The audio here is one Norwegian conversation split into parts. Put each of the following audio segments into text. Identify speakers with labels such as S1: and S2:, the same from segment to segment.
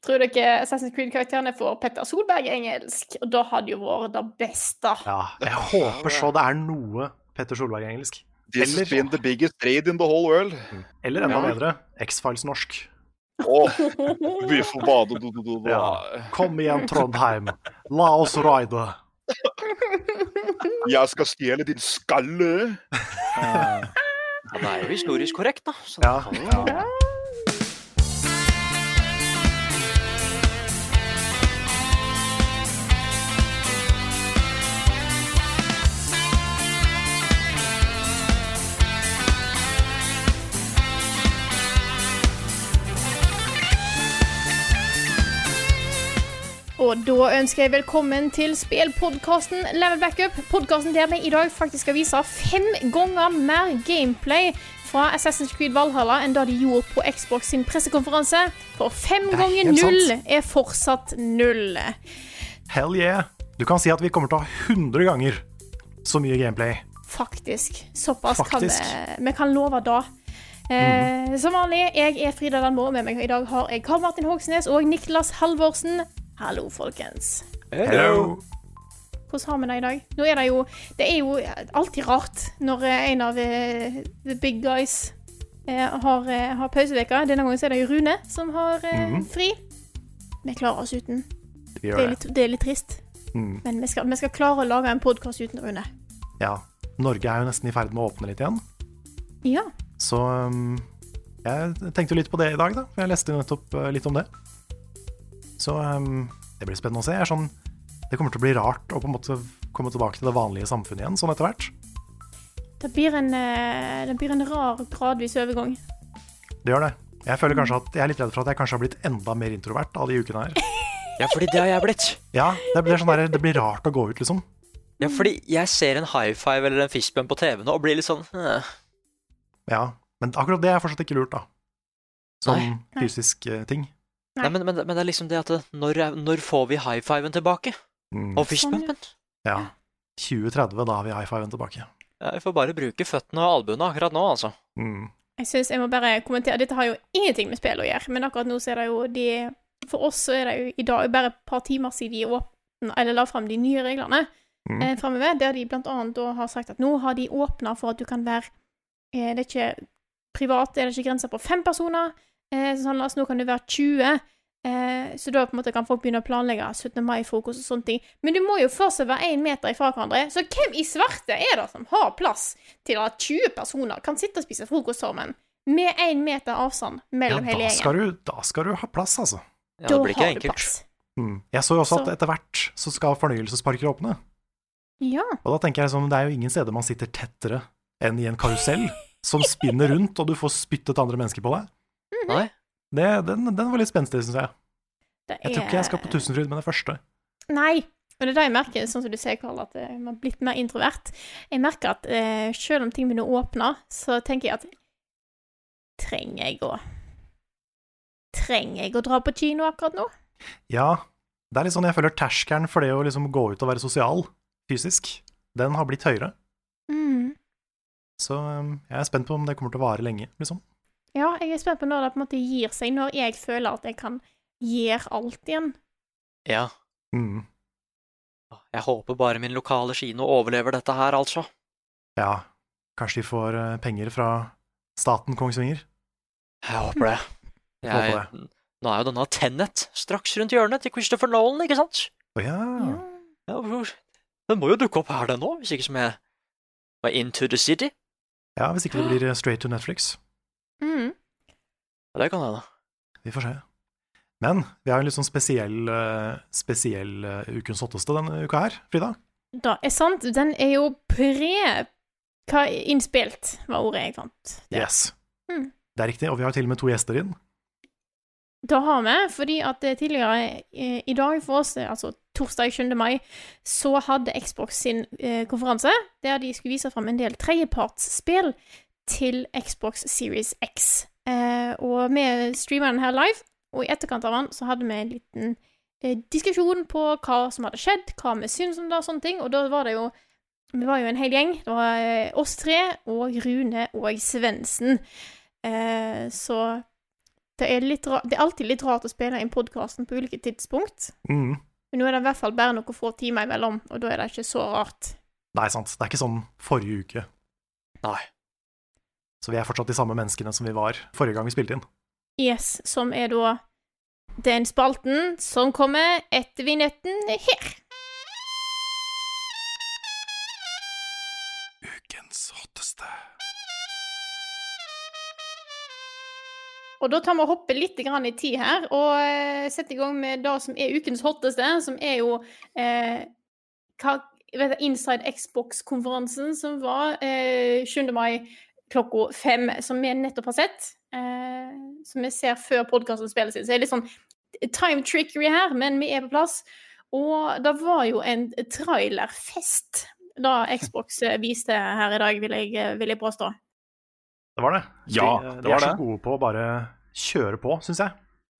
S1: Tror dere Assassin's Creed-karakterene får Petter Solberg i engelsk? Og da hadde jo vært det beste.
S2: Ja, jeg håper så det er noe Petter Solberg i engelsk.
S3: This has
S2: Eller-
S3: been the biggest raid in the whole world.
S2: Eller enda
S3: Ja.
S2: bedre, X-Files norsk.
S3: Åh, vi får bade do, do, do, do.
S2: Ja. Kom igjen, Trondheim. La oss ride.
S3: Jeg skal stjele din skalle.
S4: Ja, det er jo historisk korrekt, da. Så
S2: Ja.
S4: det kan jo
S1: Og da ønsker jeg velkommen til spillpodkasten Level Backup. Podkasten der vi i dag faktisk skal vise fem ganger mer gameplay fra Assassin's Creed Valhalla enn det de gjorde på Xbox sin pressekonferanse. For fem
S2: Det er
S1: ganger
S2: helt
S1: null
S2: sant.
S1: er fortsatt null.
S2: Hell yeah. Du kan si at vi kommer til å ha 100 ganger så mye gameplay.
S1: Faktisk. Såpass
S2: Faktisk. Mhm.
S1: kan vi, vi kan love da. Eh, som vanlig, jeg er Frida Landmo, og med meg i dag har jeg Karl Martin Hogsnes og Niklas Halvorsen. Hallo, folkens.
S2: Hello.
S1: Hvordan har vi det i dag? Nå er det jo Det er jo alltid rart når eh, en av eh, the big guys eh, har, eh, har pauseveka. Denne gangen så er det jo Rune som har eh, fri. Vi klarer oss uten. Det er
S2: Vi Mhm. gjør det.
S1: litt, det er litt trist.
S2: Mm.
S1: Men vi skal, vi skal klare å lage en podkast uten Rune.
S2: Ja. Norge er jo nesten i ferd med å åpne litt igjen.
S1: Ja.
S2: Så um, jeg tenkte jo litt på det i dag, da. For jeg leste jo nettopp uh, litt om det. Så um, det blir spennende å se. Jeg er sånn, det kommer til å bli rart å på en måte komme tilbake til det vanlige samfunnet igjen, sånn etter hvert.
S1: Det blir en, eh, det blir en rar, gradvis overgang.
S2: Det gjør det. Jeg føler
S1: Mm.
S2: kanskje at jeg er litt redd for at jeg kanskje har blitt enda mer introvert av de ukene her.
S4: Ja, fordi det har jeg blitt.
S2: Ja, det blir, sånn der, det blir rart å gå ut, liksom.
S4: Ja, fordi jeg ser en high five eller en fishbump på TV nå og blir litt sånn eh,
S2: Ja. Men akkurat det er fortsatt ikke lurt, da.
S4: Nei.
S2: Som fysisk eh, ting.
S4: Nei, men, men, men det er liksom det at når, er- når får vi high fiven tilbake?
S2: Mm,
S4: Og
S1: Sånn.
S4: fishbumpen?
S2: ja. 2030, da har vi high fiven tilbake.
S4: Ja, vi får bare bruke føttene og albuene akkurat nå, altså.
S2: Mm.
S1: Jeg synes jeg må bare kommentere Dette har jo ingenting med spill å gjøre, men akkurat nå så er det jo de For oss så er det jo i dag bare et par timer siden de åpna Eller la fram de nye reglene
S2: Mm.
S1: eh, framover, der de blant annet da har sagt at nå har de åpna for at du kan være eh, Det er ikke privat, er det ikke grenser på fem personer. Eh, så sånn, altså, nå kan du være 20. Eh, så da på en måte kan folk begynne å planlegge 17. mai-frokost og sånne ting. Men du må jo fortsatt være én meter ifra hverandre. Så hvem i svarte er det som har plass til at 20 personer kan sitte og spise frokost sammen med én meter avstand
S2: Ja,
S1: mellom hele
S2: da
S1: gjengen?
S2: skal, du, da skal du ha plass, altså.
S4: Ja,
S1: Da
S4: det blir ikke
S1: har du
S4: enkelt.
S1: plass.
S2: Mm. Jeg så jo også
S1: Så-
S2: at etter hvert så skal fornøyelsesparker åpne.
S1: Ja.
S2: Og da tenker jeg liksom, det er jo ingen steder man sitter tettere enn i en karusell som spinner rundt, og du får spyttet andre mennesker på deg.
S4: Nei.
S2: Det, den, den var litt spenstig, syns jeg.
S1: Det
S2: Jeg tror ikke jeg skal på Tusenfryd med det første.
S1: Nei. Og det er da jeg merker, sånn som du sier, Karl, at eh, man har blitt mer introvert. Jeg merker at eh, selv om ting begynner å åpne, så tenker jeg at Trenger jeg å Trenger jeg å dra på kino akkurat nå?
S2: Ja, det er litt sånn jeg føler terskelen for det å liksom gå ut og være sosial fysisk, den har blitt høyere.
S1: Mm.
S2: Så um, jeg er spent på om det kommer til å vare lenge, liksom.
S1: Ja, jeg er spent på når det på en måte gir seg, når jeg føler at jeg kan gjøre alt igjen.
S4: Ja.
S2: Mm.
S4: Jeg håper bare min lokale kino overlever dette her, altså.
S2: Ja, kanskje de får eh, penger fra staten Kongsvinger?
S4: Jeg håper det. Jeg,
S2: Håper
S4: nå er jo denne Tenet straks rundt hjørnet til Christopher Nolan, ikke sant?
S2: Å ja.
S4: Ja, hvor- Den må jo dukke opp her, den nå, hvis ikke som jeg var Into the City.
S2: ja, hvis ikke det blir eh, straight to Netflix.
S1: Mm.
S4: Ja, det kan hende.
S2: Vi får se. Men vi har en litt sånn spesiell, eh, spesiell eh, Ukens hotteste denne uka her, Frida.
S1: Da er sant, den er jo pre... Hva innspilt, var ordet jeg fant.
S2: Yes.
S1: Mm.
S2: Det er riktig, og vi har til og med to gjester inn.
S1: Det har vi, fordi at eh, tidligere eh, i dag for oss, eh, altså torsdag 7. mai, så hadde Xbox sin eh, konferanse der de skulle vise fram en del tredjepartsspill til Xbox Series X. Eh, og vi streama den her live, og i etterkant av den så hadde vi en liten eh, diskusjon på hva som hadde skjedd, hva vi syns om det og sånne ting, og da var det jo Vi var jo en hel gjeng. Det var eh, oss tre og Rune og Svendsen. Eh, så det er, litt ra det er alltid litt rart å spille inn podkasten på ulike tidspunkt.
S2: Mm.
S1: Men nå er det i hvert fall bare noen få timer imellom, og da er det ikke så rart.
S2: Nei, sant. Det er ikke sånn forrige uke.
S4: Nei.
S2: Så vi er fortsatt de samme menneskene som vi var forrige gang vi spilte inn.
S1: Yes, som er da den spalten som kommer etter vignetten her.
S2: Ukens hotteste.
S1: Og da tar vi og hopper litt grann i tid her, og eh, setter i gang med det som er ukens hotteste, som er jo eh, hva, vet du, Inside Xbox-konferansen som var eh, 7. mai klokka fem, som vi nettopp har sett. Eh, som vi ser før podkasten spilles inn. Så det er litt sånn time trickery her, men vi er på plass. Og det var jo en trailerfest da Xbox eh, viste her i dag, vil jeg, eh, vil jeg påstå.
S2: Det var det.
S3: Ja,
S2: de,
S3: det
S2: de
S3: var
S2: er så
S3: det.
S2: gode på å bare kjøre på, syns jeg.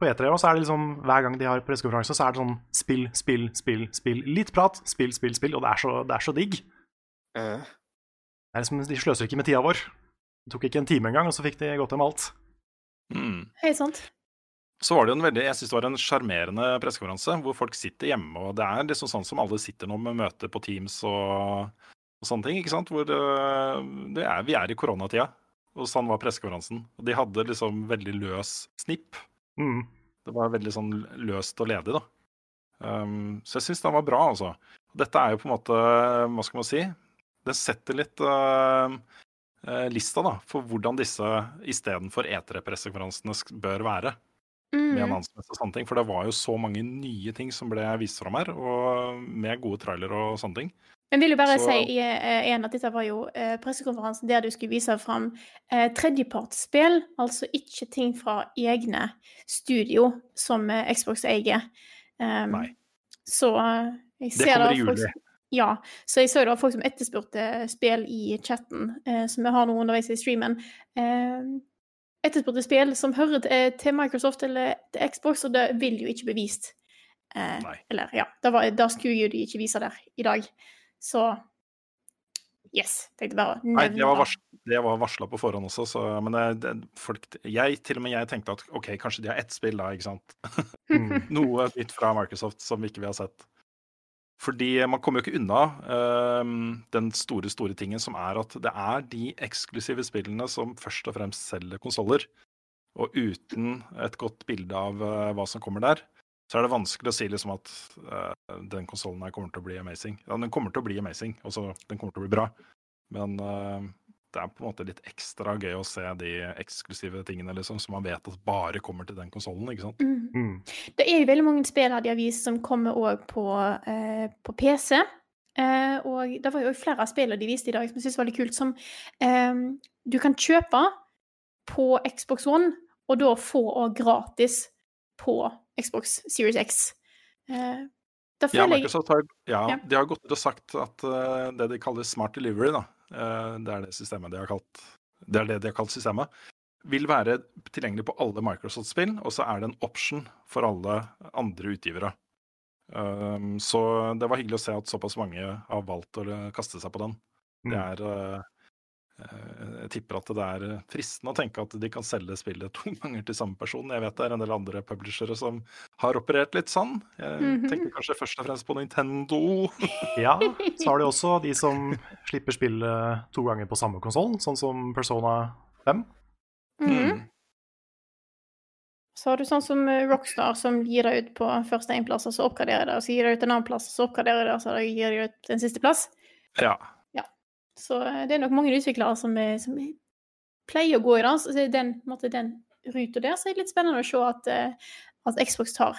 S2: På E3 også er det liksom, Hver gang de har pressekonferanse, så er det sånn spill, spill, spill, spill. Litt prat, spill, spill, spill. Og det er så, det er så digg.
S4: Eh,
S2: Det er liksom, de sløser ikke med tida vår. Det tok ikke en time engang, og så fikk de gått hjem alt.
S5: Mm.
S1: Helt sant?
S5: Så var det jo en veldig, jeg synes det var en sjarmerende pressekonferanse, hvor folk sitter hjemme, og det er liksom sånn som alle sitter nå med møte på Teams og, og sånne ting, ikke sant? Hvor øh, det er, vi er i koronatida, og sånn var pressekonferansen. Og de hadde liksom veldig løs snipp.
S2: Mm.
S5: Det var veldig sånn løst og ledig, da. Um, så jeg syns den var bra, altså. Dette er jo på en måte, hva skal man si, den setter litt uh, uh, lista, da, for hvordan disse istedenfor E3-pressekonferansene sk- bør være med
S1: Mm.
S5: annonsemessig og sånne ting. For det var jo så mange nye ting som ble vist fram her, og med gode trailere og sånne ting.
S1: Men vil jo bare
S5: Så-
S1: si i, eh, igjen at dette var jo eh, pressekonferansen der du skulle vise fram eh, tredjepartsspill, altså ikke ting fra egne studio som eh, Xbox eier. Um,
S5: Nei.
S1: Så eh, jeg
S5: Det
S1: ser
S5: kommer
S1: da
S5: i
S1: folk-
S5: juli.
S1: Ja, så jeg så det var folk som etterspurte spill i chatten, eh, som vi har nå underveis i streamen. Eh, etterspurte spill som hører til, eh, til Microsoft eller til Xbox, og det vil jo ikke bli vist. Eh,
S5: Nei.
S1: eller ja, det, var, det skulle jo de ikke vise der i dag. Så yes. Tenkte bare å
S5: Nei,
S1: nevne
S5: det var, vars det var varsla på forhånd også, så Men det, det, folk jeg, Til og med jeg tenkte at OK, kanskje de har ett spill da, ikke sant?
S2: Mm.
S5: Noe nytt fra Microsoft som ikke vi har sett. Fordi man kommer jo ikke unna øhm, den store, store tingen som er at det er de eksklusive spillene som først og fremst selger konsoller. Og uten et godt bilde av øh, hva som kommer der, så er det vanskelig å si liksom at øh, den konsollen her kommer til å bli amazing. Ja, den kommer til å bli amazing, altså den kommer til å bli bra. Men øh, det er på en måte litt ekstra gøy å se de eksklusive tingene liksom, som man vet at bare kommer til den konsollen, ikke sant.
S1: Mm.
S2: Mm.
S1: Det er jo veldig mange spill her de har vist som kommer òg på, eh, på PC. Eh, og det var jo flere av spillene de viste i dag som jeg syns var veldig kult, som eh, du kan kjøpe på Xbox One, og da få òg gratis på Xbox Series X. Eh, da
S5: Ja,
S1: føler jeg
S5: Microsoft har, ja,
S1: Ja.
S5: De har gått ut og sagt at eh, det de kaller smart delivery, da, eh, det er det systemet de har kalt det er det de har kalt systemet, vil være tilgjengelig på alle Microsoft-spill, og så er det en option for alle andre utgivere. Um, så det var hyggelig å se at såpass mange har valgt å eh, kaste seg på den. Det
S2: Mm.
S5: er eh, eh, Jeg tipper at det er eh, fristende å tenke at de kan selge spillet to ganger til samme person. Jeg vet det er en del andre publishere som har operert litt sånn. Jeg
S1: Mhm.
S5: tenker kanskje først og fremst på Nintendo.
S2: Ja, så har de også de som slipper spillet to ganger på samme konsoll, sånn som Persona 5.
S5: Mm.
S1: Mhm. Så har du sånn som eh, Rockstar, som gir deg ut på første én plass, og så oppgraderer det, og så gir deg ut en annen plass, og så oppgraderer det, og så gir deg ut en siste plass.
S5: Ja.
S1: Så eh, det er nok mange utviklere som, eh, som pleier å gå i dans. Så den, på en måte, den ruta der så er det litt spennende å se at, eh, at Xbox tar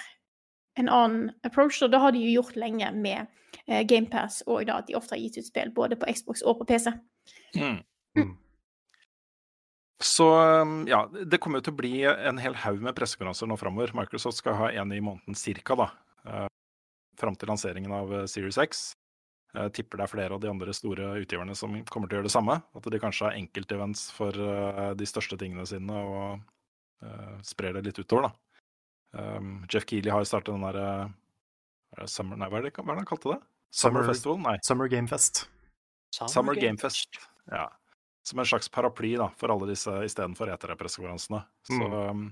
S1: en annen approach. Og det har de jo gjort lenge med eh, GamePass og da at de ofte har gitt ut spill både på Xbox og på PC.
S5: Mm.
S2: Mm.
S5: Så um, ja, det kommer jo til å bli en hel haug med pressekonferanser nå framover. Microsoft skal ha en i måneden cirka, da. Uh, fram til lanseringen av uh, Series X. Jeg tipper det er flere av de andre store utgiverne som kommer til å gjøre det samme. At de kanskje har enkeltevents for uh, de største tingene sine og uh, sprer det litt utover, da. Um, Jeff Keeley har startet den derre uh, Summer Nei, hva er det hva er det han kalte det? Summer,
S2: Summer-
S5: Festival? Nei.
S2: Summer Gamefest.
S5: Summer Game Fest. Ja. Som en slags paraply da, for alle disse istedenfor E3-pressekonferansene. Så
S2: Mm.
S5: um,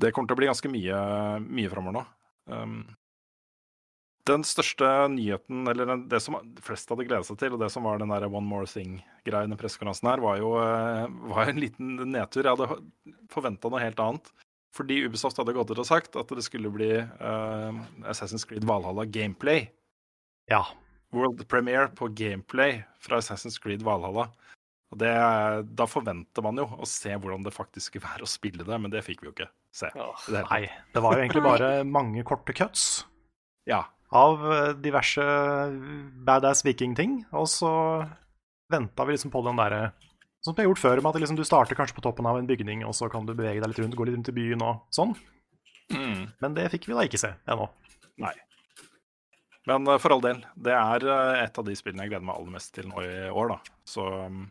S5: det kommer til å bli ganske mye, mye framover nå. Um, den største nyheten, eller den, det som flest hadde gledet seg til, og det som var den der One More Thing-greia i den pressekonferansen her, var jo eh, var en liten nedtur. Jeg hadde forventa noe helt annet. Fordi Ubisoft hadde gått ut og sagt at det skulle bli eh, Assassin's Creed Valhalla gameplay.
S2: Ja.
S5: World premiere på gameplay fra Assassin's Creed Valhalla. Og det, da forventer man jo å se hvordan det faktisk skulle være å spille det, men det fikk vi jo ikke se.
S4: Åh,
S5: I det hele
S2: Nei.
S5: tatt.
S2: Det var jo egentlig bare mange korte cuts
S5: Ja,
S2: av eh, diverse badass vikingting. Og så venta vi liksom på den derre som vi har gjort før, med at liksom du starter kanskje på toppen av en bygning, og så kan du bevege deg litt rundt, gå litt rundt i byen og sånn. Men det fikk vi da ikke se ennå.
S5: nei. Men eh, for all del, det er eh, et av de spillene jeg gleder meg aller mest til nå i år, da. Så, um,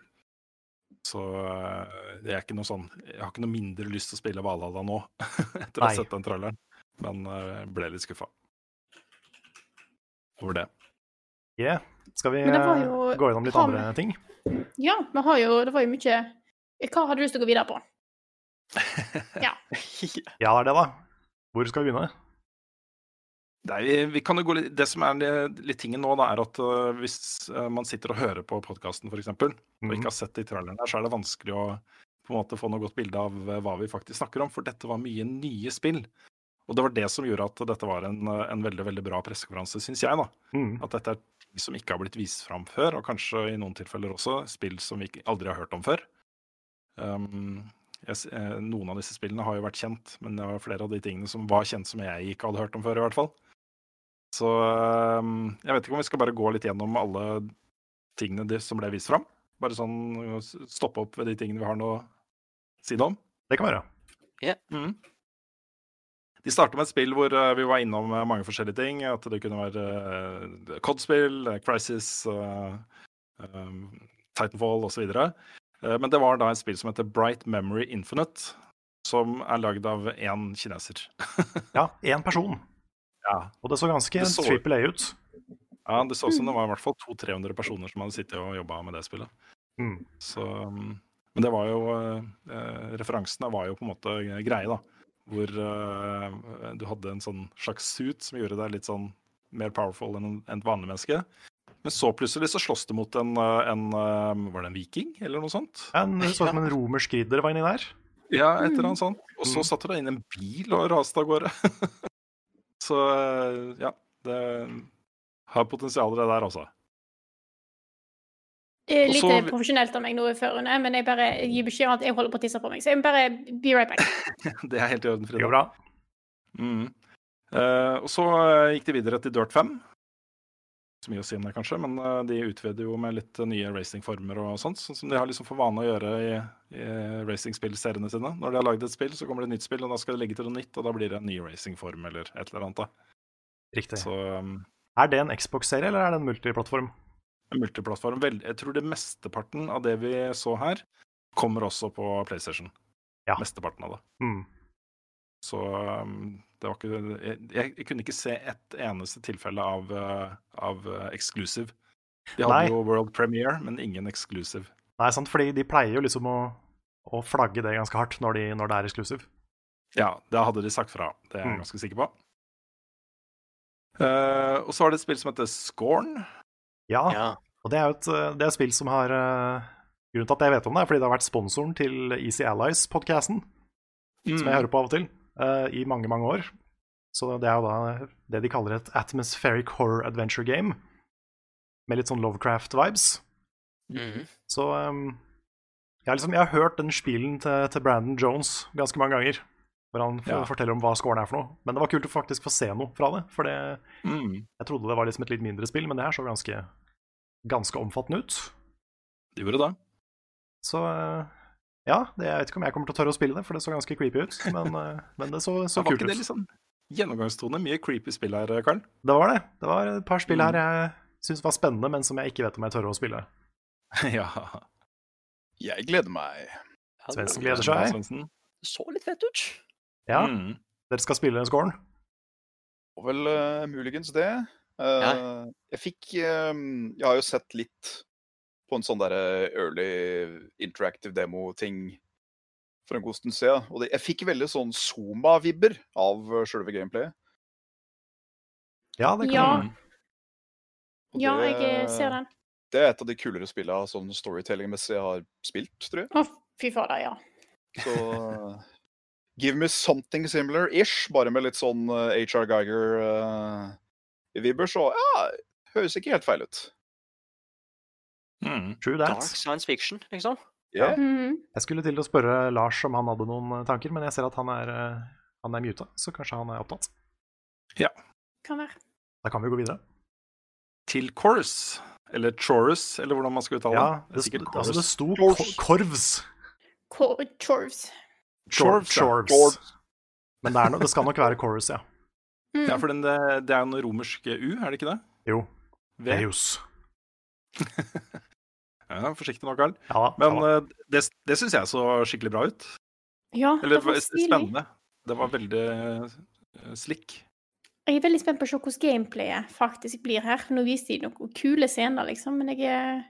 S5: så eh, det er ikke noe sånn Jeg har ikke noe mindre lyst til å spille Valhalla nå, etter å
S2: Nei.
S5: ha sett den traileren. Men eh, ble litt skuffa over det.
S2: Yeah. Skal vi
S1: Men det var
S2: eh,
S1: jo-
S2: gå gjennom litt
S1: har
S2: andre ting?
S1: Ja, vi har jo Det var jo mye eh, Hva hadde du lyst til å gå videre på? Ja.
S2: Ja, det er det, da. Hvor skal vi begynne?
S5: Nei, vi, vi kan jo gå litt, Det som er litt, litt tingen nå, da, er at øh, hvis øh, man sitter og hører på podkasten f.eks., eksempel, og
S2: Mhm.
S5: ikke har sett de trailerne her, så er det vanskelig å på en måte få noe godt bilde av øh, hva vi faktisk snakker om, for dette var mye nye spill. Og det var det som gjorde at dette var en, øh, en veldig veldig bra pressekonferanse, syns jeg. da.
S2: Mm.
S5: At dette er ting som ikke har blitt vist fram før, og kanskje i noen tilfeller også spill som vi ikke- aldri har hørt om før. Um, jeg, s- eh, noen av disse spillene har jo vært kjent, men det var flere av de tingene som var kjent som jeg ikke hadde hørt om før, i hvert fall. Så um, jeg vet ikke om vi skal bare gå litt gjennom alle tingene de, som ble vist fram. Bare sånn s- stoppe opp ved de tingene vi har noe å si noe om.
S2: Det kan være.
S5: Mm. De starta med et spill hvor eh, vi var innom eh, mange forskjellige ting. At det kunne være eh, Cod-spill, eh, Crisis, eh, eh, Titanfall osv. Uh, men det var da et spill som heter Bright Memory Infinite, som er lagd av én kineser.
S2: Ja, én person.
S5: ja.
S2: Og det så ganske
S5: Det så-
S2: trippel A ut.
S5: ja, Det så ut som det var i hvert fall 200-300 personer som hadde sittet og jobba med det spillet.
S2: Mm.
S5: Så, um, men det var jo eh, eh, Referansene var jo på en måte greie, da. Hvor eh, du hadde en sånn slags suit som gjorde deg litt sånn mer powerful enn en- enn et vanlig menneske. Men så plutselig så slåss du mot en, eh, en eh, Var det en viking, eller noe sånt?
S2: En, det så ut som en romersk ridder var inni der.
S5: Ja, et eller annet sånt. Og så
S2: Mm.
S5: satte du deg inn i en bil og raste av gårde. så eh, ja, det har potensial det der, altså.
S1: Det er
S5: Og
S1: litt eh,
S5: så-
S1: profesjonelt av meg nå før Rune, men jeg bare gir beskjed om at jeg holder på å tisse på meg. Så jeg må bare be right back.
S5: Det er helt i orden,
S2: Det
S5: Frida.
S2: går bra.
S5: Mm. Eh, og så eh, gikk de videre til Dirt 5. Ikke så mye å si om det, kanskje, men eh, de utvider jo med litt eh, nye racingformer og sånt, sånn som de har liksom for vane å gjøre i, i racingspillseriene sine. Når de har lagd et spill, så kommer det et nytt spill, og da skal de legge til noe nytt, og da blir det en ny racingform eller et eller annet. da.
S2: Riktig.
S5: Så um,
S2: Er det en Xbox-serie, eller er det en multiplattform?
S5: en multiplattform. Vel, jeg tror det mesteparten av det vi så her, kommer også på PlayStation.
S2: Ja.
S5: Mesteparten av det.
S2: Mm.
S5: Så um, det var ikke jeg, jeg, jeg kunne ikke se ett eneste tilfelle av, eh, av eh, exclusive. De hadde
S2: Nei.
S5: jo world premiere, men ingen exclusive.
S2: Nei, sant, fordi de pleier jo liksom å, å flagge det ganske hardt når, de, når det er eksklusiv.
S5: Ja, da hadde de sagt fra. Det er
S2: Mm.
S5: jeg ganske sikker på. Eh, og så var det et spill som heter Scorn.
S2: Ja,
S4: Ja.
S2: og det er jo et, eh, det er et spill som har eh, Grunnen til at jeg vet om det, er fordi det har vært sponsoren til Easy Allies-podkasten, som
S5: Mm,
S2: jeg hører på av og til, eh, i mange, mange år. Så det er jo da det de kaller et atmospheric horror adventure game, med litt sånn Lovecraft-vibes.
S4: Mhm.
S2: Så um, jeg, har liksom, jeg har hørt den spilen til, til Brandon Jones ganske mange ganger. Hvor han f-
S5: Ja.
S2: forteller om hva scoren er for noe. Men det var kult å faktisk få se noe fra det. For det,
S5: Mm.
S2: jeg trodde det var liksom et litt mindre spill, men det her så ganske, ganske omfattende ut.
S5: De gjorde det.
S2: Så uh, Ja, det, jeg vet ikke om jeg kommer til å tørre å spille det, for det så ganske creepy ut. Men, eh, men det så, så
S5: Så var
S2: kult ut.
S5: ikke det litt sånn gjennomgangstone? Mye creepy spill her, eh, Karl.
S2: Det var det. Det var et par spill
S5: Mm.
S2: her jeg syns var spennende, men som jeg ikke vet om jeg tør å spille.
S5: ja.
S3: Jeg gleder meg.
S4: Ja, det
S2: Svendsen gleder seg.
S5: Eh, Svendsen.
S4: så litt fett ut.
S2: Ja,
S5: Mm.
S2: dere skal spille scoren?
S3: Og vel eh, muligens det. Eh,
S4: Ja.
S3: Jeg fikk eh, Jeg har jo sett litt på en sånn derre early interactive demo-ting for en god stund siden. Og det, jeg fikk veldig sånn Zoma-vibber av eh, selve gameplayet.
S2: Ja, det kan
S1: Ja.
S5: mm,
S2: hende.
S3: Og
S1: Ja,
S3: det-
S1: jeg eh, ser den.
S3: Det er et av de kulere spillene sånn storytelling-messig jeg har spilt, tror jeg.
S1: Å, fy fader, ja.
S3: Så eh, give me something similar-ish, bare med litt sånn eh, HR Geiger-vibber, eh, så ja, høres ikke helt feil ut.
S5: Mm.
S2: True
S4: Dark
S2: that.
S4: science fiction, liksom.
S3: Ja.
S1: Mhm.
S2: Jeg skulle til å spørre Lars om han hadde noen eh, tanker, men jeg ser at han er, eh, han er muta, så kanskje han er opptatt.
S1: Kan være.
S2: Da kan vi gå videre.
S5: Til Chorus, eller Chorus, eller hvordan man skal uttale
S2: Ja,
S5: det.
S2: det,
S5: er sikkert
S2: altså det
S5: Chorus.
S2: sto
S3: Chorus.
S2: ko- Korvs.
S1: Ko- Chorves.
S5: Chorus, ja.
S2: Chorvs.
S3: Chorvs.
S2: Men det, er no, det skal nok være Chorus, ja.
S1: Mm.
S5: Ja, for den, eh, det det er en romersk eh, U, er det ikke det?
S2: Jo.
S5: V.
S2: Veus.
S5: Ja, forsiktig nå, Karl.
S2: Ja da.
S5: Men
S2: ja, da.
S5: eh, det, det syns jeg så skikkelig bra ut.
S1: ja,
S5: Eller
S1: det var stilig.
S5: spennende. Det var veldig eh, slick.
S1: Jeg er veldig spent på å se hvordan gameplayet faktisk blir her. Nå viste de noen kule scener, liksom, men jeg er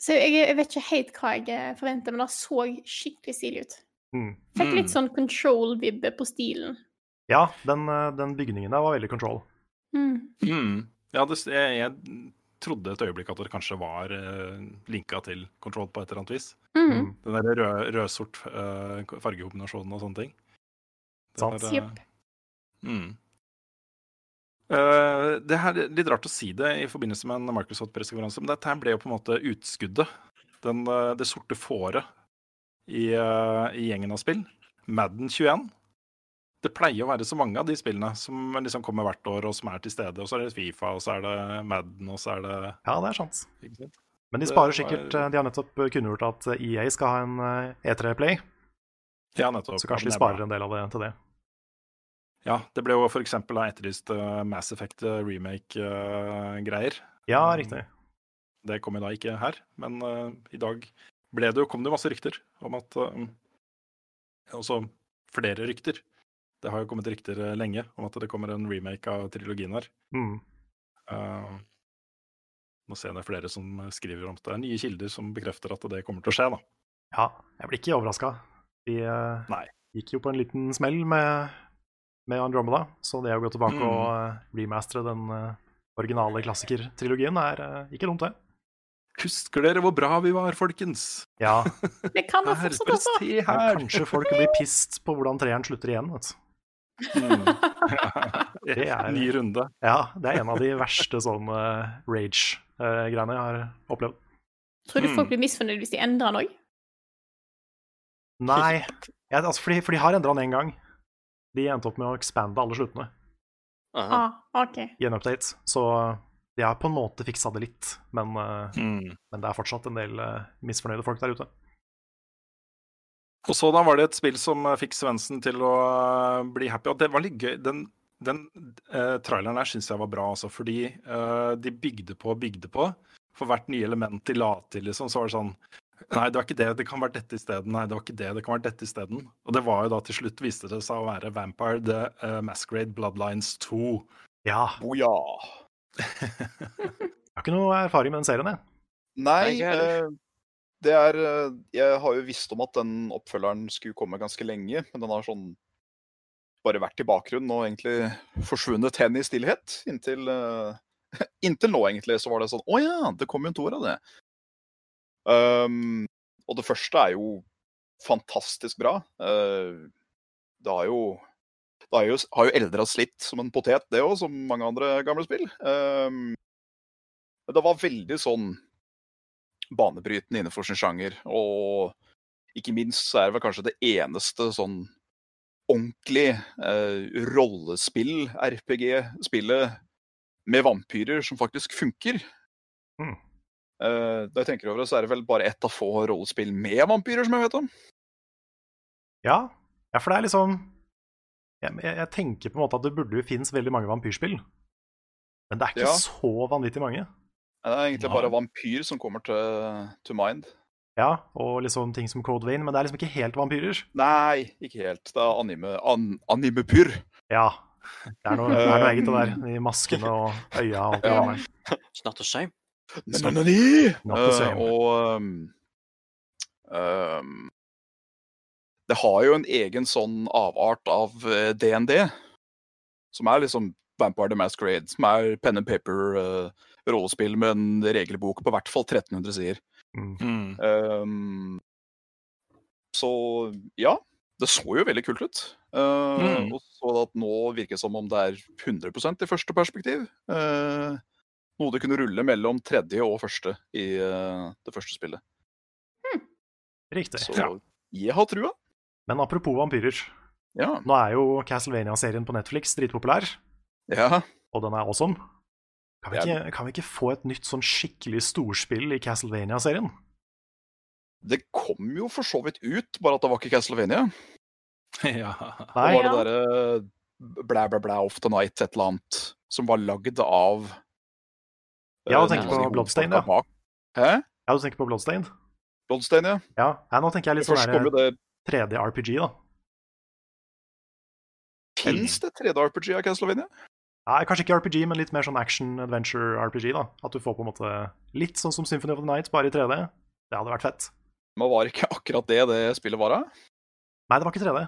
S1: Så jeg, jeg vet ikke helt hva jeg eh, forventer, men det så skikkelig stilig ut.
S2: Mm.
S1: Fikk
S5: Mm.
S1: litt sånn control-vibbe på stilen.
S2: ja den, eh, den bygningen der var veldig control.
S1: Mm.
S5: Mm. Ja, det, jeg, jeg trodde et øyeblikk at det kanskje var eh, linka til Control på et eller annet vis.
S1: Mm.
S2: Mm.
S5: Den der rød, rød-sort eh, fargekombinasjonen og sånne ting. Den
S2: Sant.
S5: der, eh,
S1: Jepp.
S5: mm. Eh, det her er Litt rart å si det i forbindelse med en Microsoft-pressekonferanse, men dette her ble jo på en måte utskuddet. Den, eh, det sorte fåret i, eh, i gjengen av spill. Madden 21. Det pleier å være så mange av de spillene som liksom kommer hvert år, og som er til stede. Og så er det Fifa, og så er det Madden, og så er det
S2: Ja, det er sant.
S5: ikke sant?
S2: Men de
S5: Det
S2: sparer
S5: var-
S2: sikkert eh, De har nettopp eh, kunngjort at eh, EA skal ha en eh, E3 Play,
S5: Ja, nettopp.
S2: så kanskje de
S5: Ja, det er bra.
S2: sparer en del av det til det.
S5: Ja, det ble jo for eksempel da etterlyst eh, Mass Effect eh, remake-greier.
S2: Ja,
S5: Mm.
S2: riktig.
S5: det kom jo da ikke her, men eh, i dag ble det jo, kom det jo masse rykter om at eh, Også flere rykter. Det har jo kommet rykter eh, lenge om at det kommer en remake av trilogien her.
S2: Mm.
S5: Eh, nå ser jeg det er flere som skriver om det. Det er nye kilder som bekrefter at det kommer til å skje, da.
S2: Ja, jeg blir ikke overraska. De eh,
S5: Nei.
S2: gikk jo på en liten smell med, med Andromeda, så det å gå tilbake
S5: Mm.
S2: og eh, remastere den eh, originale klassikertrilogien er eh, ikke dumt, det.
S5: Husker dere hvor bra vi var, folkens?
S2: Ja,
S1: Det kan da
S5: Her,
S1: fortsatt,
S5: bare
S1: altså!
S5: se
S2: men
S5: her!
S2: kanskje folk blir pissed på hvordan treeren slutter igjen, vet du. Det er-
S5: Ny runde.
S2: Ja, det er en av de verste sånn, eh, sånne rage-greiene jeg har opplevd.
S1: Tror du
S5: Mm.
S1: folk blir misfornøyd hvis de endrer den òg?
S2: Nei, jeg, altså, for, de, for de har endra den én gang. De endte opp med å expande alle sluttene
S4: Aha.
S1: Ah, OK.
S2: i en update, så de har på en måte fiksa det litt, men eh,
S5: Mm.
S2: Men det er fortsatt en del eh, misfornøyde folk der ute.
S5: Og så da var det et spill som eh, fikk Svendsen til å eh, bli happy. Og det var litt gøy. Den, den eh, traileren her syns jeg var bra, altså. Fordi eh, de bygde på og bygde på. For hvert nye element de la til, liksom, så var det sånn Nei, det var ikke det. Det kan være dette isteden. Nei, det var ikke det. Det kan være dette isteden. Og det var jo da til slutt viste det seg å være Vampire The eh, Masquerade Bloodlines 2.
S2: Ja,
S3: Boja.
S2: jeg har ikke noe erfaring med den serien, jeg.
S4: Nei,
S3: Nei,
S4: ikke heller.
S3: eh, det er eh, Jeg har jo visst om at den oppfølgeren skulle komme ganske lenge, men den har sånn bare vært i bakgrunnen og egentlig forsvunnet hen i stillhet. Inntil, eh, inntil nå, egentlig, så var det sånn Å ja, det kom jo en toer av det. Ehm, og det første er jo fantastisk bra. Eh, det har jo det har jo, har jo eldra slitt som en potet, det òg, som mange andre gamle spill. Ehm, men det var veldig sånn banebrytende innenfor sin sjanger. Og ikke minst så er det vel kanskje det eneste sånn ordentlig eh, rollespill-RPG-spillet med vampyrer som faktisk funker.
S2: Mm.
S3: Eh, når jeg tenker over det, så er det vel bare ett av få rollespill med vampyrer som jeg vet om.
S2: Ja, ja for det er liksom jeg, jeg, jeg tenker på en måte at det burde jo finnes veldig mange vampyrspill. Men det er ikke
S3: Ja.
S2: så vanvittig mange.
S3: Det er egentlig
S5: Nei.
S3: bare vampyr som kommer til to mind.
S2: Ja, Og liksom ting som Code Vein, men det er liksom ikke helt vampyrer.
S3: Nei, ikke helt. Det er anime, an, animepyr.
S2: Ja, det er noe, det er noe eget det der. De maskene og øya og alt det
S3: Ja.
S2: der.
S4: It's not the same.
S3: Nanani!
S2: Not the same.
S3: Eh, og um, um, Det har jo en egen sånn avart av eh, DND, som er liksom Vampire the Masquerade, som er pen and paper-rollespill med en regelbok på hvert fall 1300 sider.
S2: Mm.
S5: Mm.
S3: Ehm, så ja, det så jo veldig kult ut. Eh,
S5: Mm.
S3: Og så at nå virker det som om det er 100 i første perspektiv. Eh, noe du kunne rulle mellom tredje og første i eh, det første spillet.
S2: Riktig.
S3: Så jeg har trua.
S2: Men apropos vampyrer.
S3: Ja.
S2: Nå er jo Castlevania-serien på Netflix dritpopulær,
S3: ja.
S2: og den er awesome. Kan vi,
S3: Det er
S2: ikke, kan vi ikke få et nytt sånn skikkelig storspill i Castlevania-serien?
S3: Det kom jo for så vidt ut, bare at det var ikke Castlevania.
S5: ja.
S2: Nei,
S3: det var det derre blæ, blæ, blæ of the night, et eller annet, som var lagd av eh,
S2: Ja, tenker
S3: noen av de
S2: på Bloodstained,
S3: hovedfolka bak. Hæ?
S2: ja, du tenker på Bloodstained?
S3: Bloodstained, ja.
S2: Ja, ja nå tenker jeg litt sånn
S3: Først kom jo
S2: der
S3: det
S2: 3D-RPG, da.
S3: Fins det 3D-RPG av Castlevania?
S2: Nei, kanskje ikke RPG, men litt mer sånn action-adventure-RPG, da. At du får på en måte litt sånn som Symphony of the Night, bare i 3D. Det hadde vært fett.
S3: Men var ikke akkurat det det spillet var av?
S2: Nei, det var ikke 3D.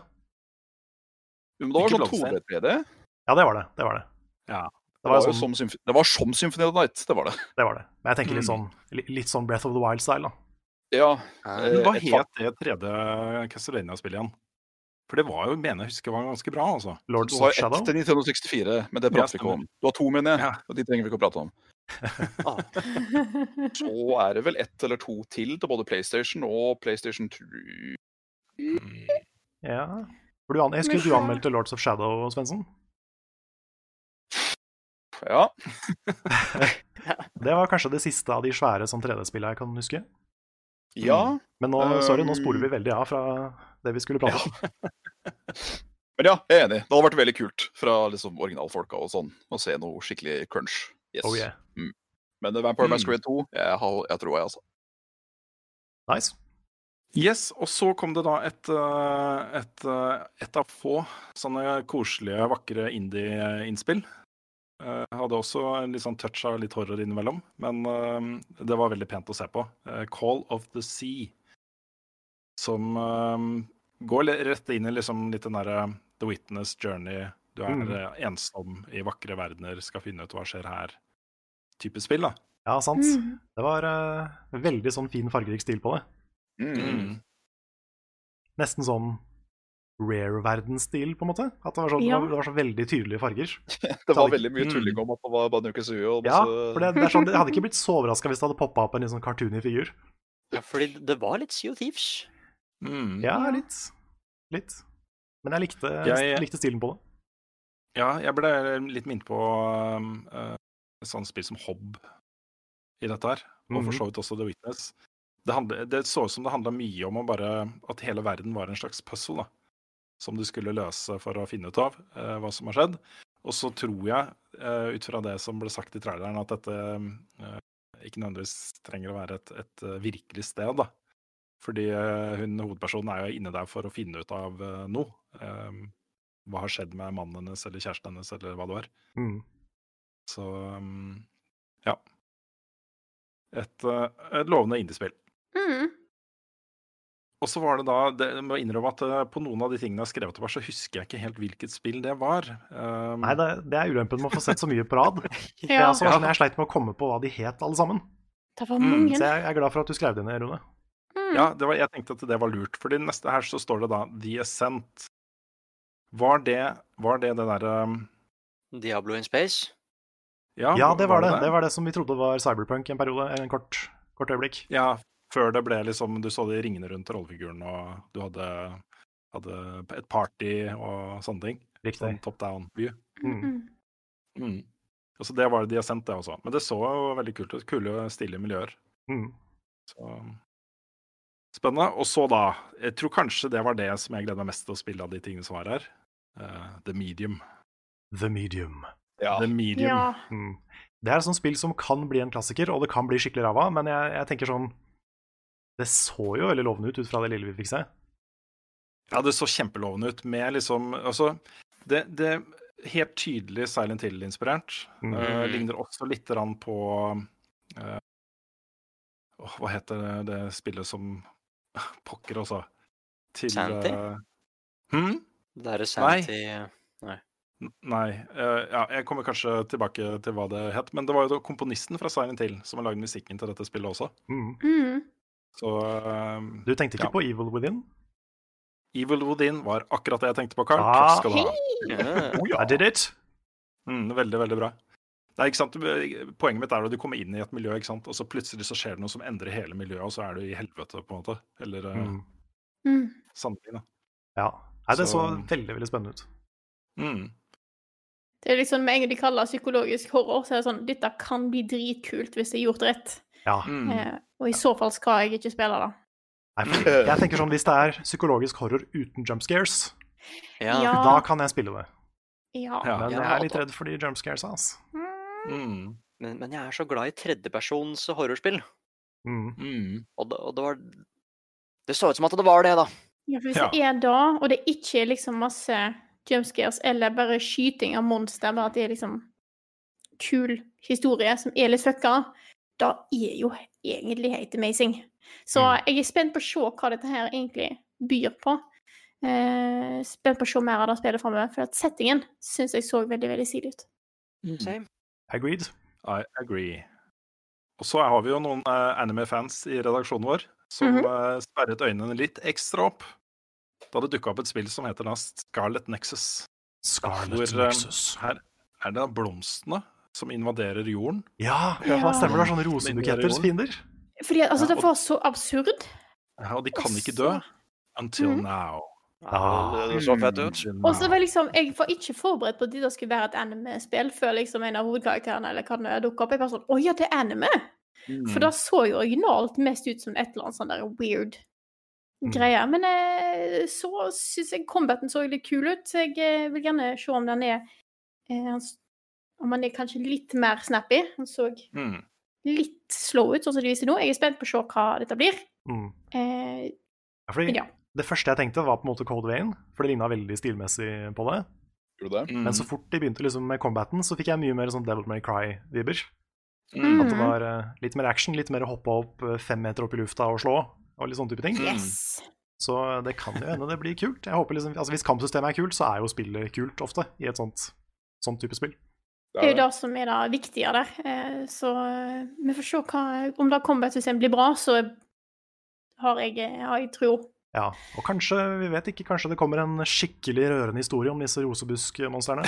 S3: Jo, Men det var
S5: Ikke
S3: sånn
S5: Bloodstained.
S3: 2D-3D.
S2: Ja, det var det. Det var det.
S5: Ja.
S2: Det var,
S3: jo
S2: sånn,
S3: som, Symf- det var som Symphony of the Night, det var det.
S2: det var det. Men jeg tenker litt sånn,
S5: Mm.
S2: li- litt sånn Breath of the Wild-style, da.
S3: Ja, eh,
S5: Men Hva
S3: et
S5: het det tredje Castlevania-spillet igjen? For det var jo, mener jeg husker, var ganske bra, altså.
S3: Du
S2: Lords
S3: har
S2: of
S3: ett
S2: Shadow.
S3: til 1964, men det prater vi ikke om. Du har to, mener jeg,
S5: Ja.
S3: og de trenger vi ikke å prate om.
S4: Ah,
S3: Så er det vel ett eller to til til både PlayStation og PlayStation 2.
S2: Ja. For du an- Jeg husker
S1: Men
S2: du
S1: så-
S2: anmeldte Lords of Shadow, Svendsen.
S3: Ja,
S2: Det var kanskje det siste av de svære sånn 3D-spillene jeg kan huske.
S3: ja.
S2: Men nå, sorry, nå sporer vi
S3: Um,
S2: veldig av fra det vi skulle prate om.
S3: Men ja, jeg er enig. Det hadde vært veldig kult fra liksom, originalfolka og sånn, å se noe skikkelig crunch. Yes.
S2: Oh yeah.
S3: Men eh, Vampire
S5: Mm.
S3: Masquerade 2, jeg, har, jeg tror jeg, altså.
S2: Nice.
S5: Yes, og så kom det da et, eh, et, eh, et av få sånne koselige, vakre indie-innspill. Eh, Hadde også en litt sånn touch av litt horror innimellom, men eh, det var veldig pent å se på. Eh, Call of the Sea, som eh, går li- rett inn i liksom litt den derre The Witness Journey. Du er
S2: Mm.
S5: eh, ensom i vakre verdener, skal finne ut hva skjer her. Type spill, da.
S2: Ja, sant.
S1: Mm.
S2: Det var eh, veldig sånn fin, fargerik stil på det.
S3: Mm.
S2: Nesten sånn rare-verden-stil, på en måte. At det var, sånn,
S1: Ja.
S2: det, var, det var så veldig tydelige farger.
S3: Det var
S2: Hadde-
S3: veldig mye tulling om at det var Banukas Ue og
S2: Ja,
S3: masse
S2: for det, det er sånn, Jeg hadde ikke blitt så overraska hvis det hadde poppa opp en litt sånn cartoony figur.
S4: ja, fordi det var litt Sea of Thieves.
S5: Mm.
S2: Ja, litt. Litt. Men jeg likte,
S5: Jeg-
S2: likte stilen på det.
S5: Ja, jeg ble litt minnet på um, eh, et sånt spill som Hob i dette her, og for
S2: Mhm.
S5: så vidt også The Witness. Det, handle, det så ut som det handla mye om å bare, at hele verden var en slags puzzle da, som du skulle løse for å finne ut av eh, hva som har skjedd. Og så tror jeg, eh, ut fra det som ble sagt i traileren, at dette eh, ikke nødvendigvis trenger å være et, et eh, virkelig sted. da. Fordi eh, hun, hovedpersonen er jo inne der for å finne ut av eh, noe. Eh, hva har skjedd med mannen hennes eller kjæresten hennes eller hva det var.
S2: Mm.
S5: Så um, ja. Et, eh, et lovende indiespill.
S1: Mm.
S5: Og så var det da, det, jeg må innrømme at eh, på noen av de tingene jeg har skrevet opp her, så husker jeg ikke helt hvilket spill det var. Um,
S2: Nei, det, det er ulempen med å få sett så mye på rad. Jeg,
S1: Ja,
S2: altså, var sånn, jeg sleit med å komme på hva de het, alle sammen.
S1: det var
S5: Mm,
S1: mange.
S2: Så jeg, jeg er glad for at du skrev det ned, Rune.
S1: Mm.
S5: Ja, det var, jeg tenkte at det var lurt, for neste her så står det da The Ascent. Var det var det, det derre um,
S4: Diablo in Space.
S2: Ja, det var det. Det var det som vi trodde var cyberpunk en periode, en kort, kort øyeblikk.
S5: Ja, før det ble liksom Du så de ringene rundt rollefiguren, og du hadde, hadde et party og sånne ting.
S2: Riktig.
S5: Sånn top down view.
S2: Mm.
S1: Mm.
S5: Altså, det var det de har sendt, det også. Men det så jo veldig kult ut. Kule, stilige miljøer.
S2: Mm.
S5: Så spennende. Og så, da Jeg tror kanskje det var det som jeg gleder meg mest til å spille av de tingene som var her. Eh, The Medium.
S2: The Medium.
S3: Ja.
S5: The Medium.
S1: Ja.
S2: Mm. Det er et sånt spill som kan bli en klassiker, og det kan bli skikkelig ræva, men jeg, jeg tenker sånn Det så jo veldig lovende ut ut fra det lille vi fikk se.
S5: Ja, det så kjempelovende ut med liksom Altså, det, det er helt tydelig Silent Hill-inspirert.
S2: Mhm.
S5: Eh, ligner også litt grann på eh, åh, Hva heter det, det spillet som Pokker, altså. Til,
S4: Sanity?
S5: eh, hm?
S4: Det er Sanity
S5: N- Nei. eh, ja, jeg kommer kanskje tilbake til hva det het. Men det var jo da komponisten fra Silent Hill som har lagd musikken til dette spillet også.
S2: Mm.
S1: Mm.
S5: Så eh,
S2: Du tenkte ikke
S5: Ja.
S2: på Evil Within?
S5: Evil Woodin var akkurat det jeg tenkte på, Carl.
S2: Ah.
S5: Takk skal du ha.
S4: Ja.
S5: Oh, ja.
S2: I did it!
S5: Mm, veldig, veldig bra. Det er, ikke sant? du- Poenget mitt er at du kommer inn i et miljø, ikke sant? og så plutselig så skjer det noe som endrer hele miljøet, og så er du i helvete, på en måte. Eller mm.
S2: Mm.
S1: Mm.
S5: sannelig, da.
S2: Ja. Nei, det så
S5: Så-
S2: veldig, veldig spennende ut.
S5: Mm.
S1: Det er liksom med en gang de kaller det psykologisk horror, så er det sånn Dette kan bli dritkult hvis det er gjort rett.
S2: Ja.
S5: Mm.
S1: Eh, og i så fall skal jeg ikke spille det.
S2: Nei, for jeg tenker sånn, Hvis det er psykologisk horror uten jump scares,
S4: Ja.
S2: da kan jeg spille det.
S1: Ja.
S5: Ja.
S2: Men
S4: ja,
S2: jeg er litt
S4: da.
S2: redd for de jump scares, ass.
S5: Mm.
S4: Men, men jeg er så glad i tredjepersons horrorspill.
S2: Mm.
S5: Mm.
S4: Og det, og det var Det så ut som at det var det, da.
S1: Ja, for hvis
S5: Ja.
S1: det er da, og det ikke er liksom masse jumpscares eller bare skyting av monster, bare at det er liksom kul historie som er litt fucka, da er jo egentlig helt amazing. Så
S2: Mm.
S1: jeg er spent på å se hva dette her egentlig byr på. Eh, spent på å se mer av det spillet framover, for at settingen syns jeg så veldig veldig stilig ut.
S4: Same.
S2: Agreed.
S5: I agree. Og så har vi jo noen eh, anime-fans i redaksjonen vår som
S1: Mhm.
S5: eh, sperret øynene litt ekstra opp da det dukka opp et spill som heter da Scarlet Nexus.
S2: Scarlet
S5: Hvor, eh,
S2: Nexus.
S5: Er det da blomstene som invaderer jorden?
S2: Ja,
S1: Ja.
S2: stemmer det. er Sånne rosebuketters fiender.
S1: Fordi at, altså,
S5: Ja,
S1: det
S5: og-
S1: var så absurd.
S5: Ja, Og de kan ikke
S1: Også-
S5: dø until
S1: Mhm.
S5: now.
S2: Ah.
S3: Det så fett ut.
S1: Og så var liksom, Jeg var ikke forberedt på at det da skulle være et anime-spill før liksom en av hovedkarakterene eller hva det nå er, dukket opp. Jeg bare sånn Å ja, det er anime!
S2: Mm.
S1: For da så jo originalt mest ut som et eller annet sånn der weird
S2: Mm.
S1: greie. Men eh, så syns jeg combaten så litt kul ut, så jeg eh, vil gjerne se om den er eh, han s- Om han er kanskje litt mer snappy. Han så
S5: Mm.
S1: litt slow ut, sånn som de viser nå. Jeg er spent på å se hva dette blir.
S2: Mm.
S1: Eh,
S2: Ja, fordi
S1: Ja.
S2: Det første jeg tenkte, var på en måte Cold Vein, for det ligna veldig stilmessig på det.
S3: Gjorde
S1: Mm.
S3: det?
S5: Mm.
S2: Men så fort de begynte liksom med combaten, så fikk jeg mye mer sånn Devil May Cry-vibber.
S5: Mm.
S2: At det
S1: Mm.
S2: var eh, litt mer action, litt mer hoppe opp eh, fem meter opp i lufta og slå. Og litt sånne type ting.
S5: Mm.
S1: yes!
S2: Så det kan jo hende det blir kult. Jeg håper liksom, altså Hvis kampsystemet er kult, så er jo spillet kult ofte. I et sånt, sånt type spill.
S1: Det er jo det som er det viktige der. Eh, Så eh, vi får se hva, om det combat-systemet blir bra, så har jeg, eh, har jeg tro.
S2: Ja, Og kanskje vi vet ikke, kanskje det kommer en skikkelig rørende historie om disse rosebuskmonstrene.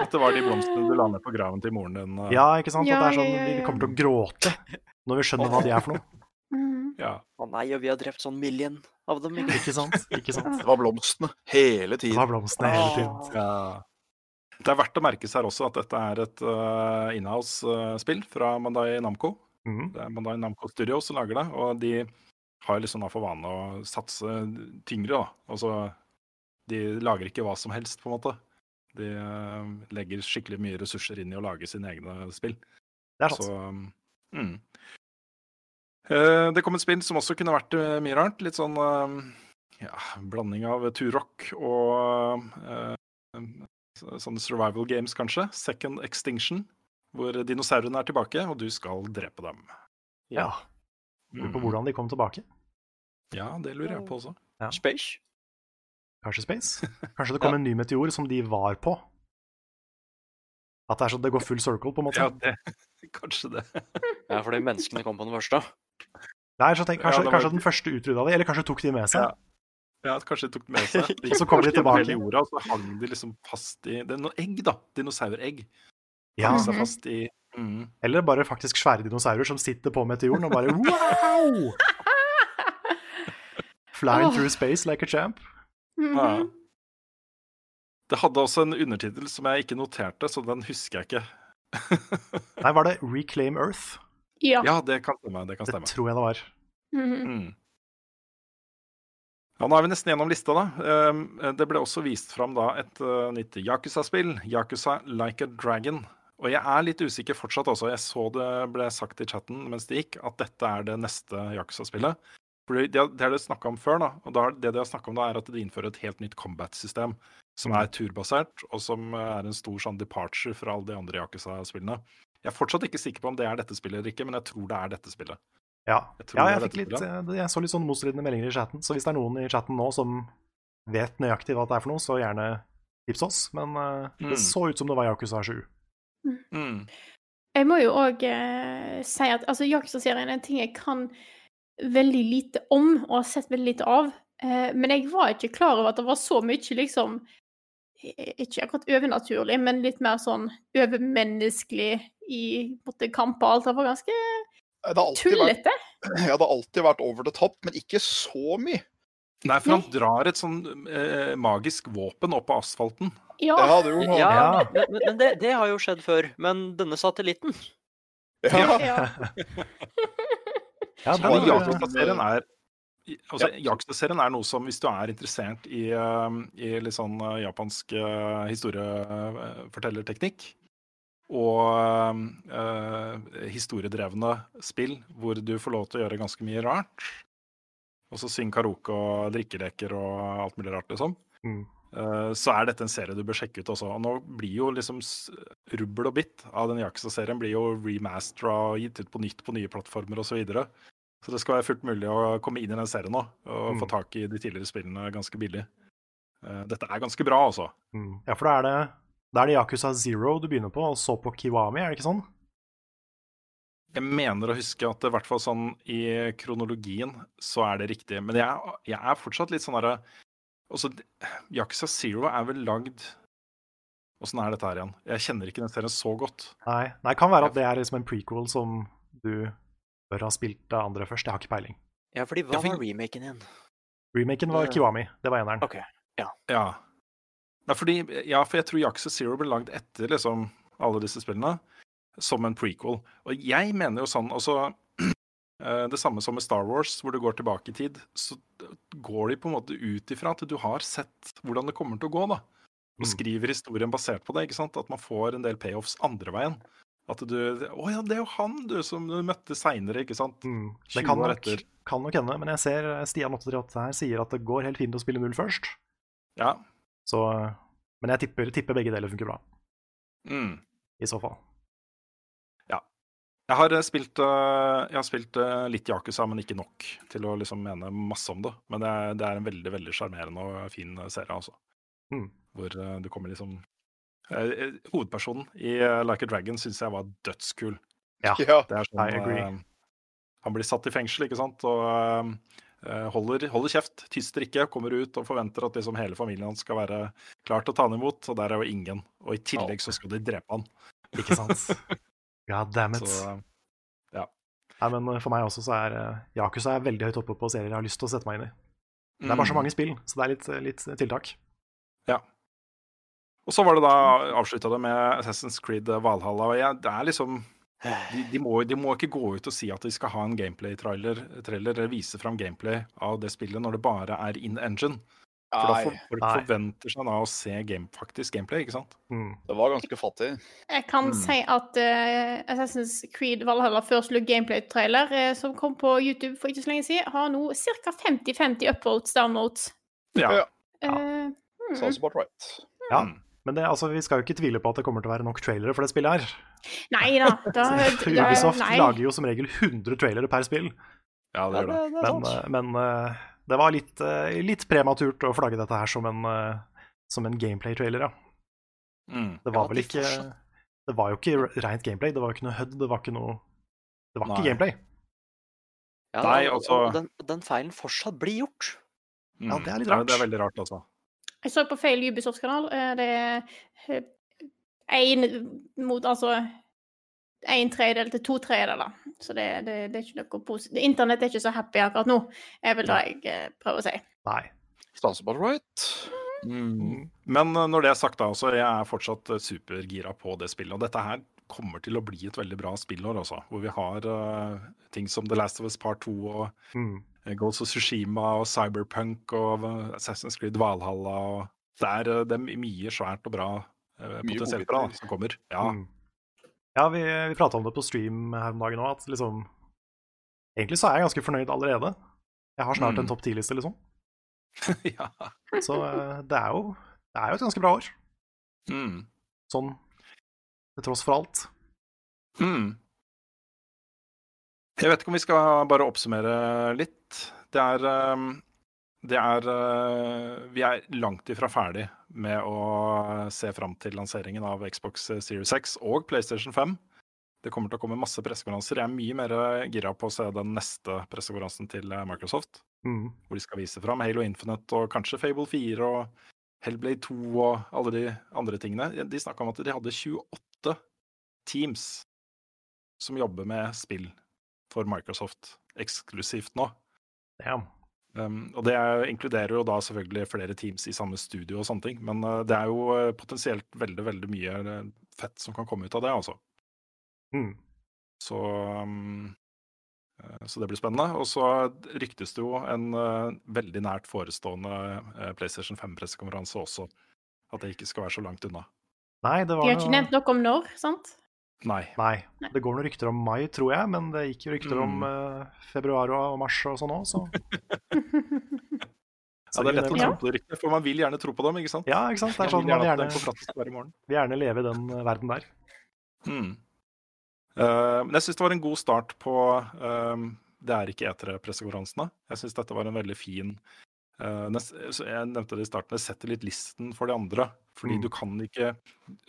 S5: At det var de blomstene du la ned på graven til moren din. eh,
S2: Ja, ikke sant?
S1: Ja,
S2: At det er sånn,
S1: ja, ja,
S2: Vi
S1: ja.
S2: kommer til å gråte når vi skjønner hva de er for noe.
S1: Mhm.
S5: ja.
S4: Å nei, og vi har drept sånn million av dem. Ikke?
S2: Ikke sant? Ikke sant?
S3: Det var blomstene hele
S2: Det
S3: tiden.
S2: var blomstene hele
S1: Ah.
S2: tiden.
S5: Ja. Det er verdt å merke seg her også at dette er et eh, inhouse-spill fra Mandai Namco.
S2: Mhm.
S5: Det er Mandai Namco Studio som lager det, og de har liksom da for vane å satse tyngre, da. Altså, de lager ikke hva som helst, på en måte. De eh, legger skikkelig mye ressurser inn i å lage sine egne spill.
S2: Det er sant.
S5: Så, um, mm. Eh, det kom et spill som også kunne vært eh, mye rart. Litt sånn um, ja, blanding av turrock og eh, um, så- sånne survival games, kanskje. Second Extinction, hvor dinosaurene er tilbake, og du skal drepe dem.
S2: Ja. Lurer på hvordan de kom tilbake.
S5: Ja, det lurer jeg på også.
S4: Ah. Space?
S2: Kanskje space? Kanskje det kom en ny meteor som de var på? At det er sånn det går full circle, på en måte?
S5: Ja, det, kanskje det.
S4: Ja, fordi menneskene kom på den første.
S2: Nei, så tenk,
S5: Ja,
S2: kanskje,
S5: det var-
S2: kanskje den første utrydda de, eller kanskje tok de med seg.
S5: Ja. Ja, at Kanskje de tok det med seg.
S2: Og så kommer de
S5: gikk over
S2: tilbake.
S5: hele jorda, og så hang de liksom fast i Det er noen egg, da. Dinosauregg.
S2: Ja.
S5: Hang seg fast i mm.
S2: Eller bare faktisk svære dinosaurer som sitter på meteoren og bare wow! Flying through space like a champ.
S1: Mhm.
S5: Ja. Det hadde også en undertittel som jeg ikke noterte, så den husker jeg ikke.
S2: Nei, var det Reclaim Earth?
S1: Ja.
S5: Ja, det kan stemme. Det kan
S2: Det
S5: stemme.
S2: tror jeg det var.
S1: Mhm.
S5: Mm. Ja, Nå er vi nesten gjennom lista. da. Ehm, Det ble også vist fram da et eh, nytt Yakuza-spill, Yakuza Like a Dragon. Og jeg er litt usikker fortsatt også. Jeg så det ble sagt i chatten mens det gikk, at dette er det neste Yakuza-spillet. For Det har- det har de snakka om før, da. og da, det de har snakket om da, er at de innfører et helt nytt combat-system. Som er turbasert, og som eh, er en stor sånn departure fra alle de andre Yakuza-spillene. Jeg er fortsatt ikke sikker på om det er dette spillet eller ikke, men jeg tror det er dette spillet.
S2: Ja,
S5: Jeg tror
S2: ja
S5: det
S2: jeg,
S5: var
S2: fikk litt,
S5: dette
S2: eh, jeg så litt sånn motstridende meldinger i chatten, så hvis det er noen i chatten nå som vet nøyaktig hva det er for noe, så gjerne tips oss. Men eh,
S5: Mm.
S2: det så ut som det var Yakuza 7.
S5: Mm.
S1: Jeg må jo òg eh, si at altså, Yakuza-serien er en ting jeg kan veldig lite om, og har sett veldig lite av. Eh, men jeg var ikke klar over at det var så mye liksom eh, Ikke akkurat overnaturlig, men litt mer sånn overmenneskelig i måtte, kamper og alt. Det var ganske
S3: Det har alltid vært,
S1: tullete.
S3: ja, det har alltid vært over the top, men ikke så mye.
S5: Nei, for han
S1: Nei.
S5: drar et sånn eh, magisk våpen opp av asfalten.
S1: Ja.
S3: Ja, det
S4: Ja,
S3: gjorde han.
S2: Ja.
S4: men, men- men det, det har jo skjedd før. Men denne satellitten
S3: Ja.
S1: ja.
S2: Ja,
S3: Så
S2: det
S3: var
S5: Men
S2: var,
S3: det
S2: eh,
S3: Yakuza.
S5: Jaktserien er altså, Jaktserien er noe som, hvis du er interessert i, eh, i litt sånn eh, japansk eh, historiefortellerteknikk, og eh, historiedrevne spill hvor du får lov til å gjøre ganske mye rart, og så synge karaoke og drikkeleker og alt mulig rart, liksom.
S2: Mm.
S5: Eh, så er dette en serie du bør sjekke ut også. Og nå blir jo liksom s- rubbel og bitt av den Yakuza-serien blir jo remastera og gitt ut på nytt på nye plattformer osv. Så, videre. så det skal være fullt mulig å komme inn i den serien nå og
S2: Mm.
S5: få tak i de tidligere spillene ganske billig. Eh, Dette er ganske bra, altså.
S2: mm. ja, for da er det da er det Yakuza Zero du begynner på, og så på Kiwami, er det ikke sånn?
S5: Jeg mener å huske at det, i hvert fall sånn i kronologien så er det riktig. Men jeg, jeg er fortsatt litt sånn derre Også Yakuza Zero er vel lagd Åssen er dette her igjen? Jeg kjenner ikke den serien så godt.
S2: Nei, Nei det kan være at det er liksom en prequel som du bør ha spilt av andre først. Jeg har ikke peiling.
S4: Ja, fordi hva
S5: Jeg fikk-
S4: var remaken igjen?
S2: Remaken
S4: Ja.
S2: var Kiwami, det var eneren.
S4: Ok.
S5: Ja. Nei, fordi, ja, for jeg tror Yakuza Zero ble lagd etter liksom, alle disse spillene, som en prequel. Og jeg mener jo sånn altså, eh, Det samme som med Star Wars, hvor du går tilbake i tid, så går de på en måte ut ifra at du har sett hvordan det kommer til å gå, da. Og
S2: Mm.
S5: skriver historien basert på det. ikke sant? At man får en del payoffs andre veien. At du Å ja, det er jo han du som du møtte seinere, ikke sant?
S2: Mm.
S5: 20
S2: Det kan
S5: år
S2: nok,
S5: etter.
S2: kan nok hende, men jeg ser eh, Stian838 her sier at det går helt fint å spille null først.
S5: Ja.
S2: Så, eh, men jeg tipper, tipper begge deler funker bra,
S5: Mm.
S2: i så fall.
S5: Jeg har eh, spilt, eh, jeg har spilt eh, litt Yakuza, men ikke nok til å liksom mene masse om det. Men det er, det er en veldig veldig sjarmerende og fin eh, serie, altså.
S2: Mm.
S5: Hvor eh, du kommer liksom eh, eh, Hovedpersonen i eh, Like a Dragon syns jeg var dødskul.
S3: Ja.
S5: Det er sånn,
S2: I agree.
S5: eh, han blir satt i fengsel, ikke sant, og eh, holder, holder kjeft, tyster ikke, kommer ut og forventer at liksom hele familien hans skal være klar til å ta han imot, og der er jo ingen. Og i tillegg så skal de drepe han.
S2: Ikke sant? God damn it.
S5: Så, eh,
S2: Nei, men eh, for meg også så er eh, Yakuza er veldig høyt oppe på serier jeg har lyst til å sette meg inn i. Det er
S5: Mm.
S2: bare så mange spill, så det er litt, eh, litt tiltak.
S5: Og så var det da avslutta det med Assassin's Creed Valhalla. Og jeg, det er liksom de, de, må, de må ikke gå ut og si at de skal ha en gameplay-trailer trailer, eller vise fram gameplay av det spillet når det bare er in engine. For
S3: Nei,
S5: da for, folk
S2: Nei.
S5: forventer seg da å se game, faktisk gameplay, ikke sant?
S2: Mm.
S3: det var ganske fattig.
S1: Jeg kan
S5: Mm.
S1: si at eh, Assassin's Creed Valhalla først look gameplay-trailer, eh, som kom på YouTube for ikke så lenge siden, har nå ca. 50-50 upvotes, downvotes.
S5: Ja.
S3: Ja. Sånn
S2: Ja.
S1: Eh, mm.
S3: Sounds about right.
S2: Ja.
S5: Mm.
S2: Men det, altså, vi skal jo ikke tvile på at det kommer til å være nok trailere for det spillet her.
S1: Nei da. da,
S2: For
S1: da
S2: Ubisoft
S1: nei.
S2: lager jo som regel 100 trailere per spill,
S5: ja, det gjør det.
S2: men, eh, men eh, det var litt, eh, litt prematurt å flagge dette her som en, eh, som en gameplay-trailer, ja.
S5: Mm.
S2: Det
S4: Ja,
S2: var
S4: at
S2: vel
S4: de
S2: ikke
S4: fortsatt-
S2: Det var jo ikke re- rent gameplay, det var jo ikke noe HUD, det var ikke noe Det var
S5: Nei.
S2: ikke gameplay.
S4: Ja,
S5: Nei,
S4: og-
S5: altså-
S4: og den, den feilen fortsatt blir gjort.
S5: Mm.
S2: Ja, det er litt rart.
S5: Det er veldig rart, altså.
S1: Jeg så på feil Ubisoft-kanal. eh, Det er én mot altså en tredjedel til to tredjedeler. Så det, det, det er ikke noe positivt. Internett er ikke så happy akkurat nå, er vel det jeg eh, prøver å si.
S2: Nei.
S3: Sounds about right.
S1: Mm.
S3: Mm.
S5: Mm. Men eh, når det er sagt, da, så jeg er fortsatt eh, supergira på det spillet. Og dette her kommer til å bli et veldig bra spillår, altså. Hvor vi har eh, ting som The Last of Us Part 2 og
S2: Mm.
S5: eh, Ghost of Tsushima og Cyberpunk og eh, Assassin's Creed Valhalla og Det er, eh, det er mye svært og bra, eh,
S3: Mye
S5: potensielt
S3: godbiter.
S5: bra, som kommer. Ja.
S2: Mm. Ja, vi, vi prata om det på stream her om dagen òg, at liksom Egentlig så er jeg ganske fornøyd allerede. Jeg har snart
S5: Mm.
S2: en topp ti-liste, liksom.
S5: ja.
S2: Så eh, det er jo Det er jo et ganske bra år.
S5: Mm.
S2: Sånn til tross for alt.
S5: Mm. Jeg vet ikke om vi skal bare oppsummere litt. Det er ehm, Det er eh, Vi er langt ifra ferdig med å se fram til lanseringen av Xbox Series X og PlayStation 5. Det kommer til å komme masse pressekonferanser. Jeg er mye mer eh, gira på å se den neste pressekonferansen til eh, Microsoft,
S2: Mm.
S5: hvor de skal vise fram Halo Infinite og kanskje Fable 4 og Hellblade 2 og alle de andre tingene. De snakka om at de hadde 28 teams som jobber med spill for Microsoft eksklusivt nå.
S2: Damn.
S5: Um, og det er- inkluderer jo da selvfølgelig flere teams i samme studio og sånne ting, men uh, det er jo uh, potensielt veldig, veldig mye uh, fett som kan komme ut av det, altså.
S2: Mm.
S5: Så, um, eh, så det blir spennende. Og så ryktes det jo en eh, veldig nært forestående eh, PlayStation 5-pressekonferanse også. At det ikke skal være så langt unna.
S2: Nei, det
S1: De
S2: var
S1: har ikke nevnt noe om når, sant?
S5: Nei.
S2: Nei.
S1: Nei.
S2: Det går noen rykter om mai, tror jeg, men det gikk jo rykter om
S5: Mm.
S2: eh, februar og og mars og sånn òg, så
S5: Ja, det er lett å
S1: Ja.
S5: tro på det ryktet, for man vil gjerne tro på dem, ikke sant?
S2: Ja, ikke sant? Det er
S5: Man
S2: sånn man
S5: vil gjerne at
S2: gjerne,
S5: det på plass hver morgen.
S2: vil gjerne leve i den eh, verden der.
S5: Mm. Eh, men jeg syns det var en god start på ehm, Det er ikke E3-pressekonferansene. Jeg syns dette var en veldig fin eh, nes- så Jeg nevnte det i starten, jeg setter litt listen for de andre. Fordi
S2: Mm.
S5: du kan ikke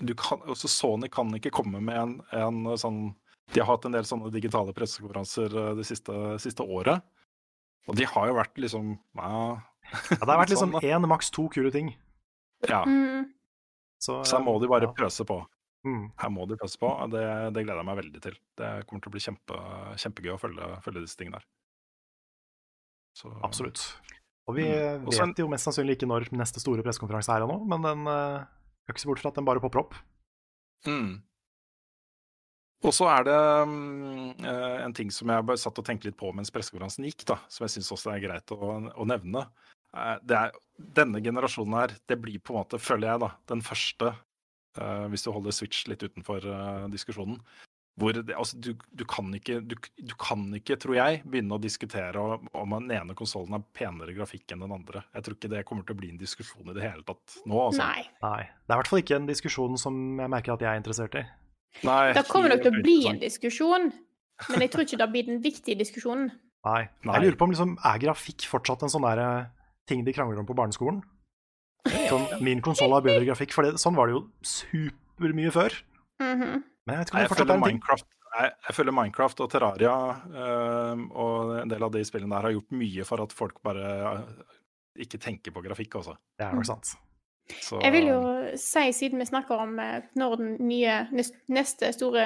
S5: du kan, også Sony kan ikke komme med en, en eh, sånn De har hatt en del sånne digitale pressekonferanser eh, det siste, siste året. Og de har jo vært liksom ja,
S2: Ja, det har vært liksom
S5: Sånn,
S2: én, maks to kule ting.
S5: ja.
S1: Mm.
S2: Så,
S5: Så her må de bare
S2: ja.
S5: pøse på.
S2: mm.
S5: Her må de pøse på. og Det, det gleder jeg meg veldig til. Det kommer til å bli kjempe, kjempegøy å følge, følge disse tingene her. Så,
S2: Absolutt. Og vi
S5: Mm. Og så en-
S2: vet jo mest sannsynlig ikke når neste store pressekonferanse er ennå, men den eh, skal ikke se bort fra at den bare popper opp.
S5: Mm. Og så er det mm, eh, en ting som jeg bare satt og tenkte litt på mens pressekonferansen gikk, da, som jeg syns også er greit å, å nevne. Eh, Det er, denne generasjonen her, det blir på en måte, føler jeg, da, den første, eh, hvis du holder Switch litt utenfor eh, diskusjonen, hvor det, altså, du, du, kan ikke, du, du kan ikke, tror jeg, begynne å diskutere om- om den ene konsollen har penere grafikk enn den andre. Jeg tror ikke det kommer til å bli en diskusjon i det hele tatt nå. Altså.
S1: Nei.
S2: Nei. Det er i hvert fall ikke en diskusjon som jeg merker at jeg er interessert i.
S5: Nei,
S1: Det kommer nok til å bli
S5: interessant.
S1: en diskusjon, men jeg tror ikke det blir den viktige diskusjonen.
S2: Nei.
S5: Nei.
S2: Jeg lurer på om liksom, er grafikk fortsatt en sånn der eh, ting de krangler om på barneskolen? Sånn, min konsoll har bedre grafikk, for det, sånn var det jo supermye før.
S1: Mhm.
S2: Men jeg vet ikke om det
S5: Nei, jeg
S2: fortsatt er
S5: føler
S2: en ting.
S5: Minecraft jeg, jeg føler Minecraft og Terraria øhm, og en del av de spillene der har gjort mye for at folk bare øh, ikke tenker på grafikk, altså.
S2: Det er nok sant.
S5: Så,
S1: Jeg vil jo si, siden vi snakker om eh, når den nye, nes- neste store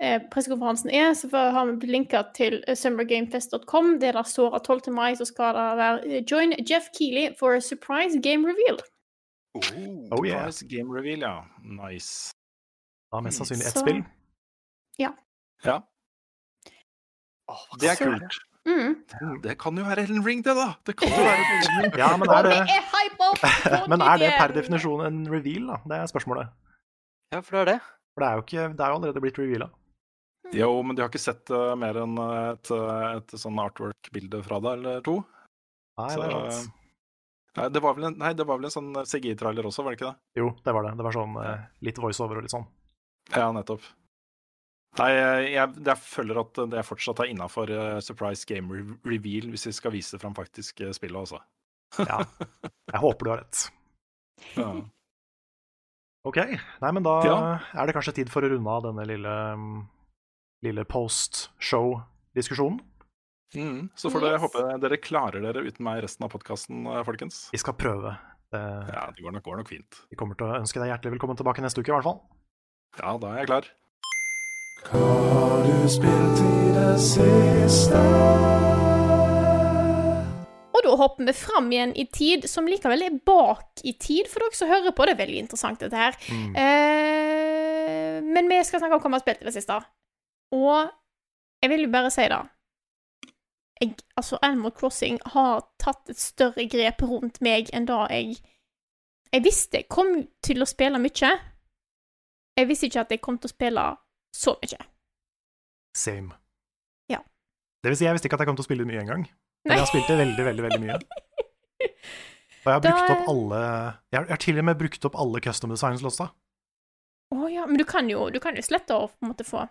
S1: eh, pressekonferansen er, så får- har vi linka til eh, summergamefest.com. Det er der står at 12. mai så skal det være eh, Join Jeff Keeley for a surprise game reveal.
S2: Oh yeah.
S5: Surprise Game reveal, ja. Nice.
S2: Da mest sannsynlig ett
S1: Så-
S2: spill.
S5: Ja, det er kult.
S1: Mm.
S5: Det kan jo være Ellen Ring, det, da! Det kan jo være Elden Ring.
S2: Ja, men er det,
S1: Jeg er hypa opp! for
S2: men er det
S1: ideen.
S2: per definisjon en reveal, da? Det er spørsmålet.
S4: Ja, for det er det.
S2: For det er jo, ikke, det er jo allerede blitt reveala.
S5: Jo, men de har ikke sett øh, mer enn øh, et, øh, et sånn artwork-bilde fra det, eller to?
S2: Nei,
S5: Så, eh,
S2: det er sant.
S5: Nei, det var vel en, nei, det var vel en sånn CGI-trailer også, var det ikke det?
S2: Jo, det var det. Det var sånn eh, litt voiceover og litt sånn.
S5: Ja, nettopp. Nei, jeg, jeg, jeg føler at det fortsatt er innafor eh, Surprise Game re- Reveal, hvis vi skal vise fram faktisk eh, spillet, altså.
S2: Ja. Jeg håper du har rett.
S5: Ja.
S2: Ok, nei, men da
S5: Ja.
S2: er det kanskje tid for å runde av denne lille, mm, lille post-show-diskusjonen.
S5: Mm, så får dere
S1: Yes.
S5: håpe dere klarer dere uten meg resten av podkasten, folkens.
S2: Vi skal prøve. Eh,
S5: Ja, det går nok, går nok fint.
S2: Vi kommer til å ønske deg hjertelig velkommen tilbake neste uke, i hvert fall.
S5: Ja, da er jeg klar.
S1: Og da hopper vi fram igjen i tid, som
S2: Mm,
S1: likevel er bak i tid, for dere som hører på. Det er veldig interessant, dette her. Eh, Eh, men vi skal snakke om hva vi har spilt i det siste. Og jeg vil jo bare si det. Jeg, altså, Animal Crossing har tatt et større grep rundt meg enn da jeg Jeg visste jeg kom til å spille mye. Jeg visste ikke at jeg kom til å spille så mye.
S2: Same.
S1: Ja.
S2: Det vil si, jeg visste ikke at jeg kom til å spille mye engang. Men
S1: Nei.
S2: jeg har spilt det veldig, veldig veldig mye. Og jeg har
S1: Da-
S2: brukt opp alle Jeg har, jeg har til og med brukt opp alle custom designs-låsa.
S1: Å ja, men du kan jo, du kan jo slette å på en måte få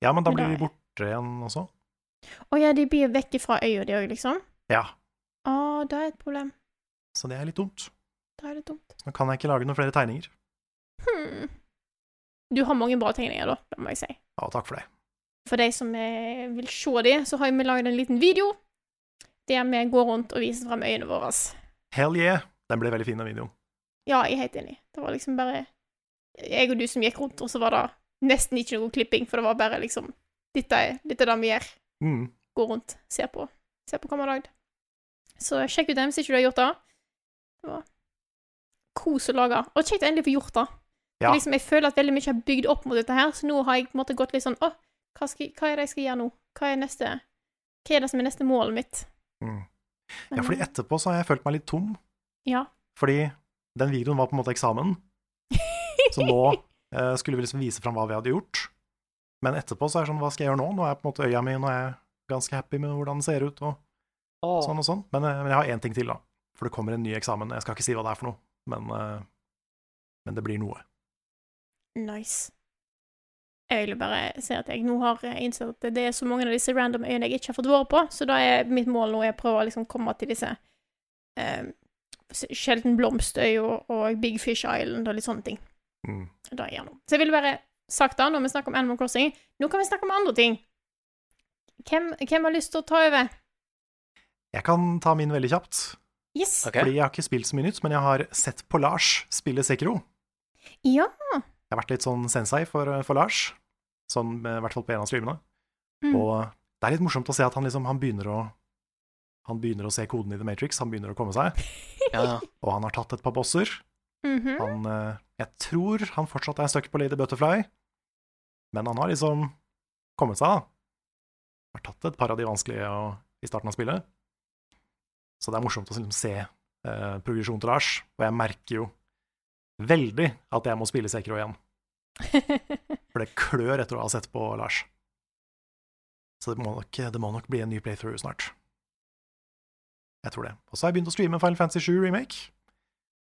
S2: Ja, men da blir
S1: Nei.
S2: de borte igjen også.
S1: Å ja, de blir vekk fra øya, de òg, liksom.
S2: Ja,
S1: Å, det er et problem.
S2: så det er litt dumt.
S1: Da er det dumt.
S2: Så nå kan jeg ikke lage noen flere tegninger.
S1: Hmm. Du har mange bra tegninger, da, det må jeg si.
S2: Ja, takk for det.
S1: For de som eh, vil se det, så har vi laget en liten video der vi går rundt og viser frem øynene våre.
S2: Hell yeah! Den ble veldig fin, den videoen.
S1: Ja, jeg er helt enig. Det var liksom bare jeg og du som gikk rundt, og så var det nesten ikke noe klipping, for det var bare liksom Dette er, dette er det vi gjør.
S2: Mm.
S1: Gå rundt, se på. Se på hva vi har lagd. Så sjekk ut dem hvis ikke du har gjort det. Det var kos å lage. Og kjekt å endelig få gjort det. For
S2: Ja.
S1: Liksom, jeg føler at veldig mye har bygd opp mot dette her, så nå har jeg på en måte gått litt sånn Å, hva, skal, hva er det jeg skal gjøre nå? Hva er neste Hva er det som er neste målet mitt?
S2: Mm.
S1: Men,
S2: Ja, fordi
S1: eh,
S2: etterpå så har jeg følt meg litt tom,
S1: Ja.
S2: fordi den videoen var på en måte eksamen. Så nå eh, skulle vi liksom vise fram hva vi hadde gjort. Men etterpå så er det sånn, hva skal jeg gjøre nå? Nå er jeg på en måte øya mi, nå er jeg ganske happy med hvordan det ser ut, og
S4: Åh,
S2: sånn og sånn. Men, eh, men jeg har én ting til, da. For det kommer en ny eksamen. Jeg skal ikke si hva det er for noe, men, eh, men det blir noe.
S1: Nice. Jeg vil jo bare si at jeg nå har eh, innsett at det er så mange av disse random øyene jeg ikke har fått vært på, så da er mitt mål nå er å prøve å liksom komme til disse eh, Sjelden Blomstøy og, og Big Fish Island og litt sånne ting.
S2: Mm.
S1: Det er jeg nå. Så jeg ville bare sagt da, når vi snakker om Animal Crossing, nå kan vi snakke om andre ting. Hvem, hvem har lyst til å ta over?
S2: Jeg kan ta min veldig kjapt,
S1: Yes.
S4: ok.
S2: fordi jeg har ikke spilt så mye nytt, men jeg har sett på Lars spille Sekiro.
S1: Ja.
S2: Jeg har vært litt sånn sensei for, for Lars, sånn, eh, i hvert fall på en av streamene.
S1: Mm.
S2: Og det er litt morsomt å se at han liksom han begynner å han begynner å se koden i The Matrix, han begynner å komme seg.
S4: Ja, ja.
S2: Og han har tatt et par bosser.
S1: Mhm.
S2: Han, eh, jeg tror han fortsatt er stuck på Lady Butterfly, men han har liksom kommet seg, da. Har tatt et par av de vanskelige og, i starten av spillet. Så det er morsomt å liksom se eh, progresjonen til Lars, og jeg merker jo veldig at jeg må spille Sekiro igjen, for det klør etter å ha sett på Lars. Så det må nok, det må nok bli en ny playthrough snart. Jeg tror det. Og så har jeg begynt å streame Final Fantasy 7 Remake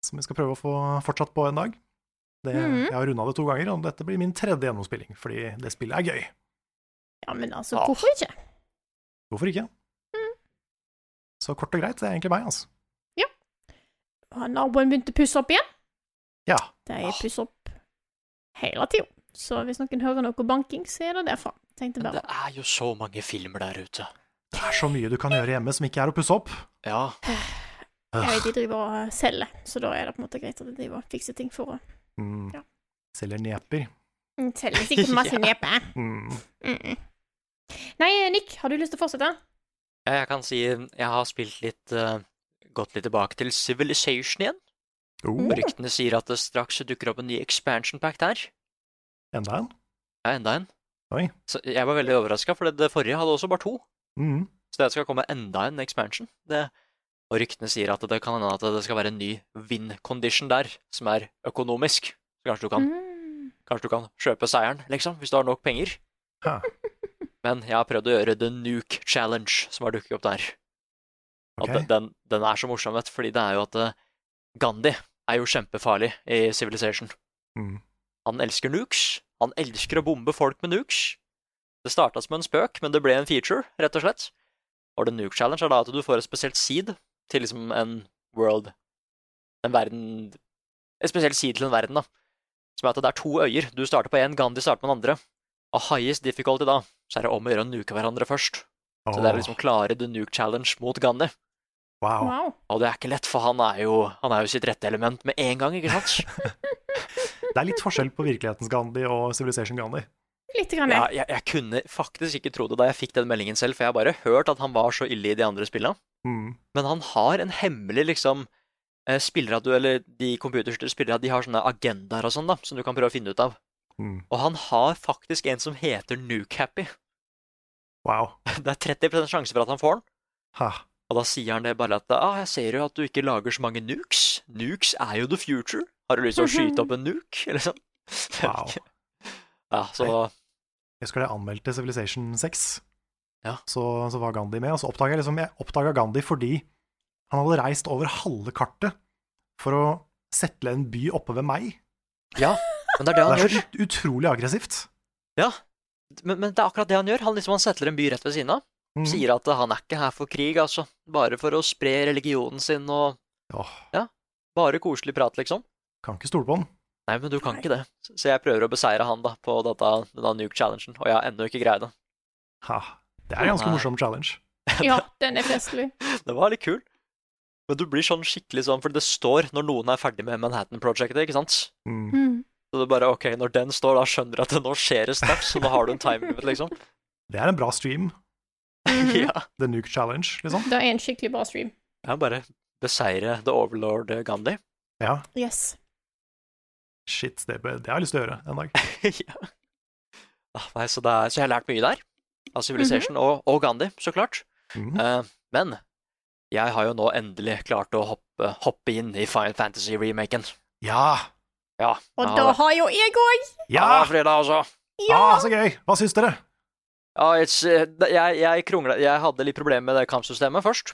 S2: som vi skal prøve å få fortsatt på en dag. Det,
S1: Mhm.
S2: Jeg har runda det to ganger, og dette blir min tredje gjennomspilling, fordi det spillet er gøy.
S1: ja, men altså,
S2: Ah.
S1: hvorfor ikke?
S2: Hvorfor ikke?
S1: Mhm.
S2: Så kort og greit, det er egentlig meg, altså.
S1: Har naboen begynt å pusse opp igjen?
S2: Ja.
S1: De pusser opp hele tida. Så hvis noen hører noe banking, så er det derfra. Tenkte
S4: Men
S1: bare
S4: det er jo så mange filmer der ute.
S2: Det er så mye du kan gjøre hjemme som ikke er å pusse opp.
S4: Ja.
S1: Jeg vet de driver og eh, selger, så da er det på en måte greit at de driver og fikser ting for å
S2: Mm.
S1: Ja.
S2: Selger neper.
S1: Mm, Selger sikkert masse nepe.
S2: Mm.
S1: Mm -mm. Nei, Nick, har du lyst til å fortsette?
S4: Ja, Jeg kan si jeg har spilt litt eh, Gått litt tilbake til Civilization igjen.
S2: Oh,
S4: Ryktene sier at det straks dukker opp en ny expansion pack der.
S2: enda en.
S4: Ja, enda en.
S2: Oi.
S4: Så jeg var veldig overraska, for det, det forrige hadde også bare to.
S2: Mm.
S4: Så det skal komme enda en expansion. Det, og ryktene sier at det kan hende at det skal være en ny win condition der, som er økonomisk. Så kanskje du kan,
S1: Mm.
S4: kanskje du kan kjøpe seieren, liksom, hvis du har nok penger.
S2: Hæ.
S4: Men jeg har prøvd å gjøre The Nuke Challenge, som har dukket opp der. Og
S2: Ok.
S4: den- den, den er så morsom, vet du, fordi det er jo at eh, Gandhi er jo kjempefarlig i Civilization.
S2: Mm.
S4: Han elsker nukes. Han elsker å bombe folk med nukes. Det starta som en spøk, men det ble en feature, rett og slett. Og The Nuke Challenge er da at du får et spesielt seed til liksom en world En verden Et spesielt seed til en verden, da. Som er at det er to øyer. Du starter på én, Gandhi starter på den andre. Og highest difficulty da, så er det om å gjøre å nuke hverandre først. Så det er liksom å klare The Nuke Challenge mot Gandhi.
S2: Wow.
S1: Wow.
S4: Og det er ikke lett, for han er jo, han er jo sitt rette element med en gang, ikke sant?
S2: Det er litt forskjell på virkelighetens Gandhi og Civilization Gandhi.
S1: Litt grann,
S4: Ja,
S1: ja.
S4: jeg, jeg kunne faktisk ikke tro det da jeg fikk den meldingen selv, for jeg har bare hørt at han var så ille i de andre spillene.
S2: Mm.
S4: Men han har en hemmelig liksom eh, spillere at du, eller de computerstyrte spillere de har sånne agendaer og sånn da, som du kan prøve å finne ut av.
S2: Mm.
S4: Og han har faktisk en som heter Nuke Happy.
S2: Wow.
S4: Det er 30 sjanse for at han får den.
S2: Ha.
S4: Og da sier han det bare at ah, 'Jeg ser jo at du ikke lager så mange nukes. Nukes er jo the future. Har du lyst til å skyte opp en nuke?' Eller sånn.
S2: Wow.
S4: Ja, så
S2: Jeg husker da jeg anmeldte Civilization 6.
S4: Ja.
S2: Så, så var Gandhi med. Og så oppdaga jeg liksom, jeg oppdaget Gandhi fordi han hadde reist over halve kartet for å settle en by oppe ved meg.
S4: Ja, men det er det
S2: Det
S4: han
S2: er
S4: gjør.
S2: så ut- utrolig aggressivt.
S4: Ja, men, men det er akkurat det han gjør. Han liksom han settler en by rett ved siden av.
S2: Mm.
S4: Sier at han er ikke her for krig, altså. Bare for å spre religionen sin og
S2: Åh,
S4: bare koselig prat, liksom.
S2: kan ikke stole på han.
S4: Nei, men du kan ikke det. Så jeg prøver å beseire han da på dette, denne nuke-challengen, og jeg har ennå ikke greid det.
S2: Ha. Det er en ganske
S4: Nei.
S2: morsom challenge.
S1: Ja, den er festlig.
S4: Det var litt kul. Men du blir sånn skikkelig sånn, for det står når noen er ferdig med Manhattan Projectet, ikke sant?
S2: Mm.
S1: Mm.
S4: Så det er bare, ok, når den står, da skjønner du at det nå skjer et snaps, og nå har du en time limit, liksom.
S2: Det er en bra stream.
S1: Mhm.
S4: Ja.
S2: The Nuke Challenge, liksom.
S1: Det er en skikkelig bra stream.
S4: Jeg må bare beseire The Overlord Gandhi.
S2: Ja,
S1: Yes.
S2: shit, det, bør- det har jeg lyst til å gjøre en dag.
S4: ja. ah, nei, så, det er, så jeg har lært mye der. Av Civilization
S1: Mhm.
S4: og, og Gandhi, så klart.
S2: Mm.
S4: Eh, men jeg har jo nå endelig klart å hoppe, hoppe inn i Final Fantasy-remaken.
S2: Ja!
S4: Ja.
S1: Og
S4: jeg har
S1: da
S4: det.
S1: har jo jeg òg!
S2: Ja!
S4: Ah, fredag, altså.
S2: Ah, så gøy! Hva syns dere?
S4: Ja, it's, eh, jeg, jeg, kronglet, jeg hadde litt problemer med det kampsystemet først.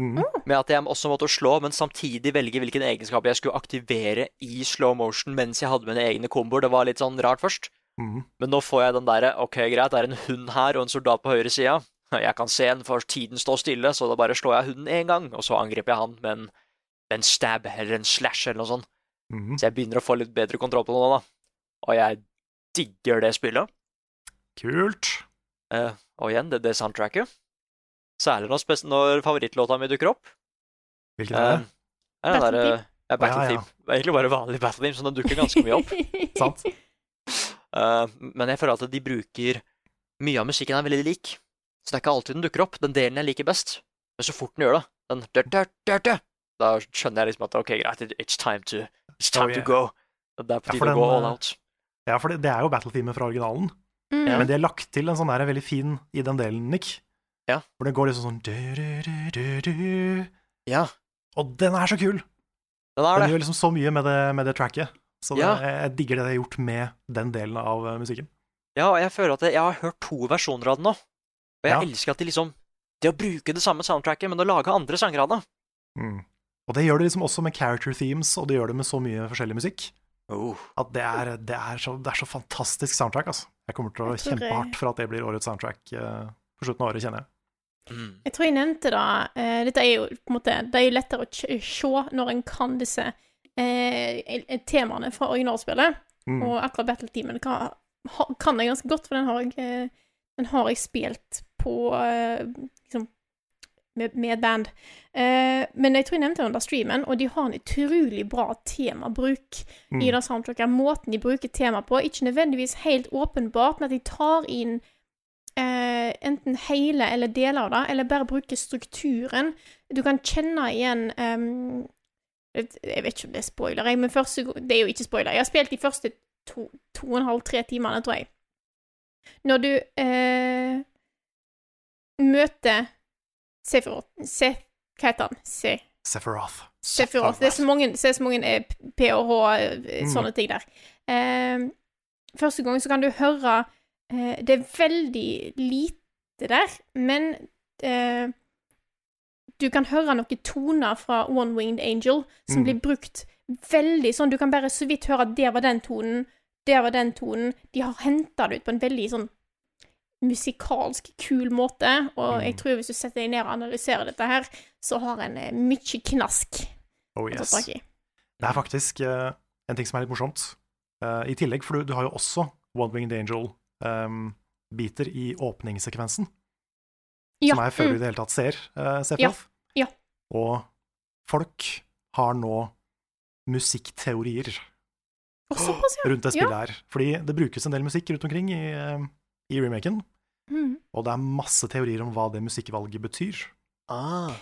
S2: Mm.
S4: Med at jeg også måtte slå, men samtidig velge hvilken egenskap jeg skulle aktivere i slow motion mens jeg hadde mine egne komboer. Det var litt sånn rart først.
S2: Mm.
S4: Men nå får jeg den derre Ok, greit, det er en hund her og en soldat på høyre sida. Jeg kan se en, for tiden står stille, så da bare slår jeg hunden én gang, og så angriper jeg han med en, med en stab eller en slash eller noe sånt.
S2: Mm.
S4: Så jeg begynner å få litt bedre kontroll på det nå, da. Og jeg digger det spillet.
S2: Kult.
S4: Eh, og igjen, det, det soundtracket. Særlig når, spes- når favorittlåta mi dukker opp.
S2: Hvilken er
S4: Eh,
S2: det?
S4: er den
S1: Battle
S4: der, eh, ja, Battle
S2: Ja, ja.
S4: Theme. Det er Egentlig bare vanlig Battle Theme, så den dukker ganske mye opp.
S2: Sant?
S4: Eh, men jeg føler at de bruker Mye av musikken er veldig lik. Så det er ikke alltid den dukker opp. Den delen jeg liker best. Men så fort den gjør det, den dør, dør, dør, dør, Da skjønner jeg liksom at ok, greit, it- it's time to It's
S2: Oh,
S4: time
S2: yeah.
S4: to go. Og Det er
S2: Ja, for
S4: på tide å
S2: den,
S4: gå all
S2: eh,
S4: out.
S2: Ja, for det, det er jo battleteamet fra originalen,
S1: Mm.
S2: men de har lagt til en sånn der veldig fin i den delen, Nick.
S4: Ja.
S2: Hvor det går liksom sånn du, du, du, du, du.
S4: Ja,
S2: Og den er så kul!
S4: den er
S2: Den
S4: det.
S2: gjør liksom så mye med det, med det tracket. Så det,
S4: Ja.
S2: jeg, jeg digger det de har gjort med den delen av eh, musikken.
S4: Ja, og jeg føler at jeg, jeg har hørt to versjoner av den nå. Og jeg
S2: Ja.
S4: elsker at de liksom Det å bruke det samme soundtracket, men å lage andre sanger av det. Mm.
S2: Og det gjør det liksom også med character themes, og det gjør det med så mye forskjellig musikk. At det er, det er, så, det er så fantastisk soundtrack, altså. Jeg kommer til å
S1: Jeg tror
S2: kjempe
S1: jeg-
S2: hardt for at det blir årets soundtrack eh, på slutten av året, kjenner jeg.
S4: Mm.
S1: Jeg tror jeg nevnte det. eh, dette er jo på en måte Det er jo lettere å kj- se når en kan disse eh, temaene fra originalspillet.
S2: Mm.
S1: Og akkurat Battle-teamen kan, ha- kan jeg ganske godt, for den har jeg, eh, den har jeg spilt på eh, liksom, med, med band. Eh, men jeg tror jeg nevnte den under streamen, og de har en utrolig bra temabruk i
S2: Mm.
S1: det soundtracket. Måten de bruker tema på, ikke nødvendigvis helt åpenbart, men at de tar inn eh, enten hele eller deler av det, eller bare bruker strukturen. Du kan kjenne igjen ehm, et- Jeg vet ikke om det er spoiler, jeg, men første, go- det er jo ikke spoiler. Jeg har spilt de første to, to og en halv, tre timene, tror jeg. Når du eh, møter Sephiroth Se, Hva heter han? Se,
S2: Sephiroth.
S1: Sephiroth. Det er så mange, så er det så mange eh, P og H, eh,
S2: Mm.
S1: sånne ting der. Eh, første gang så kan du høre eh, Det er veldig lite der, men eh, du kan høre noen toner fra One Winged Angel som
S2: Mm.
S1: blir brukt veldig sånn Du kan bare så vidt høre at der var den tonen, der var den tonen. De har henta det ut på en veldig sånn musikalsk kul måte, og jeg
S2: Mm.
S1: tror hvis du setter deg ned og analyserer dette her, så har en eh, mye knask
S2: Oh
S1: å ta
S2: yes.
S1: tak i.
S2: Det er faktisk eh, en ting som er litt morsomt. Eh, I tillegg, for du, du har jo også One Winged Angel-biter i åpningssekvensen, som er før du i
S1: mm,
S2: det hele tatt ser uh, Sephiroth.
S1: Ja, ja.
S2: Og folk har nå musikkteorier
S1: og såpass, ja.
S2: rundt det spillet her. Fordi det brukes en del musikk rundt omkring i, eh, i remaken,
S1: Mm.
S2: og det er masse teorier om hva det musikkvalget betyr.
S4: Ah.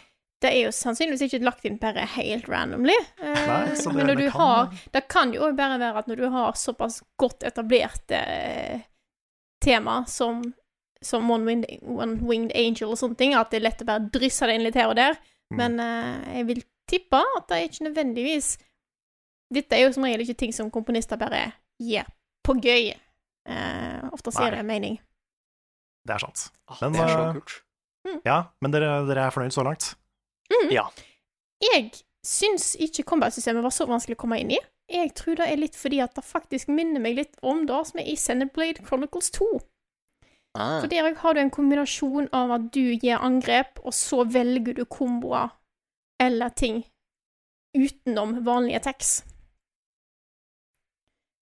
S1: Det er jo sannsynligvis ikke lagt inn bare helt randomly. Eh,
S2: Nei, så det-
S1: men når
S2: det
S1: du
S2: kan-
S1: har Det kan jo også bare være at når du har såpass godt etablerte eh, tema som, som One Winged, One Winged Angel og sånne ting, at det er lett å bare drysse det inn litt her og der.
S2: Mm.
S1: Men eh, jeg vil tippe at det er ikke nødvendigvis Dette er jo som regel ikke ting som komponister bare gir på gøy. Eh, ofte
S2: Nei.
S1: sier det en mening.
S2: Det er sant.
S4: Ah,
S2: Men,
S4: det er så
S2: eh,
S4: kult.
S1: Mm.
S2: Ja, men dere, dere er fornøyd så langt?
S1: Mhm.
S4: Ja.
S1: Jeg syns ikke combat-systemet var så vanskelig å komme inn i. Jeg tror det er litt fordi at det faktisk minner meg litt om det som er i Xenoblade Chronicles 2.
S4: Ah,
S1: For der òg har du en kombinasjon av at du gir angrep, og så velger du komboer eller ting utenom vanlige attacks.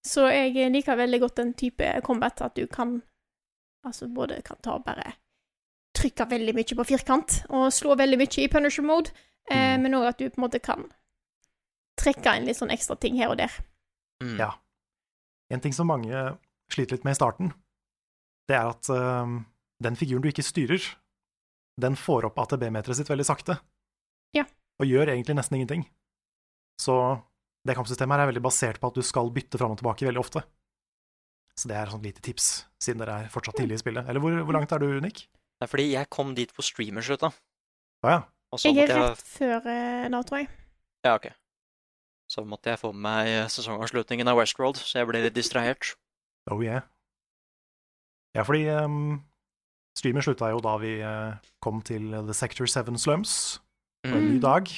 S1: Så jeg liker veldig godt den type combat at du kan Altså både kan ta og bare trykke veldig mye på firkant og slå veldig mye i punisher mode, eh,
S2: Mm.
S1: men òg at du på en måte kan trekke inn litt sånn ekstra ting her og der.
S4: mm.
S2: ja. En ting som mange sliter litt med i starten, det er at øhm, den figuren du ikke styrer, den får opp ATB-meteret sitt veldig sakte.
S1: Ja.
S2: Og gjør egentlig nesten ingenting. Så det kampsystemet her er veldig basert på at du skal bytte fram og tilbake veldig ofte. Så det er et sånt lite tips, siden dere er fortsatt tidlig i spillet. Eller hvor, hvor langt er du, Nick?
S4: Det er fordi jeg kom dit på streamer slutta.
S2: Å ja.
S4: Og så
S1: Jeg er
S4: måtte jeg
S1: rett før eh, da, tror jeg.
S4: Ja, ok. Så måtte jeg få med meg eh, sesongavslutningen av Westworld, så jeg ble litt distrahert.
S2: Oh yeah. Ja, fordi um, streamen slutta jo da vi eh, kom til The Sector 7 Slums. Det er en ny
S1: Mm.
S2: dag.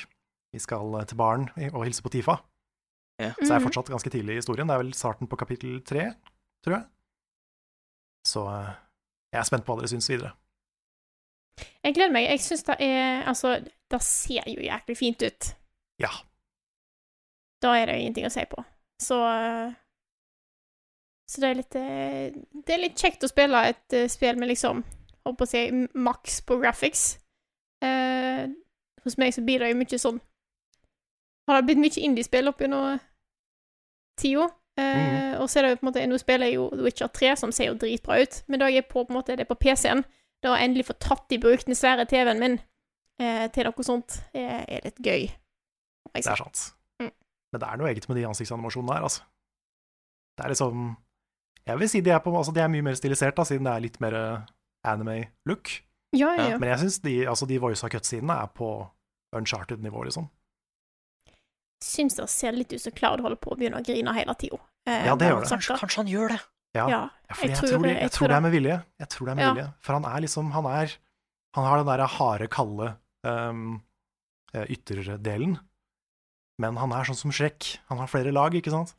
S2: Vi skal eh, til baren i- og hilse på Tifa. Så jeg er
S1: Mhm.
S2: fortsatt ganske tidlig i historien. Det er vel starten på kapittel tre, tror jeg. Så eh, jeg er spent på hva dere syns videre.
S1: Jeg gleder meg. Jeg syns det er Altså, det ser jo jæklig fint ut.
S2: Ja.
S1: Da er det jo ingenting å si på. Så eh, Så det er litt eh, Det er litt kjekt å spille et eh, spill med liksom Holdt på å si m- maks på graphics. Eh, hos meg så blir det jo mye sånn Har det blitt mye indiespill opp gjennom eh, tida? Eh, Og så er det jo på en måte Nå spiller jeg jo The Witcher 3, som ser jo dritbra ut, men da er jeg på på en måte Det er på PC-en. Det å endelig få tatt i bruk den svære TV-en min eh, til noe sånt, Eh, er, er litt gøy.
S2: Det er sant.
S1: Mm.
S2: Men det er noe eget med de ansiktsanimasjonene her, altså. Det er liksom Jeg vil si de er, på, altså, de er mye mer stilisert, da, siden det er litt mer eh, anime-look.
S1: Ja, ja,
S4: Ja,
S1: ja.
S2: Men jeg syns de, altså de voice av cut-sidene er på uncharted-nivå, liksom.
S1: Syns det ser litt ut som Cloud holder på å begynne å grine hele tida. Eh,
S2: Ja, det gjør
S1: bare
S2: det.
S4: Kanskje,
S1: sakte.
S4: kanskje han gjør det?
S2: Ja,
S1: Ja,
S2: Ja, fordi
S1: jeg
S2: jeg,
S1: tror
S2: tror,
S1: det-
S2: de-
S1: jeg
S2: jeg
S1: tror
S2: tror det er
S1: det.
S2: med vilje. Jeg tror det er med
S1: Ja.
S2: vilje. For han er liksom Han er Han har den derre harde, kalde ehm, eh, ytterdelen. Men han er sånn som Shrek. Han har flere lag, ikke sant?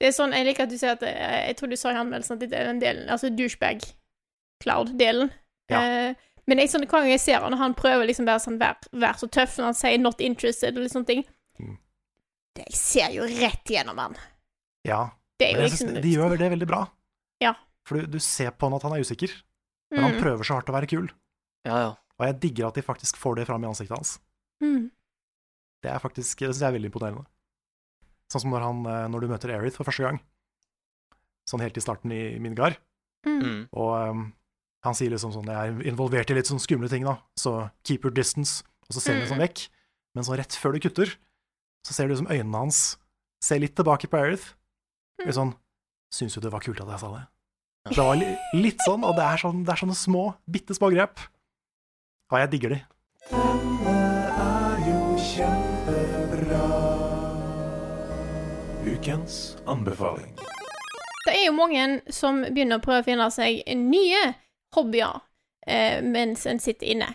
S1: Det er sånn, Jeg liker at du sier at eh, Jeg tror du sa i anmeldelsen at dette er den delen, altså douchebag-Cloud-delen.
S2: Ja.
S1: Eh, men jeg, sånn, hver gang jeg ser han, og han prøver liksom bare sånn vær, vær så tøff når han sier 'not interested' og litt sånne ting
S2: Mm.
S1: det, Jeg ser jo rett gjennom han.
S2: Ja.
S1: Det er
S2: Men
S1: jo
S2: jeg synes
S1: liksom
S2: de, de gjør det veldig bra.
S1: Ja.
S2: For du, du ser på han at han er usikker, men han
S1: Mm,
S2: prøver så hardt å være kul.
S4: Ja, ja.
S2: Og jeg digger at de faktisk får det fram i ansiktet hans.
S1: mm.
S2: Det er faktisk, det synes jeg er veldig imponerende. Sånn som når, han, eh, når du møter Aerith for første gang. Sånn helt i starten i Midgard.
S1: Mm.
S4: Mm.
S2: Og ehm, han sier liksom sånn Jeg er involvert i litt sånn skumle ting, da. Så keep your distance. Og så ser han liksom
S1: Mm.
S2: vekk. Men så rett før du kutter, så ser du liksom øynene hans se litt tilbake på Aerith.
S1: Mm.
S2: Litt sånn Syns jo det var kult at jeg sa det. Det var li litt sånn, og det er, sånn, det er sånne små, bitte små grep. Og jeg digger de.
S6: Ukens anbefaling.
S1: Det er jo mange som begynner å prøve å finne seg nye hobbyer eh, mens en sitter inne.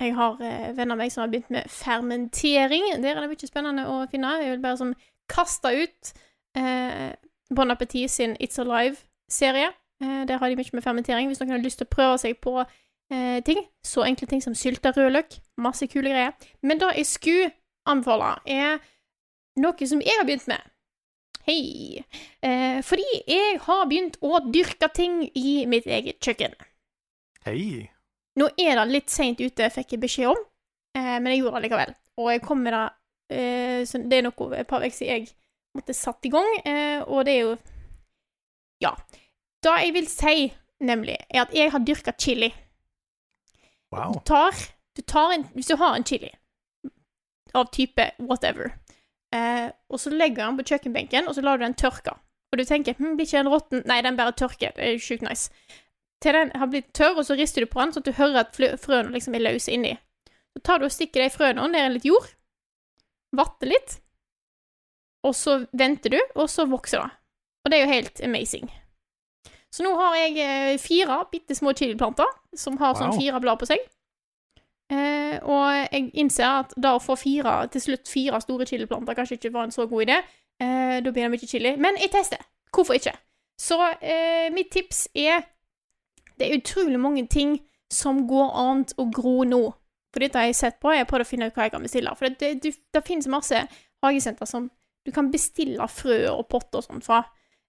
S1: Jeg har eh, venner av meg som har begynt med fermentering. Der er det mye spennende å finne. Jeg vil bare sånn kaste ut eh, Bon Appetit sin It's Alive-serie. Eh, der har de mye med fermentering. Hvis noen har lyst til å prøve seg på eh, ting, så enkle ting som sylta rødløk. Masse kule greier. Men det jeg skulle anbefale, er noe som jeg har begynt med. Hei! Eh, fordi jeg har begynt å dyrke ting i mitt eget kjøkken.
S2: Hei.
S1: Nå er det litt seint ute, fikk jeg beskjed om, eh, men jeg gjorde det likevel. Og jeg kom med det eh, så Det er noe et par uker siden jeg måtte satt i gang, eh, og det er jo Ja. Det jeg vil si, nemlig, er at jeg har dyrka chili.
S2: Wow.
S1: Du tar, du tar en, Hvis du har en chili av type whatever. Eh, og så legger du den på kjøkkenbenken, og så lar du den tørke. Og du tenker hm, blir ikke den råtten? Nei, den bare tørker. Det er jo sjukt nice. Til den har blitt tørr, og så rister du på den, sånn at du hører at flø- frøene liksom er løse inni. Så tar du og stikker de frøene ned i litt jord, vanner litt, og så venter du, og så vokser det. Og det er jo helt amazing. Så nå har jeg eh, fire bitte små chiliplanter som har sånn
S7: Wow.
S1: fire blad på seg. Eh, og jeg innser at da å få fire, til slutt fire store chiliplanter kanskje ikke var en så god idé. Eh, da blir det mye chili. Men jeg tester. Hvorfor ikke? Så eh, mitt tips er Det er utrolig mange ting som går an å gro nå. For dette har jeg sett på. Jeg har prøvd å finne ut hva jeg kan bestille. For det, det, du- det finnes masse hagesenter som du kan bestille frøer og potter og sånt fra.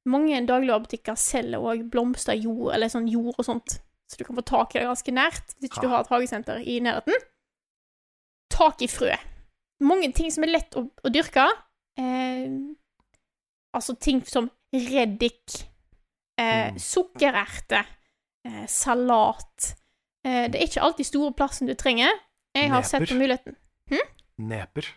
S1: Mange dagligvarebutikker selger òg blomsterjord eller sånn jord og sånt. Så du kan få tak i det ganske nært hvis ikke du har et hagesenter i nærheten. Tak i frø. Mange ting som er lett å, å dyrke. Eh, altså ting som reddik, eh, sukkererter, eh, salat eh, Det er ikke alltid store plassen du trenger. Jeg har sett
S2: Neper.
S1: på muligheten. Hm?
S2: Neper.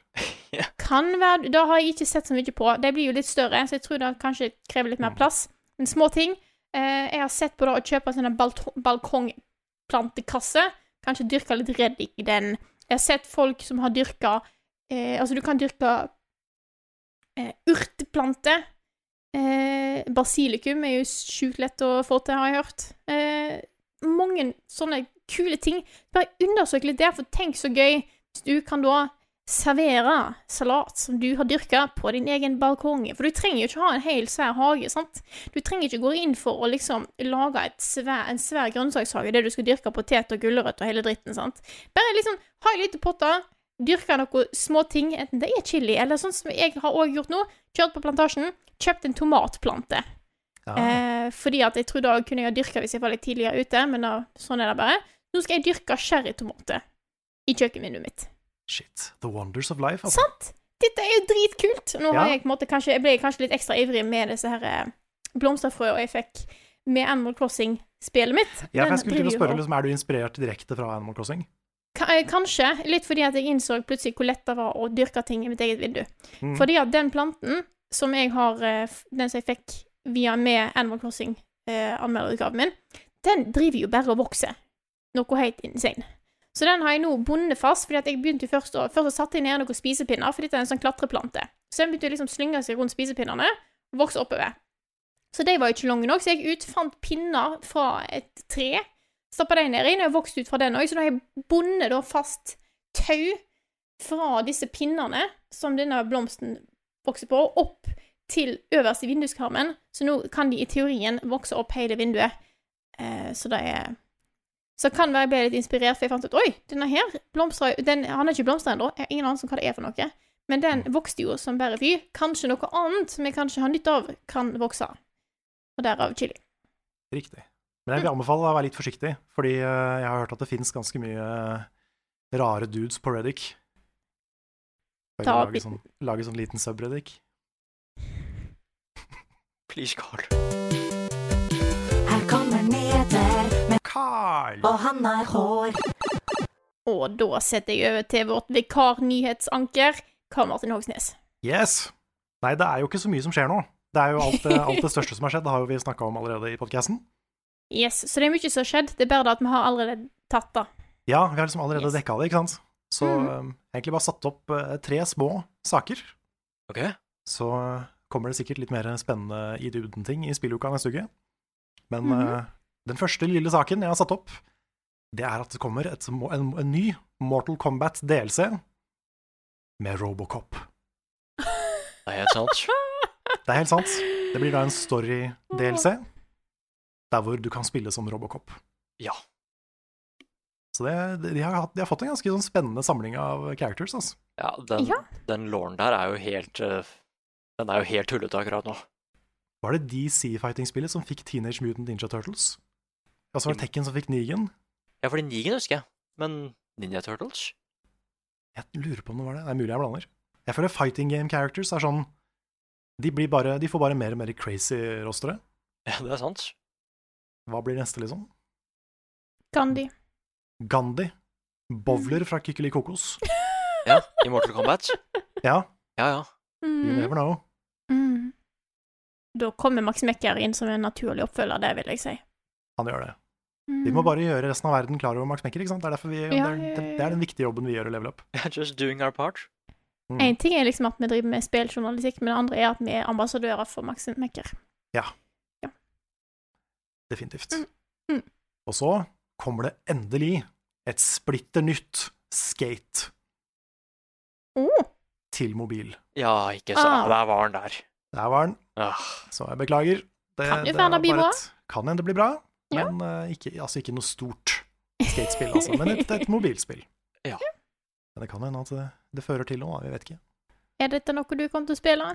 S1: Kan være Da har jeg ikke sett så mye på. De blir jo litt større, så jeg tror det kanskje krever litt mer plass. Men små ting. Eh, jeg har sett på det å kjøpe sånne balto- balkongplantekasse. Kanskje dyrke litt reddik i den. Jeg har sett folk som har dyrka eh, Altså, du kan dyrke eh, urteplanter. Eh, basilikum er jo sjukt lett å få til, har jeg hørt. Eh, mange sånne kule ting. Bare undersøk litt der, for tenk så gøy hvis du kan da servere salat som du har dyrka, på din egen balkong. For du trenger jo ikke ha en hel svær hage, sant? Du trenger ikke gå inn for å liksom lage et svær, en svær grønnsakshage der du skal dyrke potet og gulrøtt og hele dritten, sant? Bare liksom ha ei lita potte, dyrke noen små ting, enten det er chili eller sånn som jeg har også gjort nå, kjørt på plantasjen, kjøpt en tomatplante. Eh, fordi at jeg trodde jeg kunne jeg ha dyrka hvis jeg var litt tidligere ute, men da, sånn er det bare. Nå skal jeg dyrke sherrytomater i kjøkkenvinduet mitt.
S2: Shit. The wonders of life. Altså.
S1: Sant? Dette er jo dritkult! Nå har
S2: Ja.
S1: jeg, på en måte, kanskje, jeg ble kanskje litt ekstra ivrig med disse her eh, blomsterfrøene jeg fikk med Animal Crossing-spelet mitt.
S2: Ja, for
S1: Den
S2: jeg skulle til å
S1: driver
S2: spørre,
S1: jo-
S2: liksom, Er du inspirert direkte fra Animal Crossing?
S1: Ka- eh, Kanskje. Litt fordi at jeg innså plutselig hvor lett det var å dyrke ting i mitt eget vindu.
S2: Mm.
S1: Fordi at den planten som jeg har eh, f- Den som jeg fikk via med Animal Crossing, eh, anmelderutgaven min, den driver jo bare og vokser. Noe helt insane. Så den har jeg nå bundet fast, fordi at jeg begynte jo først å Først så satte jeg ned noen spisepinner, fordi det er en sånn klatreplante. Så den begynte å liksom slynge seg rundt spisepinnene og vokse oppover. Så de var jo ikke lange nok, så jeg gikk ut, fant pinner fra et tre, stappa de nedi, og jeg vokste ut fra den òg, så nå har jeg bundet da fast tau fra disse pinnene som denne blomsten vokser på, opp til øverst i vinduskarmen, så nå kan de i teorien vokse opp hele vinduet. Eh, så det er Så kan være jeg ble litt inspirert, for jeg fant ut Oi, denne her blomstrer den, Han er ikke blomster ennå, jeg har ingen anelse om hva det er for noe. Men den vokste jo som bare fy. Kanskje noe annet som jeg kanskje har nytte av, kan vokse. Og derav chili.
S2: Riktig. Men jeg vil anbefale deg å være litt forsiktig, fordi eh, jeg har hørt at det fins ganske mye eh, rare dudes på Reddick. Bare
S1: Ta
S2: Lage
S1: bit-
S2: sånn, lage sånn liten subreddick.
S4: Please, Carl.
S8: Her kommer Neder med
S2: Carl.
S8: Og han har hår.
S1: Og da setter jeg over til vårt vikarnyhetsanker, Karl Martin Hogsnes.
S2: Yes! Nei, det er jo ikke så mye som skjer nå. Det er jo alt det, alt det største som har skjedd, det har jo vi snakka om allerede i podkasten.
S1: Yes, Så det er mye som har skjedd, det er bare det at vi har allerede tatt det.
S2: Ja, vi har liksom allerede dekka det, ikke sant? Så
S1: Mm.
S2: eh, egentlig bare satt opp eh, tre små saker. Så eh, kommer det sikkert litt mer spennende i dybden-ting i spilluka neste uke. Men
S9: Mhm.
S2: eh, den første lille saken jeg har satt opp, det er at det kommer et, må- en, en ny Mortal Kombat DLC med Robocop.
S4: Det er helt sant.
S2: Det er helt sant. Det blir da en story-DLC, der hvor du kan spille som Robocop.
S4: Ja.
S2: Så det, de, har, hatt- de har fått en ganske sånn spennende samling av characters, altså.
S4: Ja, den, den låren der er jo helt eh, Den er jo helt tullete akkurat nå.
S2: Var det DC-fighting-spillet som fikk Teenage Mutant Ninja Turtles? Og så var det Tekken som fikk Nigen.
S4: Ja, fordi Nigen husker jeg, men Ninja Turtles?
S2: Jeg lurer på om det var det. Det er mulig jeg blander. Jeg føler fighting game characters er sånn De, blir bare, de får bare mer og mer crazy rostere.
S4: Ja, det er sant.
S2: Hva blir neste, liksom?
S1: Gandhi.
S2: Gandhi. Bowler fra Kykeli Kokos.
S4: Ja, i Mortal Kombat.
S2: Ja.
S4: Ja, ja.
S2: You never know.
S1: Mm. Da kommer Max Mekker inn som en naturlig oppfølger, det vil jeg si.
S2: Han gjør det.
S1: Mm.
S2: Vi må bare gjøre resten av verden klar over Max Mekker. ikke sant? Det er derfor vi, det,
S1: Ja,
S2: er,
S1: ja,
S2: det,
S1: ja.
S2: det er den viktige jobben vi gjør i Level Up.
S4: Just doing our part.
S2: Mm.
S1: En ting er liksom at vi driver med spilljournalistikk, men det andre er at vi er ambassadører for Max Mekker.
S2: Ja.
S1: Ja.
S2: Definitivt.
S1: Mm.
S2: Og så kommer det endelig et splitter nytt skate
S1: Oh.
S2: til mobil.
S4: Ja, ikke så
S1: Ah.
S4: Der var han der.
S2: Der var den.
S4: Ah.
S2: Så jeg beklager. Det,
S1: Kan jo
S2: det
S1: være
S2: var
S1: det blir
S2: bare
S1: bra.
S2: et- Kan hende det blir bra,
S1: Ja.
S2: men eh, ikke, altså ikke noe stort skatespill, altså. Men et, et mobilspill.
S4: Ja.
S2: Men det kan hende at det, det fører til noe, da, vi vet ikke.
S1: Er dette noe du kommer til å spille?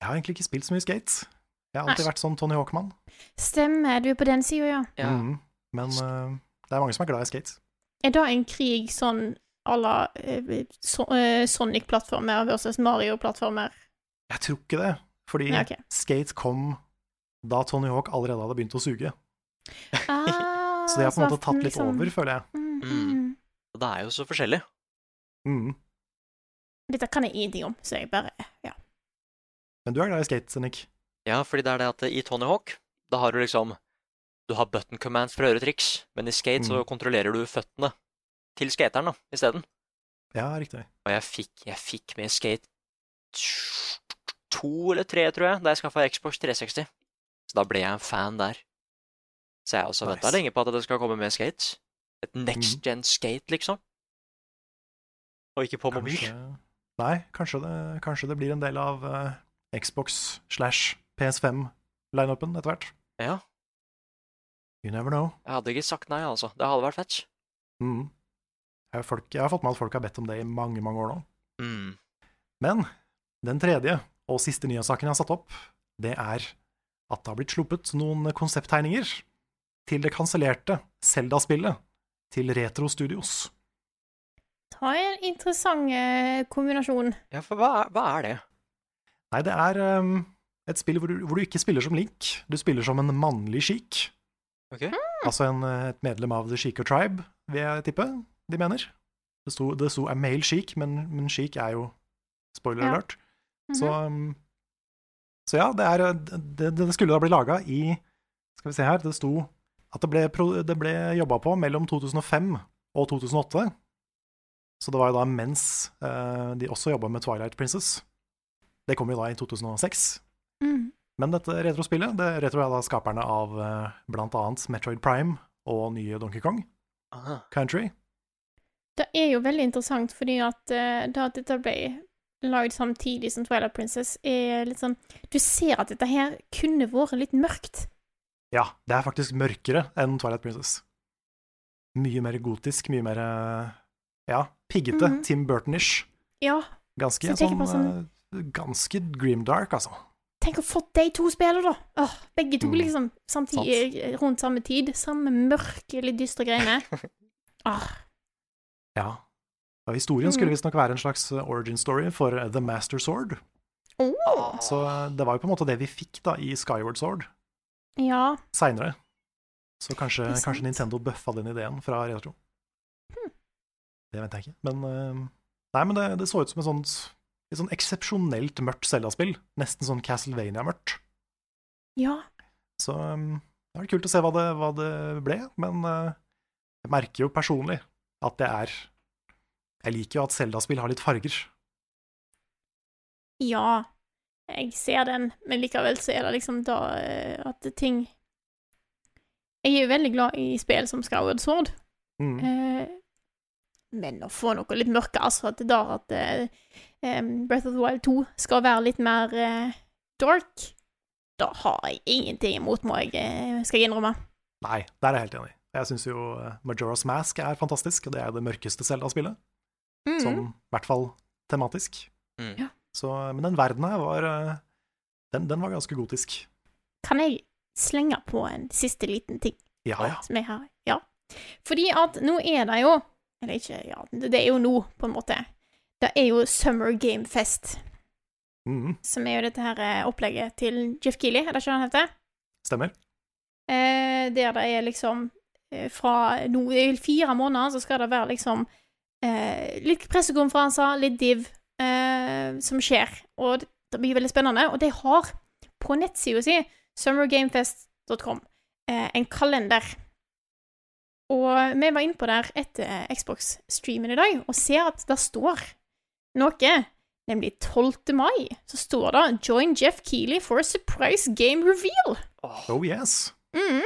S2: Jeg har egentlig ikke spilt så mye skate. Jeg har alltid
S1: Nei.
S2: vært sånn Tony Hawkman.
S1: Stemmer, du er på den sida, ja.
S4: Ja.
S2: Mhm. Men eh, det er mange som er glad i skate.
S1: Er det en krig sånn à la eh, so eh, Sonic-plattformer versus Mario-plattformer?
S2: Jeg tror ikke det, fordi
S1: Ja, ok.
S2: skate kom da Tony Hawk allerede hadde begynt å suge.
S1: Ah,
S2: Så det har på
S1: så
S2: en måte
S1: at
S2: tatt litt
S1: liksom-
S2: over, føler jeg.
S1: Mm,
S4: Mm.
S1: mm.
S4: Og Det er jo så forskjellig.
S2: Mhm.
S1: Dette kan jeg ingenting om, så jeg bare Ja.
S2: Men du er glad i skate, Nick.
S4: Ja, fordi det er det at i Tony Hawk, da har du liksom Du har button commands for å gjøre triks, men i skate så
S2: Mm.
S4: kontrollerer du føttene til skateren da, isteden.
S2: Ja, riktig.
S4: Og jeg fikk, jeg fikk med skate to eller tre, tror jeg, da jeg skaffa Xbox 360. Så da ble jeg en fan der. Så jeg har også venta
S2: Nice.
S4: lenge på at det skal komme med skate. Et next gen skate, liksom. Mm. Og ikke på mobil.
S2: Kanskje- Nei, kanskje det, kanskje det blir en del av eh, Xbox slash PS5-lineupen etter hvert.
S4: Ja,
S2: You never know.
S4: jeg hadde ikke sagt nei, altså. Det hadde vært fett.
S2: Mhm. Jeg, har folk, jeg har fått med at folk har bedt om det i mange, mange år nå.
S4: Mm.
S2: Men den tredje og siste nyhetssaken jeg har satt opp, det er at det har blitt sluppet noen konsepttegninger til det kansellerte Selda-spillet til Retro Studios.
S1: Ta en interessant eh, kombinasjon.
S4: Ja, for hva er, hva er det?
S2: Nei, det er ehm, et spill hvor du, hvor du ikke spiller som Link, du spiller som en mannlig sheik.
S4: Ok.
S2: Altså en, eh, et medlem av The Sheikah Tribe, vil jeg tippe de mener. Det sto, det sto a male sheik, men, men sheik er jo spoiler
S1: Ja.
S2: alert. så, um, så ja, det, er, det, det skulle da bli laga i Skal vi se her, det sto at det ble, pro- det ble jobba på mellom 2005 og 2008. Så det var jo da mens eh, de også jobba med Twilight Princess. Det kom jo da i 2006.
S1: Mhm.
S2: Men dette retrospillet det retro er da skaperne av eh, blant annet Metroid Prime og nye Donkey Kong
S4: Aha.
S2: Country.
S1: Det er jo veldig interessant, fordi at eh, det at dette ble lagd samtidig som Twilight Princess, er litt sånn Du ser at dette her kunne vært litt mørkt.
S2: Ja, det er faktisk mørkere enn Twilight Princess. Mye mer gotisk, mye mer eh, ja, piggete,
S1: Mhm.
S2: Tim Burton-ish.
S1: Ja. Så
S2: Ganske
S1: jeg tenker
S2: sånn,
S1: på
S2: eh, ganske grimdark, altså.
S1: Tenk å få de to spillene, da! Åh, begge to
S2: Mm.
S1: liksom samtidig, rundt samme tid. Samme mørke, litt dystre greiene. Åh,
S2: Ja. Og historien
S1: Mhm.
S2: skulle visstnok være en slags eh, origin story for eh, The Master Sword.
S1: Åh.
S2: Så eh, det var jo på en måte det vi fikk da i Skyward Sword
S1: Ja.
S2: seinere. Så kanskje,
S1: Det er sant.
S2: kanskje Nintendo bøffa den ideen fra Retro.
S1: Hmm.
S2: Det vet jeg ikke. Men, eh, nei, men det, det så ut som et sånt et sånn eksepsjonelt mørkt Zelda-spill. Nesten sånn Castlevania-mørkt.
S1: Ja.
S2: Så um, det var kult å se hva det, hva det ble, men eh, jeg merker jo personlig at det er Jeg liker jo at Zelda-spill har litt farger.
S1: Ja, jeg ser den, men likevel så er det liksom da eh, at ting Jeg er jo veldig glad i spill som Skyward Sword,
S2: Mm.
S1: eh, men å få noe litt mørke, altså at det der at eh, em, Breath of the Wild 2 skal være litt mer eh, dark, da har jeg ingenting imot, må jeg, eh, skal jeg innrømme.
S2: Nei, der er jeg helt enig. Jeg syns jo eh, Majora's Mask er fantastisk, og det er jo det mørkeste Zelda-spillet.
S1: Mm.
S2: Sånn, i hvert fall tematisk.
S4: Mm.
S1: Ja.
S2: Så, men den verden her var eh, den, den var ganske gotisk.
S1: Kan jeg slenge på en siste liten ting?
S2: Ja, ja.
S1: som er her. Ja. Fordi at nå er det jo Eller ikke ja, det er jo nå, på en måte. Det er jo Summer Game Fest,
S2: Mhm,
S1: som er jo dette her eh, opplegget til Jeff Keeley, er det ikke det han heter?
S2: stemmer.
S1: Eh, der det er liksom eh, Fra nå i fire måneder så skal det være liksom eh, litt pressekonferanser, litt div, eh, som skjer. Og det, det blir veldig spennende. Og de har på nettsida si, summergamefest.com, eh, en kalender. Og vi var inne på der etter eh, Xbox-streamen i dag, og ser at det står noe. Nemlig 12. mai så står det 'Join Jeff Keeley for a surprise game reveal'.
S2: Oh yes.
S1: Mm.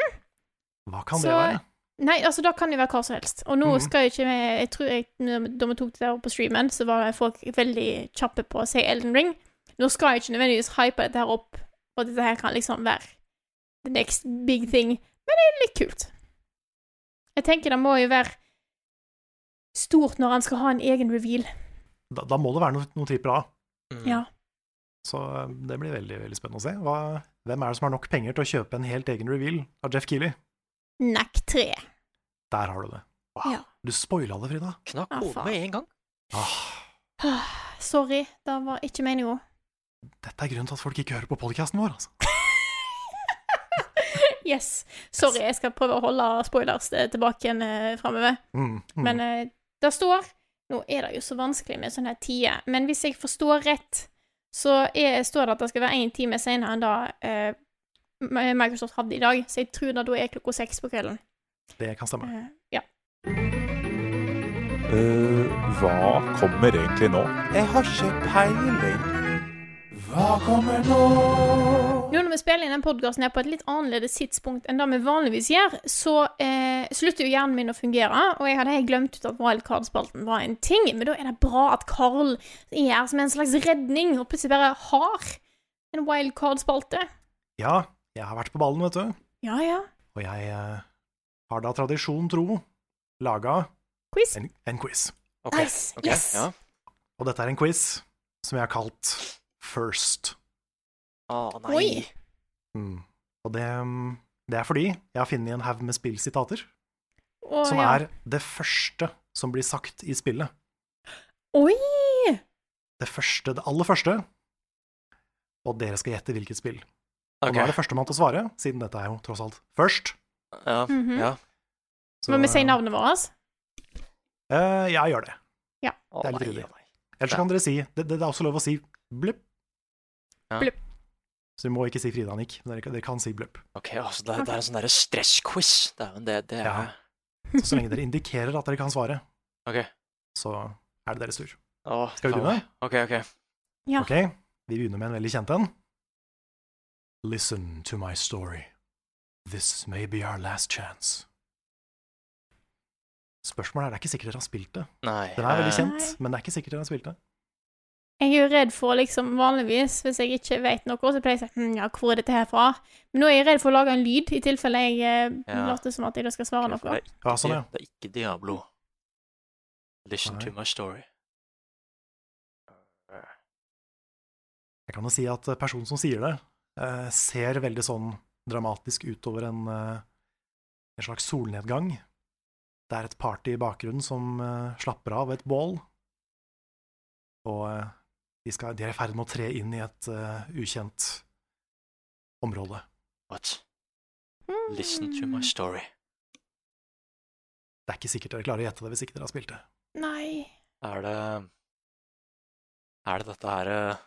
S2: Hva kan
S1: Så-
S2: det være?
S1: Nei, altså da kan det være hva som helst. Og nå
S2: Mhm.
S1: skal jeg ikke vi Jeg tror jeg, når- Da vi tok det der opp på streamen, så var folk veldig kjappe på å si Elden Ring. Nå skal jeg ikke nødvendigvis hype dette her opp, og dette her kan liksom være the next big thing, men det er litt kult. Jeg tenker det må jo være stort når han skal ha en egen reveal.
S2: Da, da må det være noe, noe tripper A. Mm.
S1: Ja.
S2: Så eh, det blir veldig veldig spennende å se. Hva, hvem er det som har nok penger til å kjøpe en helt egen reveal av Jeff Keeley?
S1: Knack 3.
S2: Der har du det.
S1: Ja.
S2: Du spoila det, Frida.
S4: Knakk
S1: Ah,
S4: hodet
S1: faen.
S4: med en gang.
S1: Ah, Sorry, det var ikke meninga.
S2: Dette er grunnen til at folk ikke hører på podkasten vår. Altså.
S1: Yes. Sorry, jeg skal prøve å holde spoilers eh, tilbake igjen eh, framover.
S2: Mm, mm.
S1: Men eh, det står Nå er det jo så vanskelig med sånne her tider, men hvis jeg forstår rett, så er, står det at det skal være én time senere enn da eh, Mi- Microsoft hadde i dag, så jeg tror det da er klokka seks på kvelden.
S2: det kan
S1: Eh,
S2: stemme.
S1: ja.
S7: Eh, hva kommer egentlig nå? Jeg har ikke peiling. Hva kommer nå?
S1: Nå når vi spiller inn den podkasten her på et litt annerledes tidspunkt enn det vi vanligvis gjør, så eh, slutter jo hjernen min å fungere, og jeg hadde helt glemt ut at wildcard-spalten var en ting, men da er det bra at Carl er her som en slags redning, og plutselig bare har en wildcard-spalte.
S2: Ja, jeg har vært på ballen, vet du.
S1: Ja, ja.
S2: Og jeg eh, har da tradisjon tro laga
S1: Quiz.
S2: En, en quiz.
S4: Ok, Nice, ok, yes. ja.
S2: Og dette er en quiz som jeg har kalt First.
S4: Å
S2: Ah,
S4: nei.
S1: Oi.
S2: Mm. Og det, mm, det er fordi jeg har funnet en haug med spillsitater,
S1: Og,
S2: som
S1: ja.
S2: er det første som blir sagt i spillet.
S1: Oi!
S2: Det første, det aller første. Og dere skal gjette hvilket spill. Og nå er det førstemann til å svare, siden dette er jo tross alt først.
S4: Ja,
S1: Mhm.
S4: ja.
S2: Så,
S1: Må vi si navnet vårt?
S2: Eh, ja, gjør det.
S1: Ja.
S2: Det er litt ryddig. Ellers kan dere si det, det, det er også lov å si blupp.
S4: Ja.
S1: Blupp.
S2: Så vi må ikke si Frida Nick, men dere, kan- dere kan si blupp.
S4: Ok, altså det, er- det er en sånn derre stressquiz. Det er jo en det, det er
S2: Ja. Så, så lenge dere indikerer at dere kan svare,
S4: Ok.
S2: så er det deres tur.
S4: Å,
S2: Skal vi
S4: faen.
S2: begynne?
S4: Ok, ok.
S1: Ja.
S2: Ok, vi begynner med en veldig kjent en. Listen to my story. This may be our last chance. Spørsmålet er, det er ikke sikkert dere har spilt det.
S4: Nei.
S2: Den er veldig
S4: eh,
S2: kjent, men det er ikke sikkert dere har spilt det.
S1: Jeg er jo redd for, liksom vanligvis, hvis jeg ikke vet noe, så pleier jeg å si hm, ja, hvor er dette her fra? Men nå er jeg redd for å lage en lyd, i tilfelle jeg eh,
S4: Ja.
S1: later som at jeg da skal svare
S4: for
S1: noe.
S4: det, er
S2: Ja,
S4: ikke,
S2: sånn, ja.
S4: det er ikke Diablo. Listen
S2: Nei.
S4: to my story.
S2: Jeg kan jo si at eh, personen som sier det, eh, ser veldig sånn dramatisk utover en, eh, en slags solnedgang. Det er et party i bakgrunnen som eh, slapper av ved et bål, og eh, de, skal, de er i ferd med å tre inn i et eh, ukjent område.
S4: What?
S1: Mm.
S4: Listen to my story.
S2: Det er ikke sikkert dere klarer å gjette det hvis ikke dere har spilt det.
S1: Nei.
S4: Er det Er det dette her eh,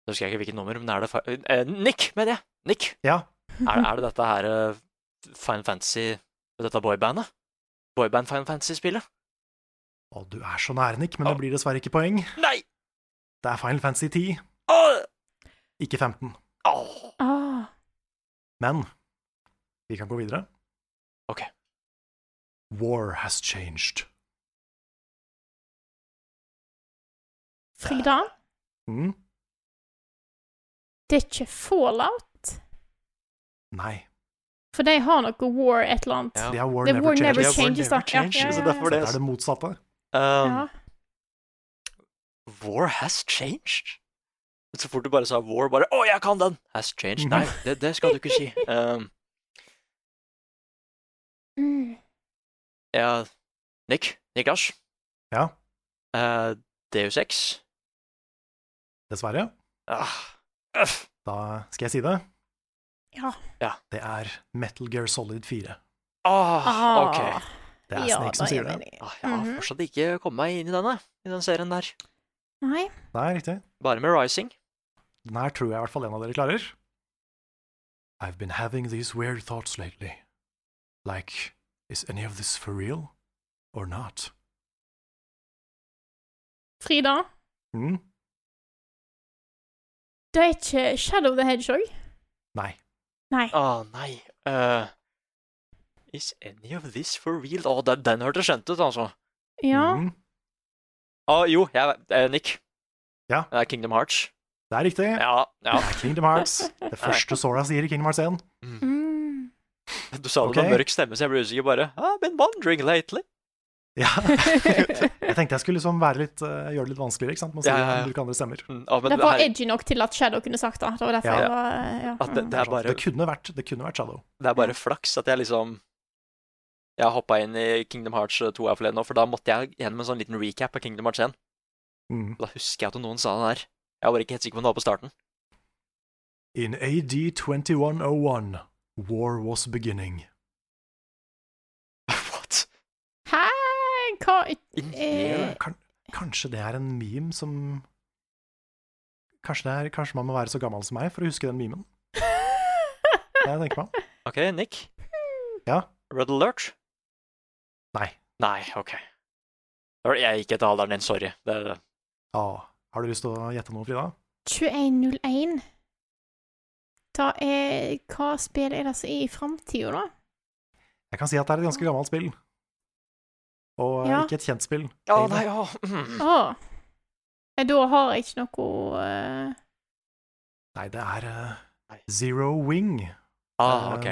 S4: Nå husker jeg ikke hvilket nummer, men er det fa- eh, Nick, mener jeg! Nick!
S2: Ja.
S4: Er, det- er det dette her eh, Final Fantasy Dette boybandet? Boyband Final Fantasy-spillet?
S2: Å, du er så nær, Nick, men det blir dessverre ikke poeng.
S4: Nei!
S2: Det er Final Fantasy 10,
S4: Åh!
S2: ikke 15.
S4: Åh!
S1: Ah,
S2: Men vi kan gå videre.
S4: Ok.
S2: War has changed.
S1: Frida,
S2: Mm.
S1: det er ikke fallout?
S2: Nei.
S1: For de har noe war et eller annet.
S2: Det er War
S1: Det er
S2: Never
S1: War
S2: Changes.
S1: Never Changes, da. Ja, ja, ja,
S4: Så
S1: ja.
S4: derfor
S2: Så
S4: det
S2: det er det motsatte.
S4: Um,
S1: Ja.
S4: War has changed? Så fort du bare sa war, bare Å, jeg kan den! Has changed. Nei, det, det skal du ikke si. Um,
S1: Mm.
S4: ja, Nick? Niklas?
S2: Ja.
S4: Uh, Deus Ex?
S2: Dessverre.
S4: Ah, øff.
S2: Da skal jeg si det.
S1: Ja.
S4: Ja.
S2: Det er Metal Gear Solid 4.
S4: Ah,
S1: Ah.
S4: ok. Ah,
S2: Det er
S1: Ja,
S2: Snake som
S1: da er
S2: sier
S1: jeg
S2: det.
S1: enig.
S4: Jeg har fortsatt ikke kommet meg inn i denne, i den serien der.
S1: Nei.
S2: Nei, riktig.
S4: Bare med Rising.
S2: Den her tror jeg i hvert fall en av dere klarer. I've been having these weird thoughts lately. Like, is any of this for real? Or not?
S1: Frida,
S2: Mm?
S1: det er ikke Shadow the Hedgehog?
S2: Nei.
S1: Nei.
S4: Å, Ah, nei. Eh, is any of this for real? Å, den, den hørtes kjent ut, altså.
S1: Ja.
S2: Mm?
S4: Å, jo, jeg eh, Nick.
S2: Ja.
S4: Det er Kingdom Hearts.
S2: Det er riktig.
S4: Ja, ja.
S2: Kingdom Hearts. Det første Sora sier i Kingdom Hearts 1.
S4: Mm.
S1: Mm.
S4: Du sa
S2: Ok.
S4: det med mørk stemme, så jeg ble usikker bare. «Ah, I've been wondering lately.
S2: Ja. jeg tenkte jeg skulle liksom være litt, eh, gjøre det litt vanskeligere, ikke sant? Man sier
S4: Ja, ja, ja.
S2: bruke andre stemmer.
S4: Ja, Mm, ah, men
S1: det var
S4: her-
S1: edgy nok til at Shadow kunne sagt det. Det var derfor
S4: Ja.
S1: jeg var ja.
S4: At det, det, er bare,
S2: Det kunne vært, det kunne vært Shadow.
S4: det er bare flaks at jeg liksom Jeg hoppa inn i Kingdom Hearts eh, 2 her forleden, nå, for da måtte jeg gjennom en sånn liten recap av Kingdom Hearts 1.
S2: Mm.
S4: Da husker jeg at noen sa den her. Jeg var bare ikke helt sikker på om det var på starten.
S2: In AD 2101, war was beginning.
S4: What?
S1: Hæ? Hva
S2: Ja,
S1: eh,
S2: kan, kanskje det er en meme som kanskje, det er, kanskje man må være så gammel som meg for å huske den memen? Det jeg tenker meg om.
S4: OK, Nick.
S2: Ja.
S4: Red Alert?
S2: Nei.
S4: Nei, OK. Da var det- Jeg gikk etter alderen din, sorry. Det er det.
S2: Ah, har du lyst til å gjette noe, Frida?
S1: 2101 Da er Hva spill er det som er i framtida, da?
S4: Mm.
S2: Jeg kan si at det er et ganske gammelt spill. Og eh,
S1: Ja.
S2: ikke et kjent spill.
S4: Å
S2: egentlig.
S4: nei, å. mm,
S1: Å. Eh, Da har jeg ikke noe eh,
S2: Nei, det er eh, Zero Wing.
S4: Ah,
S2: Eh,
S4: ok.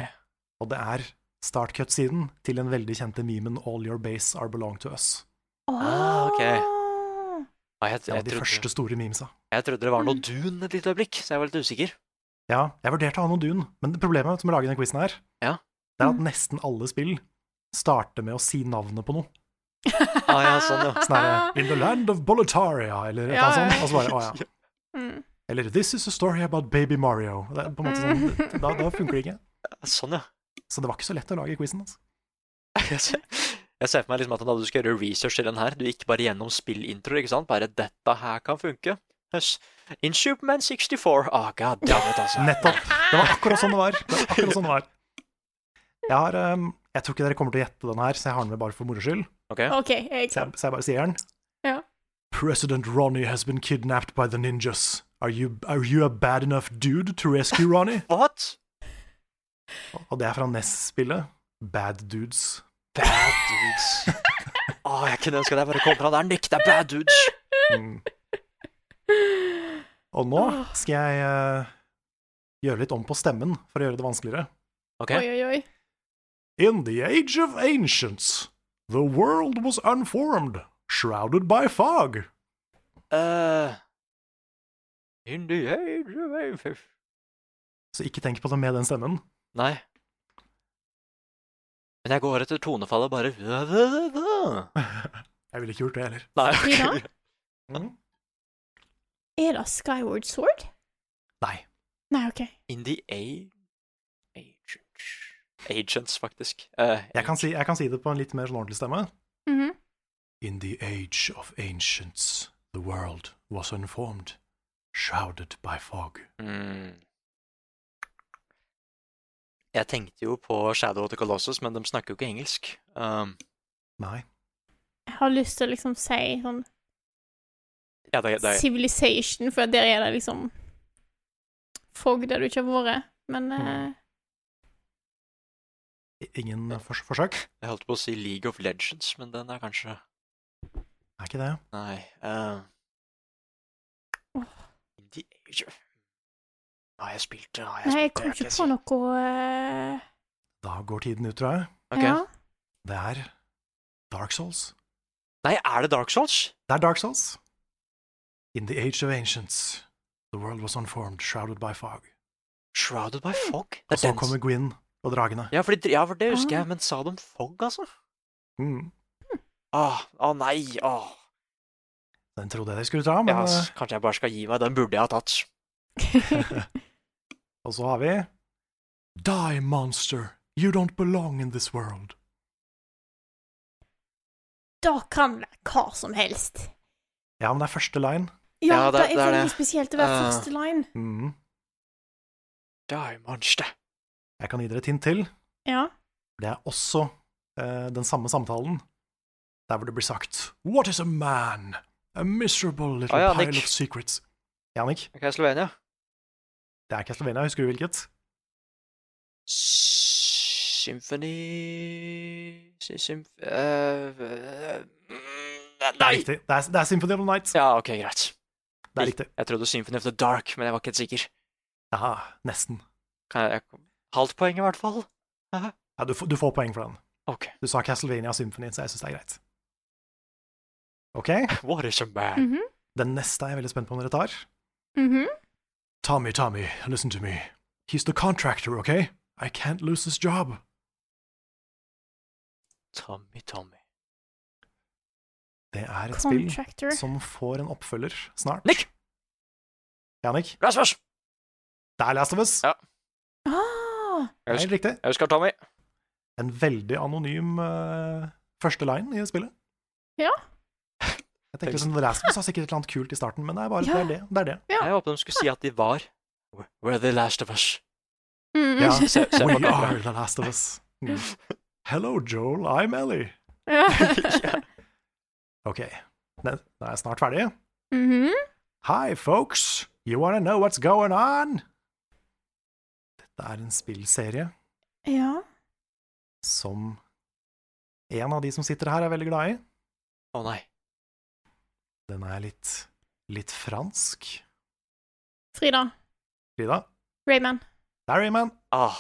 S2: og det er startcut-siden til den veldig kjente memen All your base are belong to us.
S4: Ah, ok. Ah, jeg,
S2: Det var
S4: jeg,
S2: de første
S4: trodde,
S2: store memesa.
S4: jeg trodde det var noe Dune et lite øyeblikk, så jeg var litt usikker.
S2: Ja, jeg vurderte å ha noen Dune, men problemet med å lage denne quizen her,
S4: Ja.
S2: det
S1: Mm.
S2: er at nesten alle spill starter med å si navnet på noe.
S4: Ah, ja, sånn, ja.
S2: Sånn her, In the land of Boletaria, eller et
S1: Ja, ja.
S2: eller annet sånt. Og så bare, å ja.
S1: Mm.
S2: Eller This is a story about baby Mario. Det er på en måte sånn, da, da funker det ikke.
S4: Sånn, ja.
S2: Så det var ikke så lett å lage quizen. Altså.
S4: Jeg ser, jeg ser for meg liksom at da du skal gjøre research til den her, du gikk bare gjennom spillintroer, ikke sant? Bare 'dette her kan funke'. Yes. In Superman 64 Ah, god damn it, altså.
S2: Nettopp. Det var akkurat sånn det var. Det var akkurat sånn det var. Jeg, har, ehm, jeg tror ikke dere kommer til å gjette den her, så jeg har den med bare for moro skyld.
S4: Ok.
S1: OK, jeg er
S2: Så
S1: klar.
S2: jeg, så jeg bare sier den.
S1: Ja.
S2: President Ronnie has been kidnapped by the ninjas. Are you, are you a bad enough dude to rescue Ronnie?
S4: What?
S2: Og det er fra NES-spillet Bad Dudes.
S4: Bad dudes. Å, jeg kunne ønske at jeg bare kom fra der, Nick. Det er bad dudes.
S2: Mm. Og nå skal jeg eh, gjøre litt om på stemmen for å gjøre det vanskeligere.
S4: Ok.
S1: Oi, oi, oi.
S2: In the age of ancients, the world was unformed, shrouded by fog.
S4: Eh, in the age of ages.
S2: Så ikke tenk på det med den stemmen.
S4: Nei. Men jeg går etter tonefallet bare Nei.
S2: Jeg ville ikke gjort det heller.
S4: ok.
S1: Frida?
S2: Mm.
S1: Er det Skyward Sword?
S2: Nei.
S1: Nei, OK.
S4: In the age Agents, agents faktisk. Eh,
S2: Jeg kan, si, jeg kan si det på en litt mer sånn ordentlig stemme.
S1: Mhm.
S2: In the age of ancients, the world was unformed, shrouded by fog.
S4: Mm. Jeg tenkte jo på Shadow of the Colossus, men de snakker jo ikke engelsk. Um,
S2: Nei.
S1: Jeg har lyst til å liksom si sånn
S4: ja, det, det,
S1: Civilization, for der er det liksom Fogg der du ikke har vært, men eh,
S2: I- Ingen fors forsøk?
S4: jeg holdt på å si League of Legends, men den er kanskje
S2: Er ikke det?
S4: Nei. eh,
S1: Åh.
S4: In the age of Har jeg spilt det? Har jeg
S1: Nei, jeg
S4: spilt
S1: kom
S4: det?
S1: ikke på noe eh,
S2: Da går tiden ut, tror jeg.
S4: Ok.
S1: Ja.
S2: Det er Dark Souls.
S4: Nei, er det Dark Souls?
S2: Det er Dark Souls. In the age of ancients, the world was unformed, shrouded by fog.
S4: Shrouded by fog?
S2: Og
S4: Det er
S2: så
S4: den
S2: kommer
S4: s-
S2: Gwyn og dragene.
S4: ja, fordi, ja, for det husker
S1: Ah.
S4: jeg, men sa de fog, altså?
S2: Mm.
S4: Åh, åh, nei, åh.
S2: Den trodde jeg dere skulle ta, men
S4: Ja, ass,
S2: eh,
S4: kanskje jeg bare skal gi meg. Den burde jeg ha tatt.
S2: Og så har vi Die, monster. You don't belong in this world.
S1: Det kan være hva som helst.
S2: Ja, men det er første line.
S1: Ja, det, Ah. er veldig spesielt å være første line.
S2: Mhm.
S4: Die, monster.
S2: Jeg kan gi dere et hint til.
S1: Ja.
S2: Det er også eh, den samme samtalen, der hvor det blir sagt What is a man? A miserable little
S4: Ah, ja,
S2: pile
S4: Nick.
S2: of secrets. Ja, Nick?
S4: Ok, Slovenia.
S2: Det er ikke Slovenia, husker du hvilket?
S4: Symphony Sy- symf... eh, eh,
S2: Det
S4: nei!
S2: er riktig. Det er, det er Symphony of the Night.
S4: Ja, ok, greit.
S2: Det er riktig.
S4: Jeg trodde Symphony of the Dark, men jeg var ikke helt sikker.
S2: Ja, nesten.
S4: Kan jeg, jeg, halvt poeng, i hvert fall.
S2: Ja, du, får- du får poeng for den.
S4: Ok.
S2: Du sa Castlevania Symphony, så jeg syns det er greit. OK?
S4: What is a man?
S1: Mhm.
S2: Den neste er jeg veldig spent på om dere tar.
S1: Mhm.
S2: Tommy, Tommy, listen to me. He's the contractor, okay? I can't lose this job.
S4: Tommy, Tommy.
S2: Det er et
S1: Contractor.
S2: spill som får en oppfølger snart.
S4: Nick!
S2: Ja, Nick?
S4: Last of Us!
S2: Det er Last of Us.
S4: Ja.
S1: Ah,
S2: Det er helt riktig.
S4: Jeg husker Tommy.
S2: En veldig anonym eh, første line i spillet.
S1: ja.
S2: Jeg tenker sånn, Last of Us har sikkert et eller annet kult i starten, men det er bare det,
S1: Ja.
S2: er det. det, er det.
S4: Jeg håpet de skulle si at de var We're- We're the last of us.
S1: Mm.
S2: Ja.
S4: Se- se på
S2: We
S4: klokka.
S2: are the last of us. Mm. Hello, Joel. I'm Ellie.
S1: Ja.
S2: Ok, da da er jeg snart ferdig.
S1: Mhm.
S2: Hi, folks. You wanna know what's going on? Dette er en spillserie
S1: ja.
S2: som en av de som sitter her, er veldig glad i.
S4: Å nei.
S2: Den er litt, litt fransk.
S1: Frida.
S2: Frida,
S1: Rayman.
S2: det er Rayman.
S4: Ah,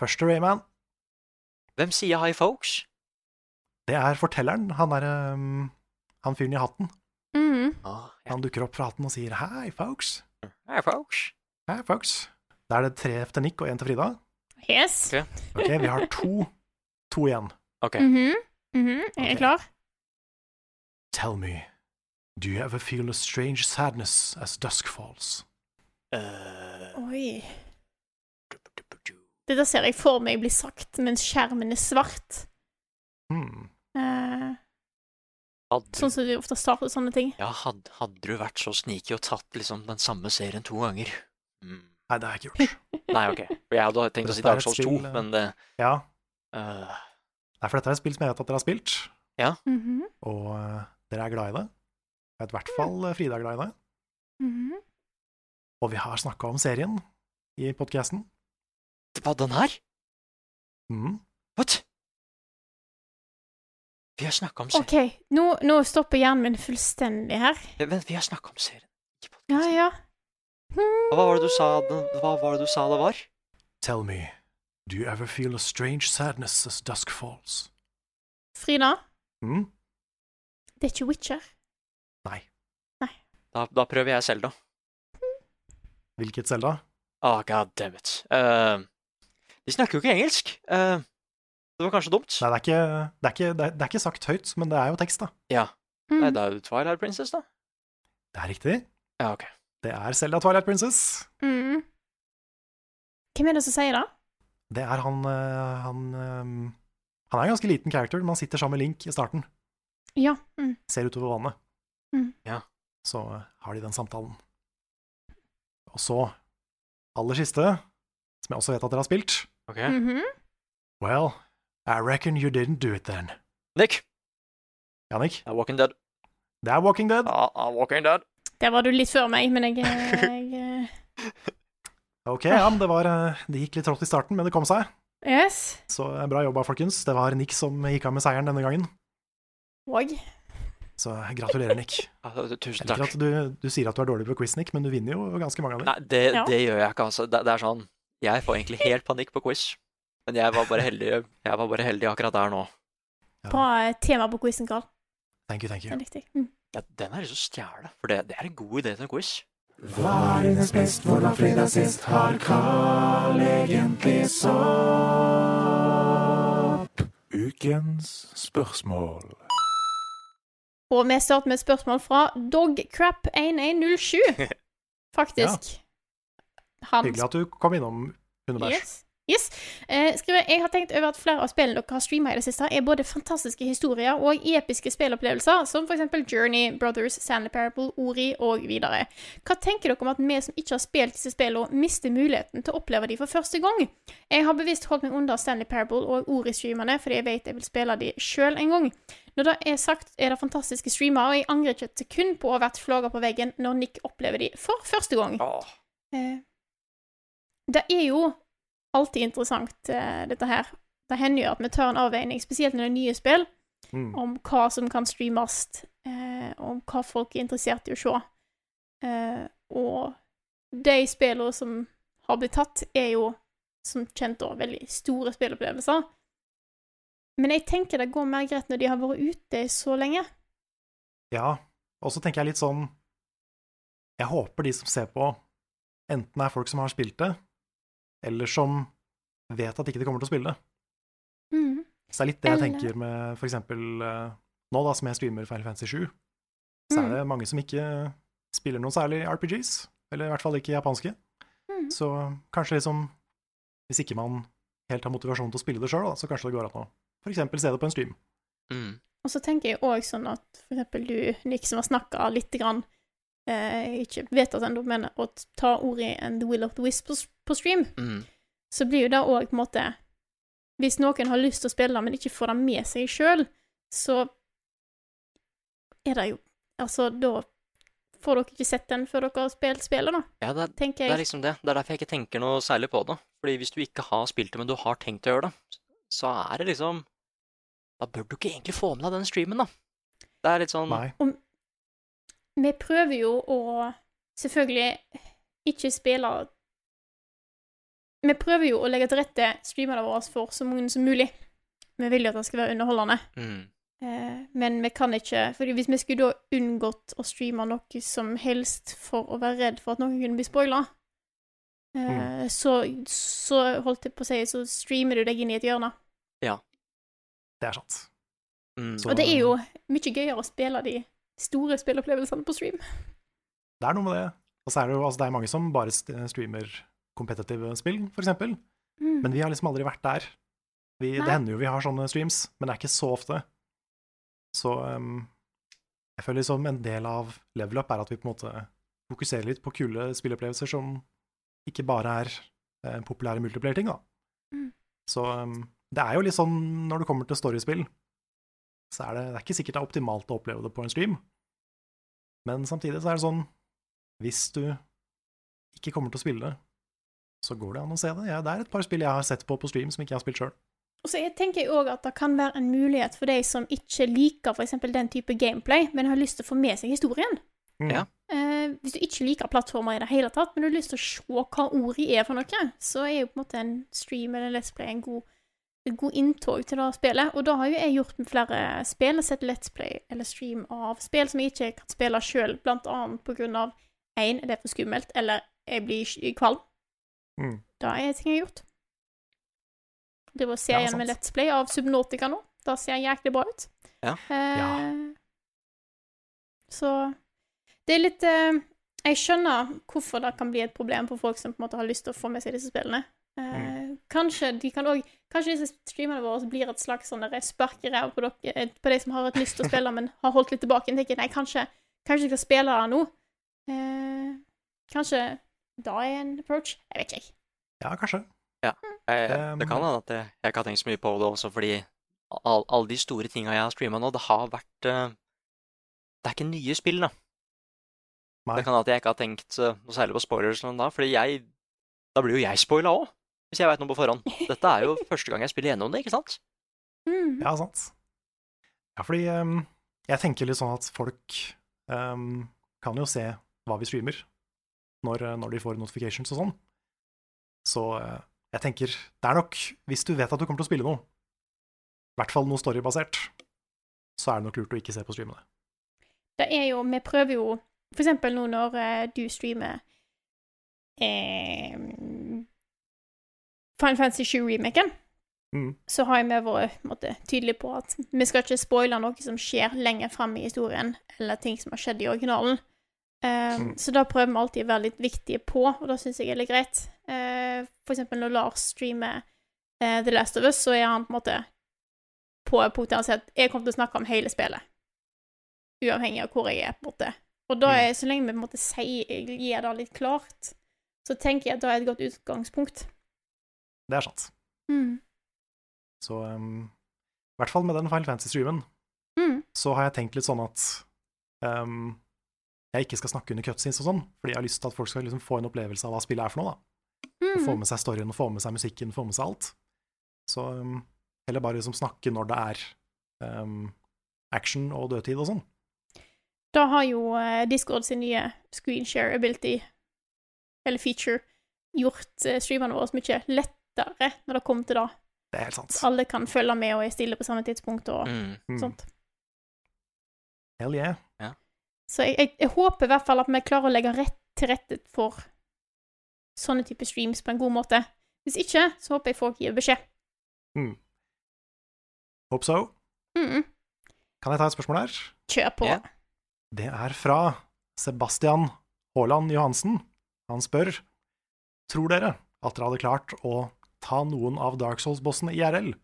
S2: Første Rayman.
S4: hvem sier hi, folks?
S2: Det er fortelleren. Han er ehm, han fyren i hatten.
S1: Mhm.
S4: Ah,
S2: Han dukker opp fra hatten og sier hi, folks.
S4: hi, folks.
S2: Hi, folks. Da er det tre til Nick og én til Frida.
S1: Yes.
S4: Ok.
S2: Ok, vi har to, to igjen.
S4: Ok.
S1: Mhm. Mhm. Er
S2: Ok.
S1: jeg klar?
S2: Tell me, do you ever feel a strange sadness as dusk falls?
S4: Eh,
S1: Oi. Dette ser jeg for meg blir sagt mens skjermen er svart.
S2: Hmm.
S1: Eh,
S4: hadde,
S1: sånn som det ofte starter sånne ting.
S4: ja, hadde, hadde du vært så sneaky og tatt liksom den samme serien to ganger? Mm.
S2: Nei, det har jeg ikke gjort.
S4: Nei, ok. For Jeg hadde tenkt å si
S2: Dette er
S4: Dark
S2: et
S4: Souls 2,
S2: spill, eh.
S4: men det
S2: Ja,
S4: eh,
S2: Nei, for dette er et spill som jeg vet at dere har spilt,
S1: Mhm.
S2: og eh, dere er glad i det. Jeg vet i hvert fall eh, Frida er glad i det.
S1: Mhm.
S2: Og vi har snakka om serien i podkasten.
S4: Det var den her?
S2: Mm.
S4: What? Vi har snakka om serien.
S1: OK, nå, nå stopper hjernen min fullstendig her.
S4: Vent, vi har snakka om serien.
S1: Ja, ja. Hmm.
S4: Og Hva var det du sa den, hva var det du sa det var?
S2: Tell me, do you ever feel a strange sadness as dusk falls?
S1: Frida,
S2: Mm.
S1: det er ikke Witcher.
S2: Nei.
S4: Da, da prøver jeg Selda.
S2: Hvilket Selda?
S4: Ah, god damn it. Eh, de snakker jo ikke engelsk. Eh, det var kanskje dumt?
S2: Nei, det er, ikke, det, er ikke, det, er, det er ikke sagt høyt, men det er jo tekst, da.
S4: Ja.
S1: Mm.
S4: Nei, det er jo Twilight Princess, da.
S2: Det er riktig.
S4: Ja, ok.
S2: Det er Selda Twilight Princess.
S1: Mm. Hvem er det som sier det?
S2: Det er han eh, Han, eh, han er en ganske liten character, men han sitter sammen med Link i starten.
S1: Ja. Mm.
S2: Ser utover vannet.
S1: Mm.
S4: Ja.
S2: Så eh, har de den samtalen. Og så, aller siste, som jeg også vet at dere har spilt
S4: Ok.
S1: Mhm.
S2: Well, I reckon you didn't do it then.
S4: Nick!
S2: Jannik,
S4: Ja, Walking Dead.
S2: det er Walking Dead.
S4: Ja, ja, Walking Dead.
S1: Der var du litt før meg, men jeg, jeg eh,
S2: Ok, ja, men det, var, eh, det gikk litt trått i starten, men det kom seg.
S1: Yes.
S2: Så eh, bra jobba, folkens. Det var Nick som gikk av med seieren denne gangen.
S1: Og
S2: Så eh, gratulerer, Nick.
S4: Ja, det- det- Altså, tusen
S2: Jeg liker
S4: takk.
S2: at du, du sier at du er dårlig på quiz, Nick, men du vinner jo ganske mange av dem.
S4: Nei, det,
S1: Ja.
S4: det gjør jeg ikke, altså. Det, det er sånn Jeg får egentlig helt panikk på quiz, men jeg var bare heldig, jeg var bare heldig akkurat der nå.
S1: bra eh, tema på quizen, Karl.
S2: Thank you, thank
S1: Det
S2: you.
S1: er riktig. Mm.
S4: Ja, den har jeg lyst til å stjele, for det, det er en god idé til en quiz.
S6: Hva er dines best, hvordan fredag sist har Carl egentlig sopp? Ukens spørsmål.
S1: Og vi starter med et spørsmål fra Dogcrap1107, faktisk. Han
S2: Hyggelig at du kom innom underveis.
S1: Yes. Yes. Eh, skriver, jeg har tenkt over at flere av spillene dere har streama i det siste, er både fantastiske historier og episke spillopplevelser, som f.eks. Journey, Brothers, Stanley Parable, Ori og videre. Hva tenker dere om at vi som ikke har spilt disse spillene, mister muligheten til å oppleve de for første gang? Jeg har bevisst holdt meg under Stanley Parable og Ori-streamerne, fordi jeg vet jeg vil spille de sjøl en gang. Når det er sagt, er det fantastiske streamer, og jeg angrer ikke et sekund på å ha vært flagga på veggen når Nick opplever de for første gang. Eh, det er jo alltid interessant, eh, dette her. Det hender jo at vi tar en avveining, spesielt når det er nye spill,
S9: Mm.
S1: om hva som kan streames, eh, om hva folk er interessert i å se. Eh, og de spillene som har blitt tatt, er jo som kjent da veldig store spillopplevelser. Men jeg tenker det går mer greit når de har vært ute så lenge.
S2: Ja, og så tenker jeg litt sånn Jeg håper de som ser på, enten er folk som har spilt det, eller som vet at ikke de kommer til å spille det.
S1: Mm.
S2: Så det er litt det jeg
S1: Eller-
S2: tenker med for eksempel eh, nå, da, som jeg streamer Final Fantasy 7, så er det mange som ikke spiller noen særlig RPGs, eller i hvert fall ikke japanske.
S1: mm.
S2: Så kanskje liksom Hvis ikke man helt har motivasjon til å spille det sjøl, så kanskje det går an å for eksempel se det på en stream.
S4: Mm,
S1: Og så tenker jeg òg sånn at for eksempel du, Nick, som har snakka lite grann eh, Ikke vet at ennå, men å ta ordet i en The Will of the Wisp på, på stream,
S4: mm.
S1: så blir jo det òg på en måte Hvis noen har lyst til å spille, men ikke får det med seg sjøl, så er det jo Altså, da får dere ikke sett den før dere har spilt spillet, da.
S4: Ja, det, er-
S1: Tenker
S4: det
S1: jeg.
S4: er liksom det. Det er derfor jeg ikke tenker noe særlig på det. Fordi hvis du ikke har spilt det, men du har tenkt å gjøre det, så er det liksom Da bør du ikke egentlig få med deg den streamen, da. Det er litt sånn
S1: Om, vi prøver jo å selvfølgelig ikke spille Vi prøver jo å legge til rette streamerne våre for så mange som mulig. Vi vil jo at det skal være underholdende,
S4: mm,
S1: eh, men vi kan ikke fordi Hvis vi skulle da unngått å streame noe som helst for å være redd for at noen kunne bli spoila, eh, så, så holdt jeg på å si, så streamer du deg inn i et hjørne.
S4: Ja.
S2: Det er sant.
S4: mm.
S1: Og det er jo mye gøyere å spille de store spillopplevelsene på stream.
S2: Det er noe med det. Og så er det jo altså, det er mange som bare st- streamer kompetitive spill, for eksempel.
S1: Mm.
S2: Men vi har liksom aldri vært der. Vi, det
S1: Nei.
S2: hender jo vi har sånne streams, men det er ikke så ofte. Så um, jeg føler liksom en del av level up er at vi på en måte fokuserer litt på kule spillopplevelser som ikke bare er eh, populære multiplayer-ting, da.
S1: Mm.
S2: Så um, det er jo litt sånn når det kommer til storiespill, så er det, det er ikke sikkert det er optimalt å oppleve det på en stream. Men samtidig så er det sånn, hvis du ikke kommer til å spille det, så går det an å se det. Ja, det er et par spill jeg har sett på på stream som ikke jeg har spilt sjøl.
S1: Og så jeg tenker jeg òg at det kan være en mulighet for de som ikke liker f.eks. den type gameplay, men har lyst til å få med seg historien.
S4: Ja.
S1: Eh, hvis du ikke liker plattformer i det hele tatt, men du har lyst til å se hva ordet er for noe, så er jo på en måte en stream eller en Let's Play en god, et god inntog til det spillet. Og det har jo jeg gjort med flere spill, sett Let's Play eller stream av spill som jeg ikke kan spille sjøl, blant annet på grunn av én, det er for skummelt, eller jeg blir kvalm.
S2: Mm.
S1: Det er ting jeg har gjort. Det var
S2: Ja,
S1: serien
S2: sant.
S1: med Let's Play av Subnautica nå. Det ser jæklig bra ut.
S4: Ja.
S1: Eh, Så det er litt eh, Jeg skjønner hvorfor det kan bli et problem for folk som på en måte har lyst til å få med seg disse spillene. Eh,
S2: Mm.
S1: Kanskje de kan også, Kanskje disse streamerne våre blir et slags sånn der spark i ræva på, dere- eh, på de som har hatt lyst til å spille, men har holdt litt tilbake. Jeg tenker nei, kanskje, kanskje jeg skal spille det nå. Eh, kanskje da er en approach. Jeg vet ikke, jeg.
S2: Ja, kanskje.
S4: Ja. Jeg, Eh, det kan hende at jeg, jeg ikke har tenkt så mye på det også, fordi all- alle de store tinga jeg har streama nå, det har vært eh, Det er ikke nye spill, da. Det kan hende at jeg ikke har tenkt eh, noe særlig på spoilers eller noe da, fordi jeg Da blir jo jeg spoila òg, hvis jeg veit noe på forhånd. Dette er jo første gang jeg spiller gjennom det, ikke sant?
S1: Mm.
S2: Ja, sant. Ja, fordi ehm, jeg tenker litt sånn at folk ehm, kan jo se hva vi streamer, når, eh, når de får notifications og sånn. Så eh, jeg tenker det er nok, hvis du vet at du kommer til å spille noe, i hvert fall noe storybasert, så er det nok lurt å ikke se på streamene.
S1: Det er jo Vi prøver jo For eksempel nå når eh, du streamer eh, Final Fantasy 7-remaken,
S2: Mm.
S1: så har vi vært på en måte, tydelige på at vi skal ikke spoile noe som skjer lenger fram i historien, eller ting som har skjedd i originalen. Eh,
S2: Mm.
S1: Så da prøver vi alltid å være litt viktige på, og da syns jeg er litt greit. Eh, for eksempel når Lars streamer eh, The Last of Us, så er han på en måte på punktet han sier at jeg kommer til å snakke om hele spillet. Uavhengig av hvor jeg er, på en måte. Og da
S2: Mm.
S1: er, så lenge vi på en måte sier, gir det litt klart, så tenker jeg at da er det et godt utgangspunkt.
S2: Det er sant. Mm. Så um, i hvert fall med den Final Fantasy-streamen
S1: Mm.
S2: så har jeg tenkt litt sånn at um, jeg ikke skal snakke under cutscenes og sånn, fordi jeg har lyst til at folk skal liksom få en opplevelse av hva spillet er for noe. da. Og
S1: Mm. Mhm.
S2: få med seg storyen, og få med seg musikken, få med seg alt. Så um, heller bare liksom snakke når det er um, action og dødtid og sånn.
S1: Da har jo eh, Discord sin nye screenshare ability, eller feature, gjort eh, streamerne våre mye lettere når det kommer til det.
S2: Det er helt sant.
S1: Alle kan følge med og er stille på samme tidspunkt og
S2: Mm. Mm.
S1: sånt.
S2: Hell yeah.
S1: Så jeg, jeg, jeg håper i hvert fall at vi klarer å legge rett til rette for sånne type streams på en god måte. Hvis ikke, så håper jeg folk gir beskjed.
S2: Mm. Hope so.
S1: Mm.
S2: Kan jeg ta et spørsmål her?
S1: Kjør på.
S2: Det er fra Sebastian Haaland Johansen. Han spør Tror dere at dere hadde klart å ta noen av Dark Souls-bossene IRL?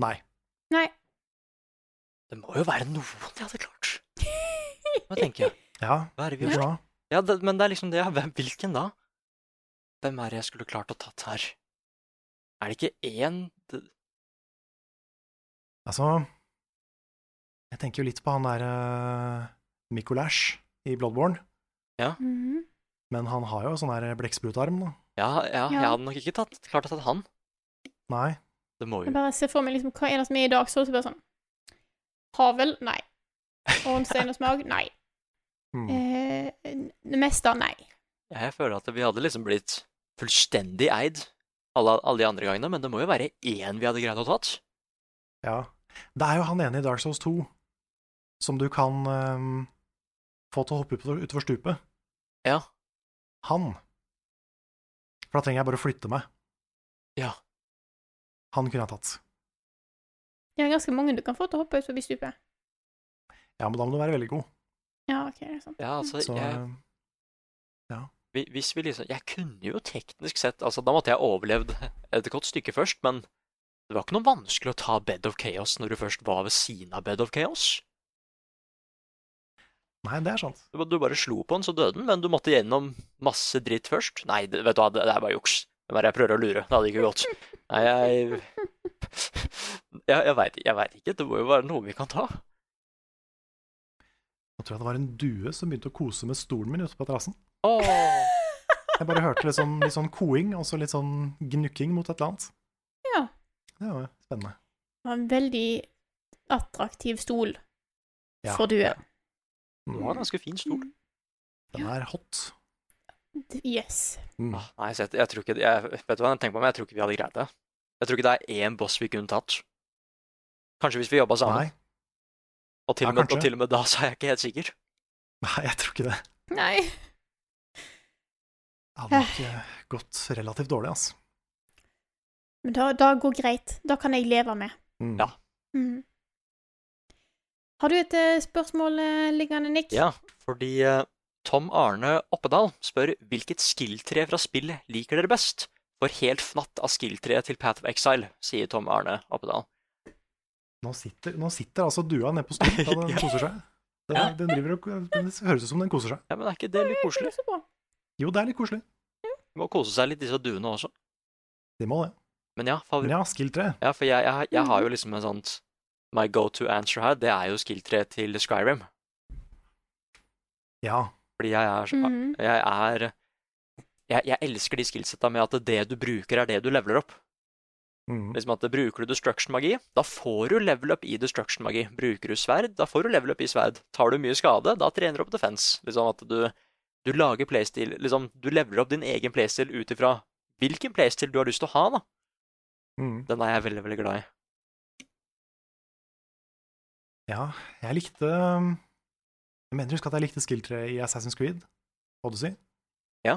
S2: Nei.
S1: Nei.
S4: Det må jo være noen de hadde klart. Hva tenker jeg?
S2: Ja,
S4: Hva er det vi
S2: det
S4: har
S2: er bra.
S4: gjort? Ja, det, men det er liksom det. Hvem, hvilken da? Hvem er det jeg skulle klart å tatt her? Er det ikke én det,
S2: Altså Jeg tenker jo litt på han der uh, Mikolash i Bloodborne,
S4: Ja.
S1: Mhm.
S2: men han har jo sånn der blekksprutarm, da.
S4: Ja, ja, jeg
S1: Ja.
S4: hadde nok ikke tatt, klart å tatt han.
S2: Nei.
S4: Det må
S1: Jeg
S4: jo
S1: bare ser for meg liksom, hva er det som er i dag, så er det bare sånn Havel? Nei. Ornsteiners mag? Nei.
S2: Hmm,
S4: Mm.
S1: Eh, n- det meste av nei.
S4: Ja, Jeg føler at vi hadde liksom blitt fullstendig eid alle, alle de andre gangene, men det må jo være én vi hadde greid å tatt.
S2: Ja. Det er jo han ene i Dark Souls 2 som du kan ehm, få til å hoppe ut- utfor stupet.
S4: Ja.
S2: Han. For da trenger jeg bare å flytte meg.
S4: Ja.
S2: Han kunne jeg tatt.
S1: Det er ganske mange du kan få til å hoppe ut forbi stupet.
S2: Ja, men da må du være veldig god.
S1: Ja, ok, det er sant.
S4: Ja, altså,
S2: Så
S4: jeg,
S2: ehm,
S4: vi- hvis vi liksom Jeg kunne jo teknisk sett Altså, da måtte jeg overlevd et godt stykke først, men det var ikke noe vanskelig å ta Bed of Chaos når du først var ved siden av Bed of Chaos.
S2: Nei, det er sant.
S4: Du, ba- du bare slo på den, så døde den, men du måtte gjennom masse dritt først. Nei, det, vet du hva, det, det er bare juks. Hvem er det jeg prøver å lure? Det hadde ikke gått. Nei, jeg Jeg, jeg veit jeg vet ikke. Det må jo være noe vi kan ta.
S2: Nå tror jeg det var en due som begynte å kose med stolen min ute på terrassen.
S4: Åh.
S2: Jeg bare hørte litt sånn, litt sånn koing og så litt sånn gnukking mot et eller annet.
S1: Ja.
S2: Det var jo spennende.
S1: Det var en veldig attraktiv stol
S2: Ja.
S1: for Mm. due.
S4: Mm. Det var en ganske fin stol.
S2: Den er hot.
S1: Yes.
S4: Ah, Nei, så jeg, jeg tror ikke det- jeg, Vet du hva jeg tenker på, men jeg tror ikke vi hadde greid det. Jeg tror ikke det er én boss vi kunne tatt. Kanskje hvis vi jobba sammen.
S2: Nei.
S4: Og til,
S2: Ja,
S4: og med, og
S2: kanskje.
S4: til og med da så er jeg ikke helt sikker.
S2: Nei, jeg tror ikke det.
S1: Nei.
S2: Det hadde nok eh, gått relativt dårlig, altså.
S1: Men da, da går greit. Da kan jeg leve med.
S4: Ja.
S1: Mm. Har du et eh, spørsmål eh, liggende, Nick?
S4: ja, fordi eh, Tom Arne Oppedal spør hvilket skilltre fra spill liker dere best? For helt fnatt av skilltreet til Path of Exile, sier Tom Arne Oppedal.
S2: Nå sitter, nå sitter altså dua nede på stolen, og den koser seg. Den, den driver og den høres ut som den koser seg.
S4: Ja, men er ikke det litt koselig?
S2: Jo, det er litt koselig.
S4: Du må kose seg litt, disse duene også.
S2: De må det.
S4: Men ja, favoritt.
S2: Men ja, skill 3.
S4: Ja, for jeg, jeg, jeg har jo liksom en sånn My go to answer her, det er jo skill-tre til Skyrim.
S2: Ja.
S4: Fordi jeg er så-
S1: Mm.
S2: Mhm.
S4: Jeg er jeg, jeg elsker de skillsetta med at det du bruker, er det du leveler opp. Liksom at Bruker du destruction-magi, da får du level up i destruction-magi. Bruker du sverd, da får du level up i sverd. Tar du mye skade, da trener du opp defense. Liksom at du, du lager playstyle liksom, Du leveler opp din egen playstyle ut ifra hvilken playstyle du har lyst til å ha, da. Den er jeg veldig, veldig glad i.
S2: Ja, jeg likte um, Jeg mener husk at jeg likte skill 3 i Assassin's Creed, Odyssey.
S4: Ja.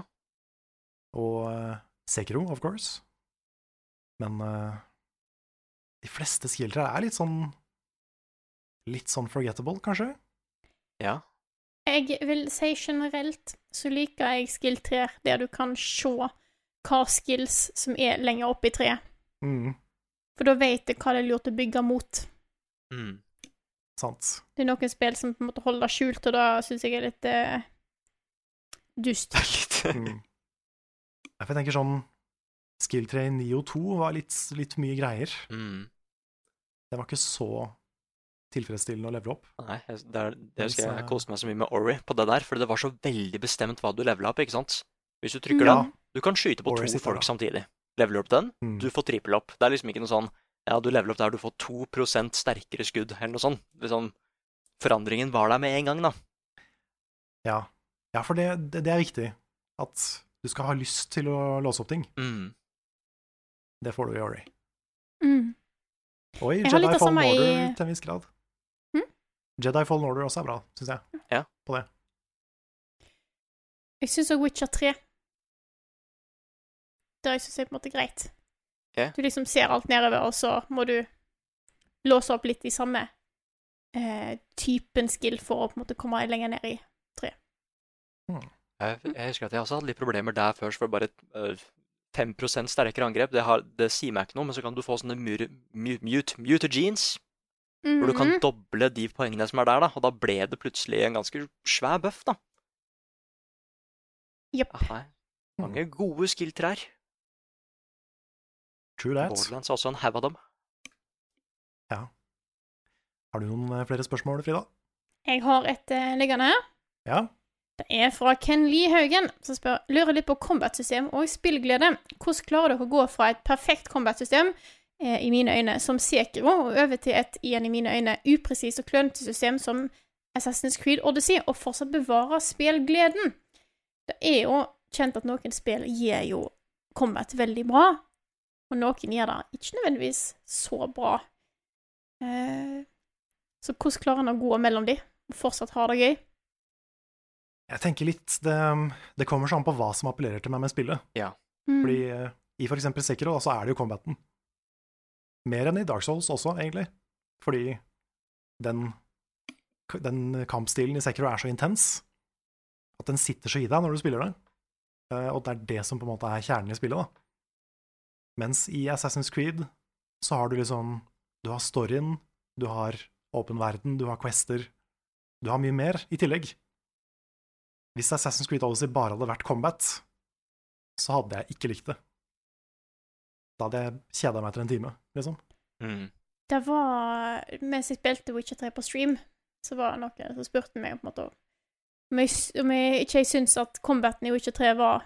S2: Og eh, Sekiro, of course. Men eh, de fleste skill 3 er litt sånn Litt sånn forgettable, kanskje?
S4: Ja.
S1: Jeg vil si generelt så liker jeg skill 3 der du kan se hva skills som er lenger oppe i treet.
S2: Mm.
S1: For da vet jeg hva det er lurt å bygge mot.
S4: Mm.
S2: Sant.
S1: Det er noen spill som på en måte holder det skjult, og da syns jeg er litt eh, dust.
S2: Mm. Ja, for Jeg tenker sånn Skill Train 9 og 2 var litt, litt mye greier.
S4: Mm.
S2: Det var ikke så tilfredsstillende å levele opp.
S4: Nei, jeg, det, er, det
S2: Mens,
S4: husker jeg, jeg
S2: eh,
S4: koste meg så mye med Ori på det der, for det var så veldig bestemt hva du levela opp, ikke sant? Hvis du trykker
S2: Ja.
S4: den Du kan skyte på
S2: Ori
S4: to
S2: sitter
S4: folk
S2: da.
S4: samtidig. Leveler du opp den,
S2: Mm.
S4: du får trippel opp. Det er liksom ikke noe sånn Ja, du leveler opp der du får 2 sterkere skudd, eller noe sånt. Liksom, forandringen var der med en gang, da.
S2: Ja, ja for det, det, det er viktig at du skal ha lyst til å låse opp ting.
S4: Mm.
S2: Det får du i Ori.
S1: Mm.
S2: Og i
S1: Jeg har litt
S2: Jedi
S1: av
S2: Fallen
S1: samme i- Hm?
S2: Order til en viss grad. Jedi Fallen Order også er bra, syns jeg.
S4: Ja.
S2: På det.
S1: Jeg syns òg Witcher 3. Det syns jeg på en måte er greit.
S4: Ok.
S1: Du liksom ser alt nedover, og så må du låse opp litt i samme eh, typen skill for å på en måte komme lenger ned i.
S4: Jeg, jeg husker at jeg også hadde litt problemer der først, for bare øh, 5 sterkere angrep. Det, har, det sier meg ikke noe, men så kan du få sånne mur, mu, mute, mutagenes, hvor du kan
S1: Mhm.
S4: doble de poengene som er der, da. Og da ble det plutselig en ganske svær bøff, da.
S1: Jepp.
S4: Ja, nei. Mange gode skill-trær.
S2: True that.
S4: Borderlands er også en haug av dem.
S2: Ja. Har du noen eh, flere spørsmål, Frida?
S1: Jeg har et eh, liggende her.
S2: Ja.
S1: Det er fra Ken Lie Haugen, som spør lurer litt på combat-system og spillglede. Hvordan klarer dere å gå fra et perfekt combat-system, eh, i mine øyne, som Sekiro, og over til et, igjen i mine øyne, upresist og klønete system som Assassin's Creed Odyssey, og fortsatt bevare spillgleden? Det er jo kjent at noen spill gir jo combat veldig bra, og noen gjør det ikke nødvendigvis så bra. Eh, så hvordan klarer en å gå mellom de, og fortsatt ha det gøy?
S2: Jeg tenker litt Det, det kommer så an på hva som appellerer til meg med spillet.
S4: Ja.
S1: Mm.
S2: Fordi eh, i for eksempel Sekiro, da, så er det jo combaten. Mer enn i Dark Souls også, egentlig. Fordi den, den kampstilen i Sekiro er så intens at den sitter så i deg når du spiller det. Eh, og det er det som på en måte er kjernen i spillet, da. Mens i Assassin's Creed så har du liksom Du har storyen, du har åpen verden, du har quester. Du har mye mer i tillegg. Hvis Assassin's Creed Odyssey bare hadde vært combat, så hadde jeg ikke likt det. Da hadde jeg kjeda meg etter en time, liksom.
S4: Mm.
S1: Det var Mens jeg spilte Witcher 3 på stream, så var det noen som spurte meg på en måte om jeg, s- om jeg ikke jeg syntes at combaten i Witcher 3 var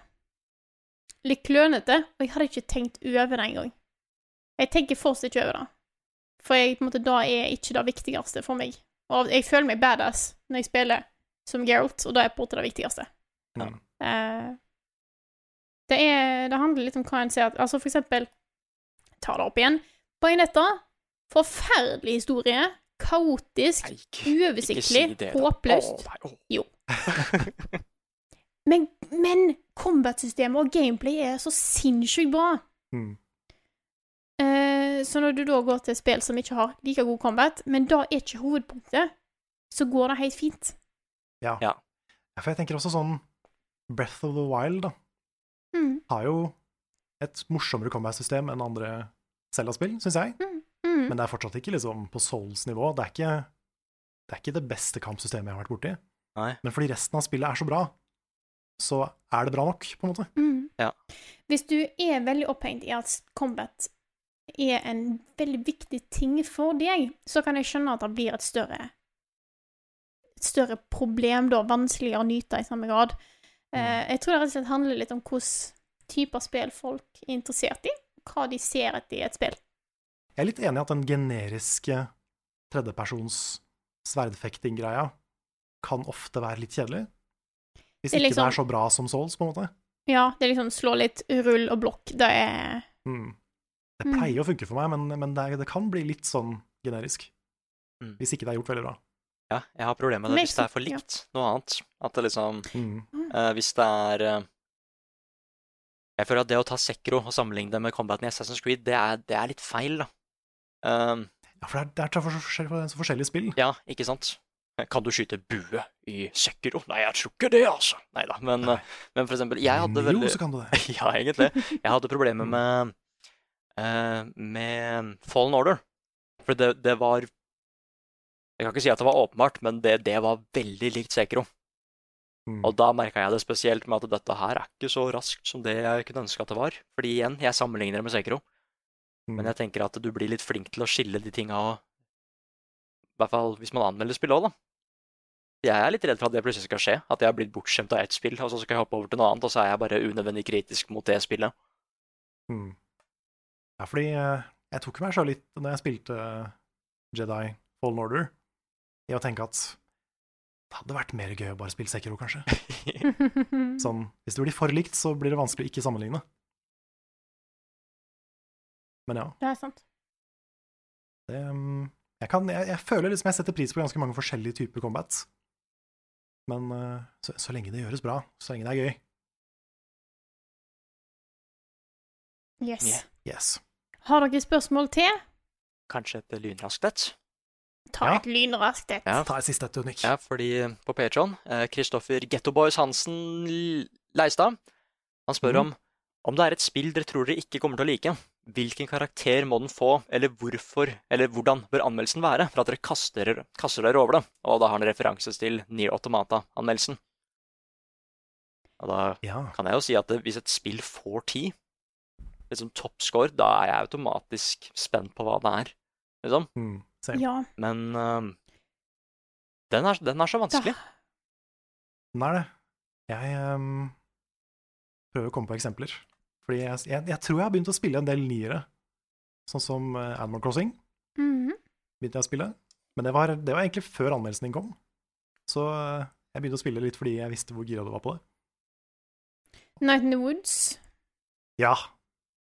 S1: litt klønete, og jeg hadde ikke tenkt over det engang. Jeg tenker fortsatt ikke over det, for jeg, på en måte, da er ikke det viktigste for meg. Og jeg føler meg badass når jeg spiller som Geralt, og da er på en måte det viktigste.
S2: Mm.
S1: Eh, det, er, det handler litt om hva en ser at Altså, for eksempel Ta det opp igjen. Bajonetta. Forferdelig historie. Kaotisk. Uoversiktlig.
S4: si det, da.
S1: håpløst.
S4: Å, nei, å.
S1: Jo. Men, men combat-systemet og gameplay er så sinnssykt bra.
S2: Mm.
S1: Eh, så når du da går til spill som ikke har like god combat, men da er ikke hovedpunktet, så går det helt fint.
S2: Ja. Ja, For jeg tenker også sånn Breath of the Wild da,
S1: Mm.
S2: har jo et morsommere combat-system enn andre Zelda-spill, syns jeg.
S1: Mm.
S2: Men det er fortsatt ikke liksom på Souls-nivå. Det, er ikke- det er ikke det beste kampsystemet jeg har vært borti.
S4: Nei.
S2: Men fordi resten av spillet er så bra, så er det bra nok, på en måte.
S1: Mm.
S4: Ja.
S1: Hvis du er veldig opphengt i at combat er en veldig viktig ting for deg, så kan jeg skjønne at det blir et større et større problem, da. Vanskeligere å nyte i samme grad. Eh, jeg tror det rett og slett handler litt om hvilke typer spill folk er interessert i. Hva de ser etter i et spill.
S2: Jeg er litt enig i at den generiske tredjepersons sverdfekting-greia kan ofte være litt kjedelig. Hvis
S1: Det er
S2: ikke det
S1: liksom-
S2: er så bra som Souls, på en måte.
S1: Ja, det er liksom slå litt rull og blokk. Det er
S2: Mm. Det
S1: Mm.
S2: pleier å funke for meg, men, men det, er, det kan bli litt sånn generisk.
S4: Mm.
S2: Hvis ikke det er gjort veldig bra.
S4: Ja, jeg har problemer med
S1: Men
S4: det
S1: jeg
S4: hvis det er for
S1: syns- ja. Ah.
S4: likt noe annet. At det liksom
S2: Mm.
S4: eh, Hvis det er eh, Jeg føler at det å ta Sekro og sammenligne det med combaten i Assassin's Creed, det er, det er litt feil, da. Eh,
S2: Ja, for det er, det er så forskjellige, så forskjellige spill.
S4: ja, ikke sant? Kan du skyte bue i Sekiro? Nei, jeg tror ikke det, altså. Nei da. Men, men for eksempel, jeg hadde
S2: Jo,
S4: veldig
S2: så kan du det.
S4: Ja, egentlig. Jeg hadde problemer med eh, med Fallen Order. For det, det var Jeg kan ikke si at det var åpenbart, men det, det var veldig likt Sekiro.
S2: Mm.
S4: Og da merka jeg det spesielt med at dette her er ikke så raskt som det jeg kunne ønske at det var. Fordi igjen, jeg sammenligner det med Sekiro. Men jeg tenker at du blir litt flink til å skille de tinga og I hvert fall hvis man anmelder spill òg, da. Jeg er litt redd for at det plutselig skal skje. At jeg har blitt bortskjemt av ett spill, og så skal jeg hoppe over til noe annet, og så er jeg bare unødvendig kritisk mot det spillet.
S2: Mm. Ja, fordi eh, jeg tok meg sjøl litt da jeg spilte eh, Jedi Fallen Order, i å tenke at det hadde vært mer gøy å bare spille Sekiro, kanskje. sånn, hvis det blir for likt, så blir det vanskelig å ikke sammenligne. Men ja,
S1: Det er sant.
S2: det mm, Jeg, kan, jeg, jeg føler liksom jeg setter pris på ganske mange forskjellige typer combat. Men eh, så, så lenge det gjøres bra, så lenge det er gøy.
S1: Yes.
S2: Yes.
S1: Har dere spørsmål til?
S4: Kanskje et lynraskt et?
S1: Ta et lynraskt et.
S2: Ta et siste et, Nick.
S4: Ja, fordi på Patreon, eh, Kristoffer Gettoboys Hansen L- Leistad, han spør om om det er et spill dere tror dere ikke kommer til å like, hvilken karakter må den få, eller hvorfor, eller hvordan bør anmeldelsen være for at dere kaster, kaster dere over det? Og da har han referanse til Near Automata-anmeldelsen. Og da kan jeg jo si at det- hvis et spill får ti, liksom toppscore, da er jeg automatisk spent på hva det er, liksom.
S2: mm.
S1: Ja.
S4: Men øhm, den, er, den er så vanskelig.
S2: Den er det. Jeg ehm, prøver å komme på eksempler. Fordi jeg, jeg, jeg tror jeg har begynt å spille en del niere. Sånn som eh, Animal Crossing
S1: Mhm.
S2: begynte jeg å spille. Men det var, det var egentlig før anmeldelsen din kom. Så eh, jeg begynte å spille litt fordi jeg visste hvor gira du var på det.
S1: Night in the Woods.
S2: Ja,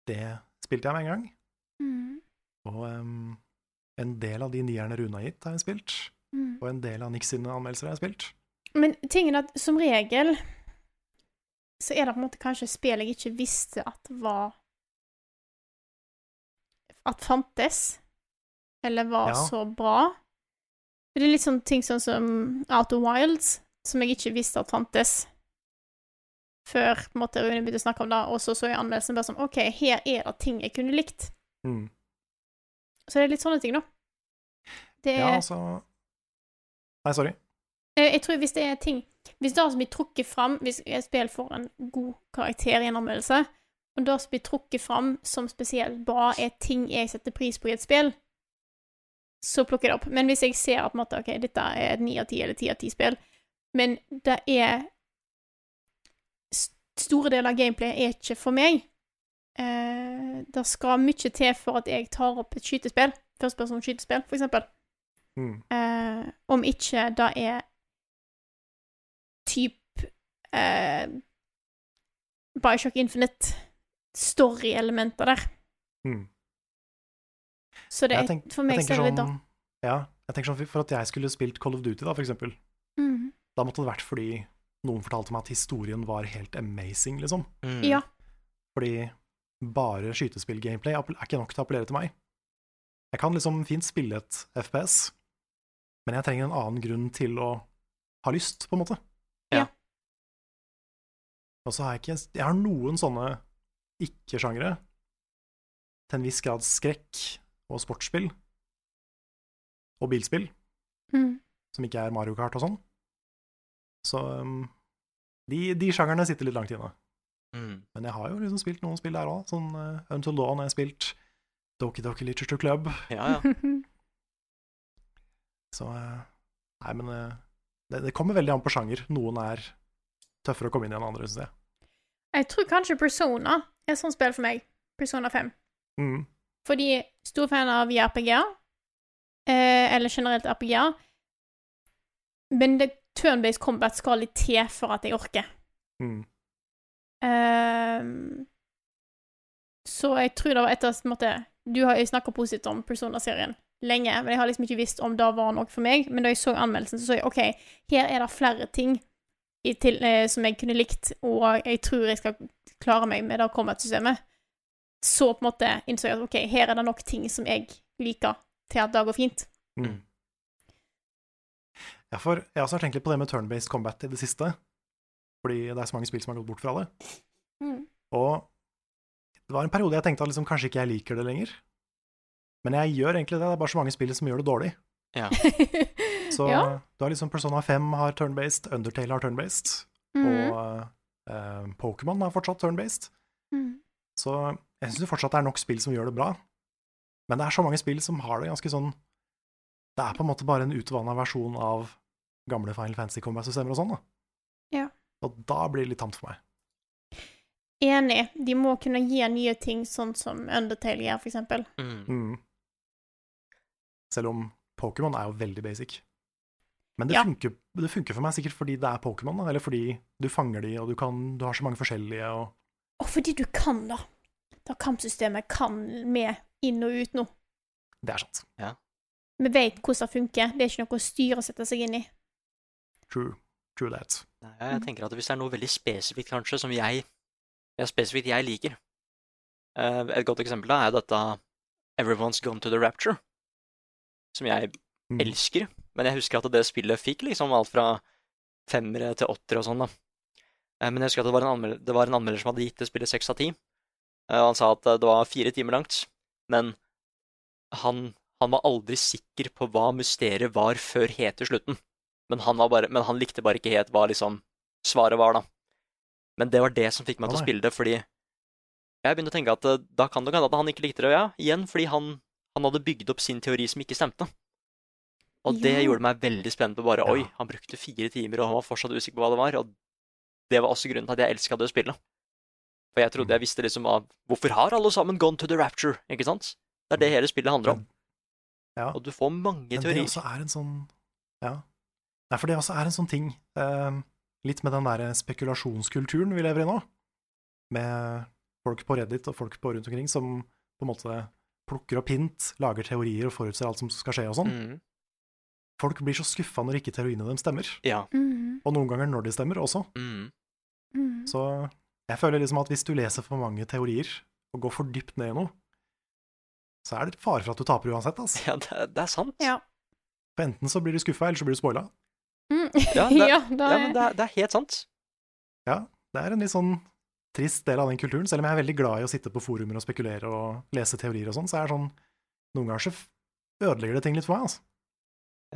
S2: det spilte jeg med en gang.
S1: Mhm.
S2: Og ehm, en del av de nierne Rune har gitt, har jeg spilt.
S1: Mhm.
S2: Og en del av Nick sine anmeldelser har jeg spilt.
S1: Men tingen er at som regel så er det på en måte kanskje spill jeg ikke visste at var At fantes, eller var
S9: Ja.
S1: så bra. Det er litt sånn ting sånn som Outer Wilds, som jeg ikke visste at fantes. Før på en måte Rune begynte å snakke om det, og så så jeg anmeldelsen bare sånn OK, her er det ting jeg kunne likt.
S2: Mm.
S1: Så det er litt sånne ting, da. Det
S2: Ja,
S1: er
S2: altså Nei, sorry.
S1: Eh, Jeg tror hvis det er ting Hvis det som blir trukket fram Hvis et spill får en god karakter i en anmeldelse, og det som blir trukket fram som spesielt bra, er ting jeg setter pris på i et spill, så plukker jeg det opp. Men hvis jeg ser at på en måte, ok, dette er et 9 av 10 eller 10 av 10-spill, men det er st- Store deler av gameplayet er ikke for meg. Eh, det skal mye til for at jeg tar opp et skytespill, førstepersons skytespill, for eksempel.
S2: Mm,
S1: Eh, om ikke det er typ eh, Bioshock Infinite story-elementer der.
S2: Mm.
S1: Så det
S2: Jeg
S1: er
S2: tenk-
S1: for meg
S2: jeg tenker
S1: så er det litt da.
S2: sånn- Ja, jeg tenker sånn for at jeg skulle spilt Call of Duty, da, for eksempel.
S1: Mhm.
S2: Da måtte det vært fordi noen fortalte meg at historien var helt amazing, liksom.
S4: Mm.
S1: Ja.
S2: Fordi bare skytespill-gameplay appell- er ikke nok til å appellere til meg. Jeg kan liksom fint spille et FPS, men jeg trenger en annen grunn til å ha lyst, på en måte.
S1: Ja.
S2: Og så har jeg ikke Jeg har noen sånne ikke-sjangere. Til en viss grad skrekk og sportsspill. Og bilspill
S1: Mhm.
S2: som ikke er Mario Kart og sånn. Så um, de, de sjangerne sitter litt langt inne.
S4: Mm.
S2: Men jeg har jo liksom spilt noen spill der òg. Sånn uh, Until Dawn har jeg spilt Doki Doki Literature Club.
S4: Ja,
S1: Mhm.
S2: Så eh, Nei, men eh, det, det kommer veldig an på sjanger. Noen er tøffere å komme inn i enn andre, syns jeg.
S1: Jeg tror kanskje Persona er et sånt spill for meg. Persona 5.
S2: Mm.
S1: Fordi stor fan av JRPG-er, eh, eller generelt RPG-er, men det turn-based combat skal litt til for at jeg orker.
S2: Mm.
S1: Ehm, så jeg tror det var etter på en måte, Du har jo snakka positivt om Persona-serien lenge, men jeg har liksom ikke visst om det var noe for meg. Men da jeg så anmeldelsen, så så jeg OK, her er det flere ting i til, eh, som jeg kunne likt, og jeg tror jeg skal klare meg med det combat-systemet. Så på en måte innså jeg at OK, her er det
S4: Mm.
S1: nok ting som jeg liker til at det går fint.
S2: Ja, for jeg også har tenkt litt på det med turn-based combat i det siste. Fordi det er så mange spill som har gått bort fra det.
S1: Mm.
S2: Og det var en periode jeg tenkte at liksom, kanskje ikke jeg liker det lenger. Men jeg gjør egentlig det. Det er bare så mange spill som gjør det dårlig.
S4: Ja.
S2: Så
S1: Ja.
S2: du har liksom Persona 5 har turn-based, Undertale har turn-based,
S1: Mhm.
S2: og eh, Pokémon har fortsatt turn-based.
S1: Mhm.
S2: Så jeg syns fortsatt det er nok spill som gjør det bra. Men det er så mange spill som har det ganske sånn Det er på en måte bare en utvanna versjon av gamle Final Fantasy Combat-systemer og sånn, da.
S1: Ja.
S2: Og da blir det litt tamt for meg.
S1: Enig. De må kunne gi nye ting, sånn som Undertale gjør, for eksempel.
S2: Mm. Selv om Pokémon er jo veldig basic. Men det,
S1: Ja.
S2: funker, det funker for meg sikkert fordi det er Pokémon, da, eller fordi du fanger de, og du, kan, du har så mange forskjellige, og
S1: Og fordi du kan, da. Da kampsystemet kan med inn og ut nå.
S2: det er sant.
S1: Vi vet hvordan det funker. Det er ikke noe å styre og sette seg inn i.
S2: True. True that.
S4: Nei, Jeg tenker at hvis det er noe veldig spesifikt, kanskje, som jeg ja, spesifikt jeg liker Eh, Et godt eksempel da er dette Everyone's Gone to the Rapture, som jeg elsker. Men jeg husker at det spillet fikk liksom alt fra femmere til åttere og sånn, da. Eh, Men jeg husker at det var, en anmel- det var en anmelder som hadde gitt det spillet seks av ti. Eh, Og han sa at eh, det var fire timer langt, men han, han var aldri sikker på hva mysteriet var før helt til slutten. Men han, var bare, men han likte bare ikke helt hva liksom svaret var, da. Men det var det som fikk meg til
S9: Å,
S4: å
S9: nei.
S4: spille det, fordi jeg begynte å tenke at eh, da kan det hende at han ikke likte det, ja, igjen, fordi han, han hadde bygd opp sin teori som ikke stemte. Og det
S9: Ja.
S4: gjorde meg veldig spent på bare Oi, han brukte fire timer, og han var fortsatt usikker på hva det var. Og det var også grunnen til at jeg elska det spillet. For jeg
S2: Mm.
S4: trodde jeg visste liksom av Hvorfor har alle sammen gone to the rapture? Ikke sant? Det er det hele spillet handler om. Og du får
S2: Mm. Men
S4: mange
S2: det
S4: teorier.
S2: også er en sånn Ja. Nei, for det også er en sånn ting eh, Litt med den der spekulasjonskulturen vi lever i nå, med folk på Reddit og folk på rundt omkring som på en måte plukker opp hint, lager teorier og forutser alt som skal skje og
S4: Mm.
S2: sånn. Folk blir så skuffa når ikke teoriene dem stemmer,
S4: Ja.
S2: og noen ganger når de stemmer også.
S4: Mm.
S2: Så jeg føler liksom at hvis du leser for mange teorier og går for dypt ned i noe, så er det fare for at du taper uansett, altså.
S4: Ja, det, det er sant.
S1: Ja.
S2: For enten så blir du skuffa, eller så blir du spoila.
S1: Mm.
S4: Ja, det,
S1: ja,
S4: ja,
S1: da
S4: men det, er- det er helt sant.
S2: Ja, det er en litt sånn trist del av den kulturen, selv om jeg er veldig glad i å sitte på forumer og spekulere og lese teorier og sånn, så er det sånn Noen ganger så f- ødelegger det ting litt for meg, altså.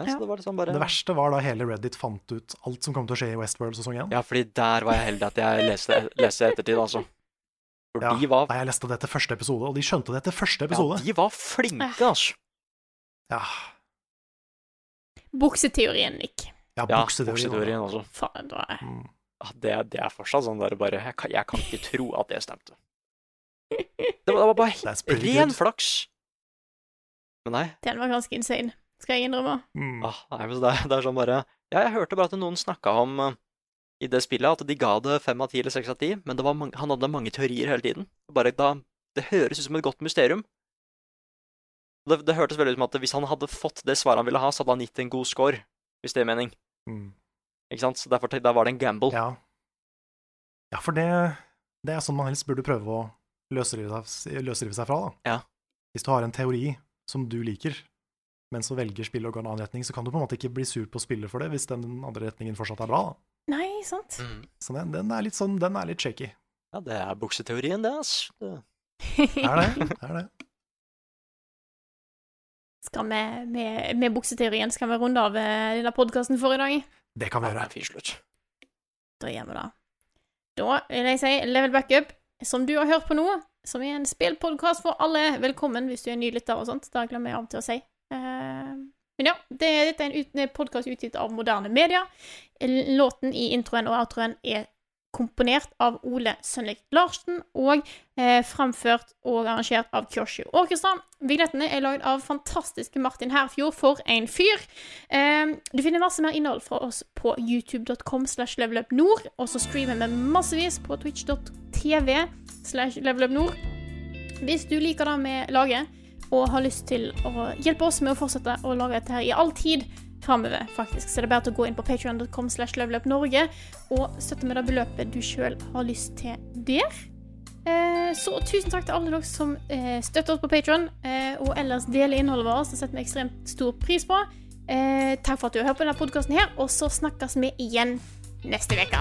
S4: Ja, så det var liksom bare
S2: Det verste var da hele Reddit fant ut alt som kom til å skje i Westworld sesong 1.
S4: Ja, fordi der var jeg heldig at jeg leste, leste ettertid, altså. For
S2: Ja,
S4: de var
S2: Nei, jeg leste det etter første episode, og de skjønte det etter første episode.
S4: Ja, de var flinke, altså.
S2: Ja,
S1: Bukseteorien, Nick.
S2: ja, bukseteorien.
S4: bukseteorien også.
S1: Faen, da. er-
S4: Ja, Det, det er fortsatt sånn der bare jeg kan, jeg kan ikke tro at det stemte. Det var, det var bare he-
S1: pretty
S4: ren
S1: good.
S4: flaks. Men nei.
S1: Den var ganske insane, skal jeg innrømme.
S2: Mm.
S4: Ah, nei men så det, er- det er sånn bare Ja, jeg hørte bare at noen snakka om eh, i det spillet at de ga det fem av ti eller seks av ti, men det var mange, han hadde mange teorier hele tiden. Bare da Det høres ut som et godt mysterium. Det, det hørtes veldig ut som at hvis han hadde fått det svaret han ville ha, så hadde han gitt en god score, hvis det er mening.
S2: Mm.
S4: Ikke sant? Så derfor, tenkte jeg- da var det en gamble.
S2: Ja. ja, for det, det er sånn man helst burde prøve å løsrive seg, løsrive seg fra, da.
S4: Ja.
S2: Hvis du har en teori som du liker, men så velger spillet å gå en annen retning, så kan du på en måte ikke bli sur på spillet for det, hvis den andre retningen fortsatt er bra, da.
S1: Nei,
S4: Mm.
S1: sant?
S2: Så den, den er litt sånn, den er litt shaky.
S4: Ja, det er bukseteorien, det, ass. Det-
S2: Er det? Er det?
S1: Skal vi med, med bukseteorien skal vi runde av eh, denne podkasten for i dag?
S2: Det kan vi gjøre.
S1: Da gjør vi det. Da vil jeg si Level Backup, som du har hørt på nå, som er en spillpodkast for alle. Velkommen hvis du er ny lytter og sånt. Det glemmer jeg av og til å si. Eh, men ja, det, dette er en ut, podkast utgitt av moderne media. Låten i introen og outroen er komponert av Ole Sønlik Larsen og eh, framført og arrangert av Kyoshu Orkestra. Vignettene er lagd av fantastiske Martin Herfjord, for en fyr! Eh, du finner masse mer innhold fra oss på youtube.com slash levelupnord, og så streamer vi massevis på twitch.tv slash levelupnord. Hvis du liker det vi lager, og har lyst til å hjelpe oss med å fortsette å lage dette her i all tid framover, faktisk, så er det bare til å gå inn på patreon.com slash levelupnorge og støtte med det beløpet du sjøl har lyst til der. Eh, Så tusen takk til alle dere som eh, støtter oss på Patron, og ellers deler innholdet vårt. Det setter vi ekstremt stor pris på. Eh, takk for at du har hørt på denne podkasten her, og så snakkes vi igjen neste uke.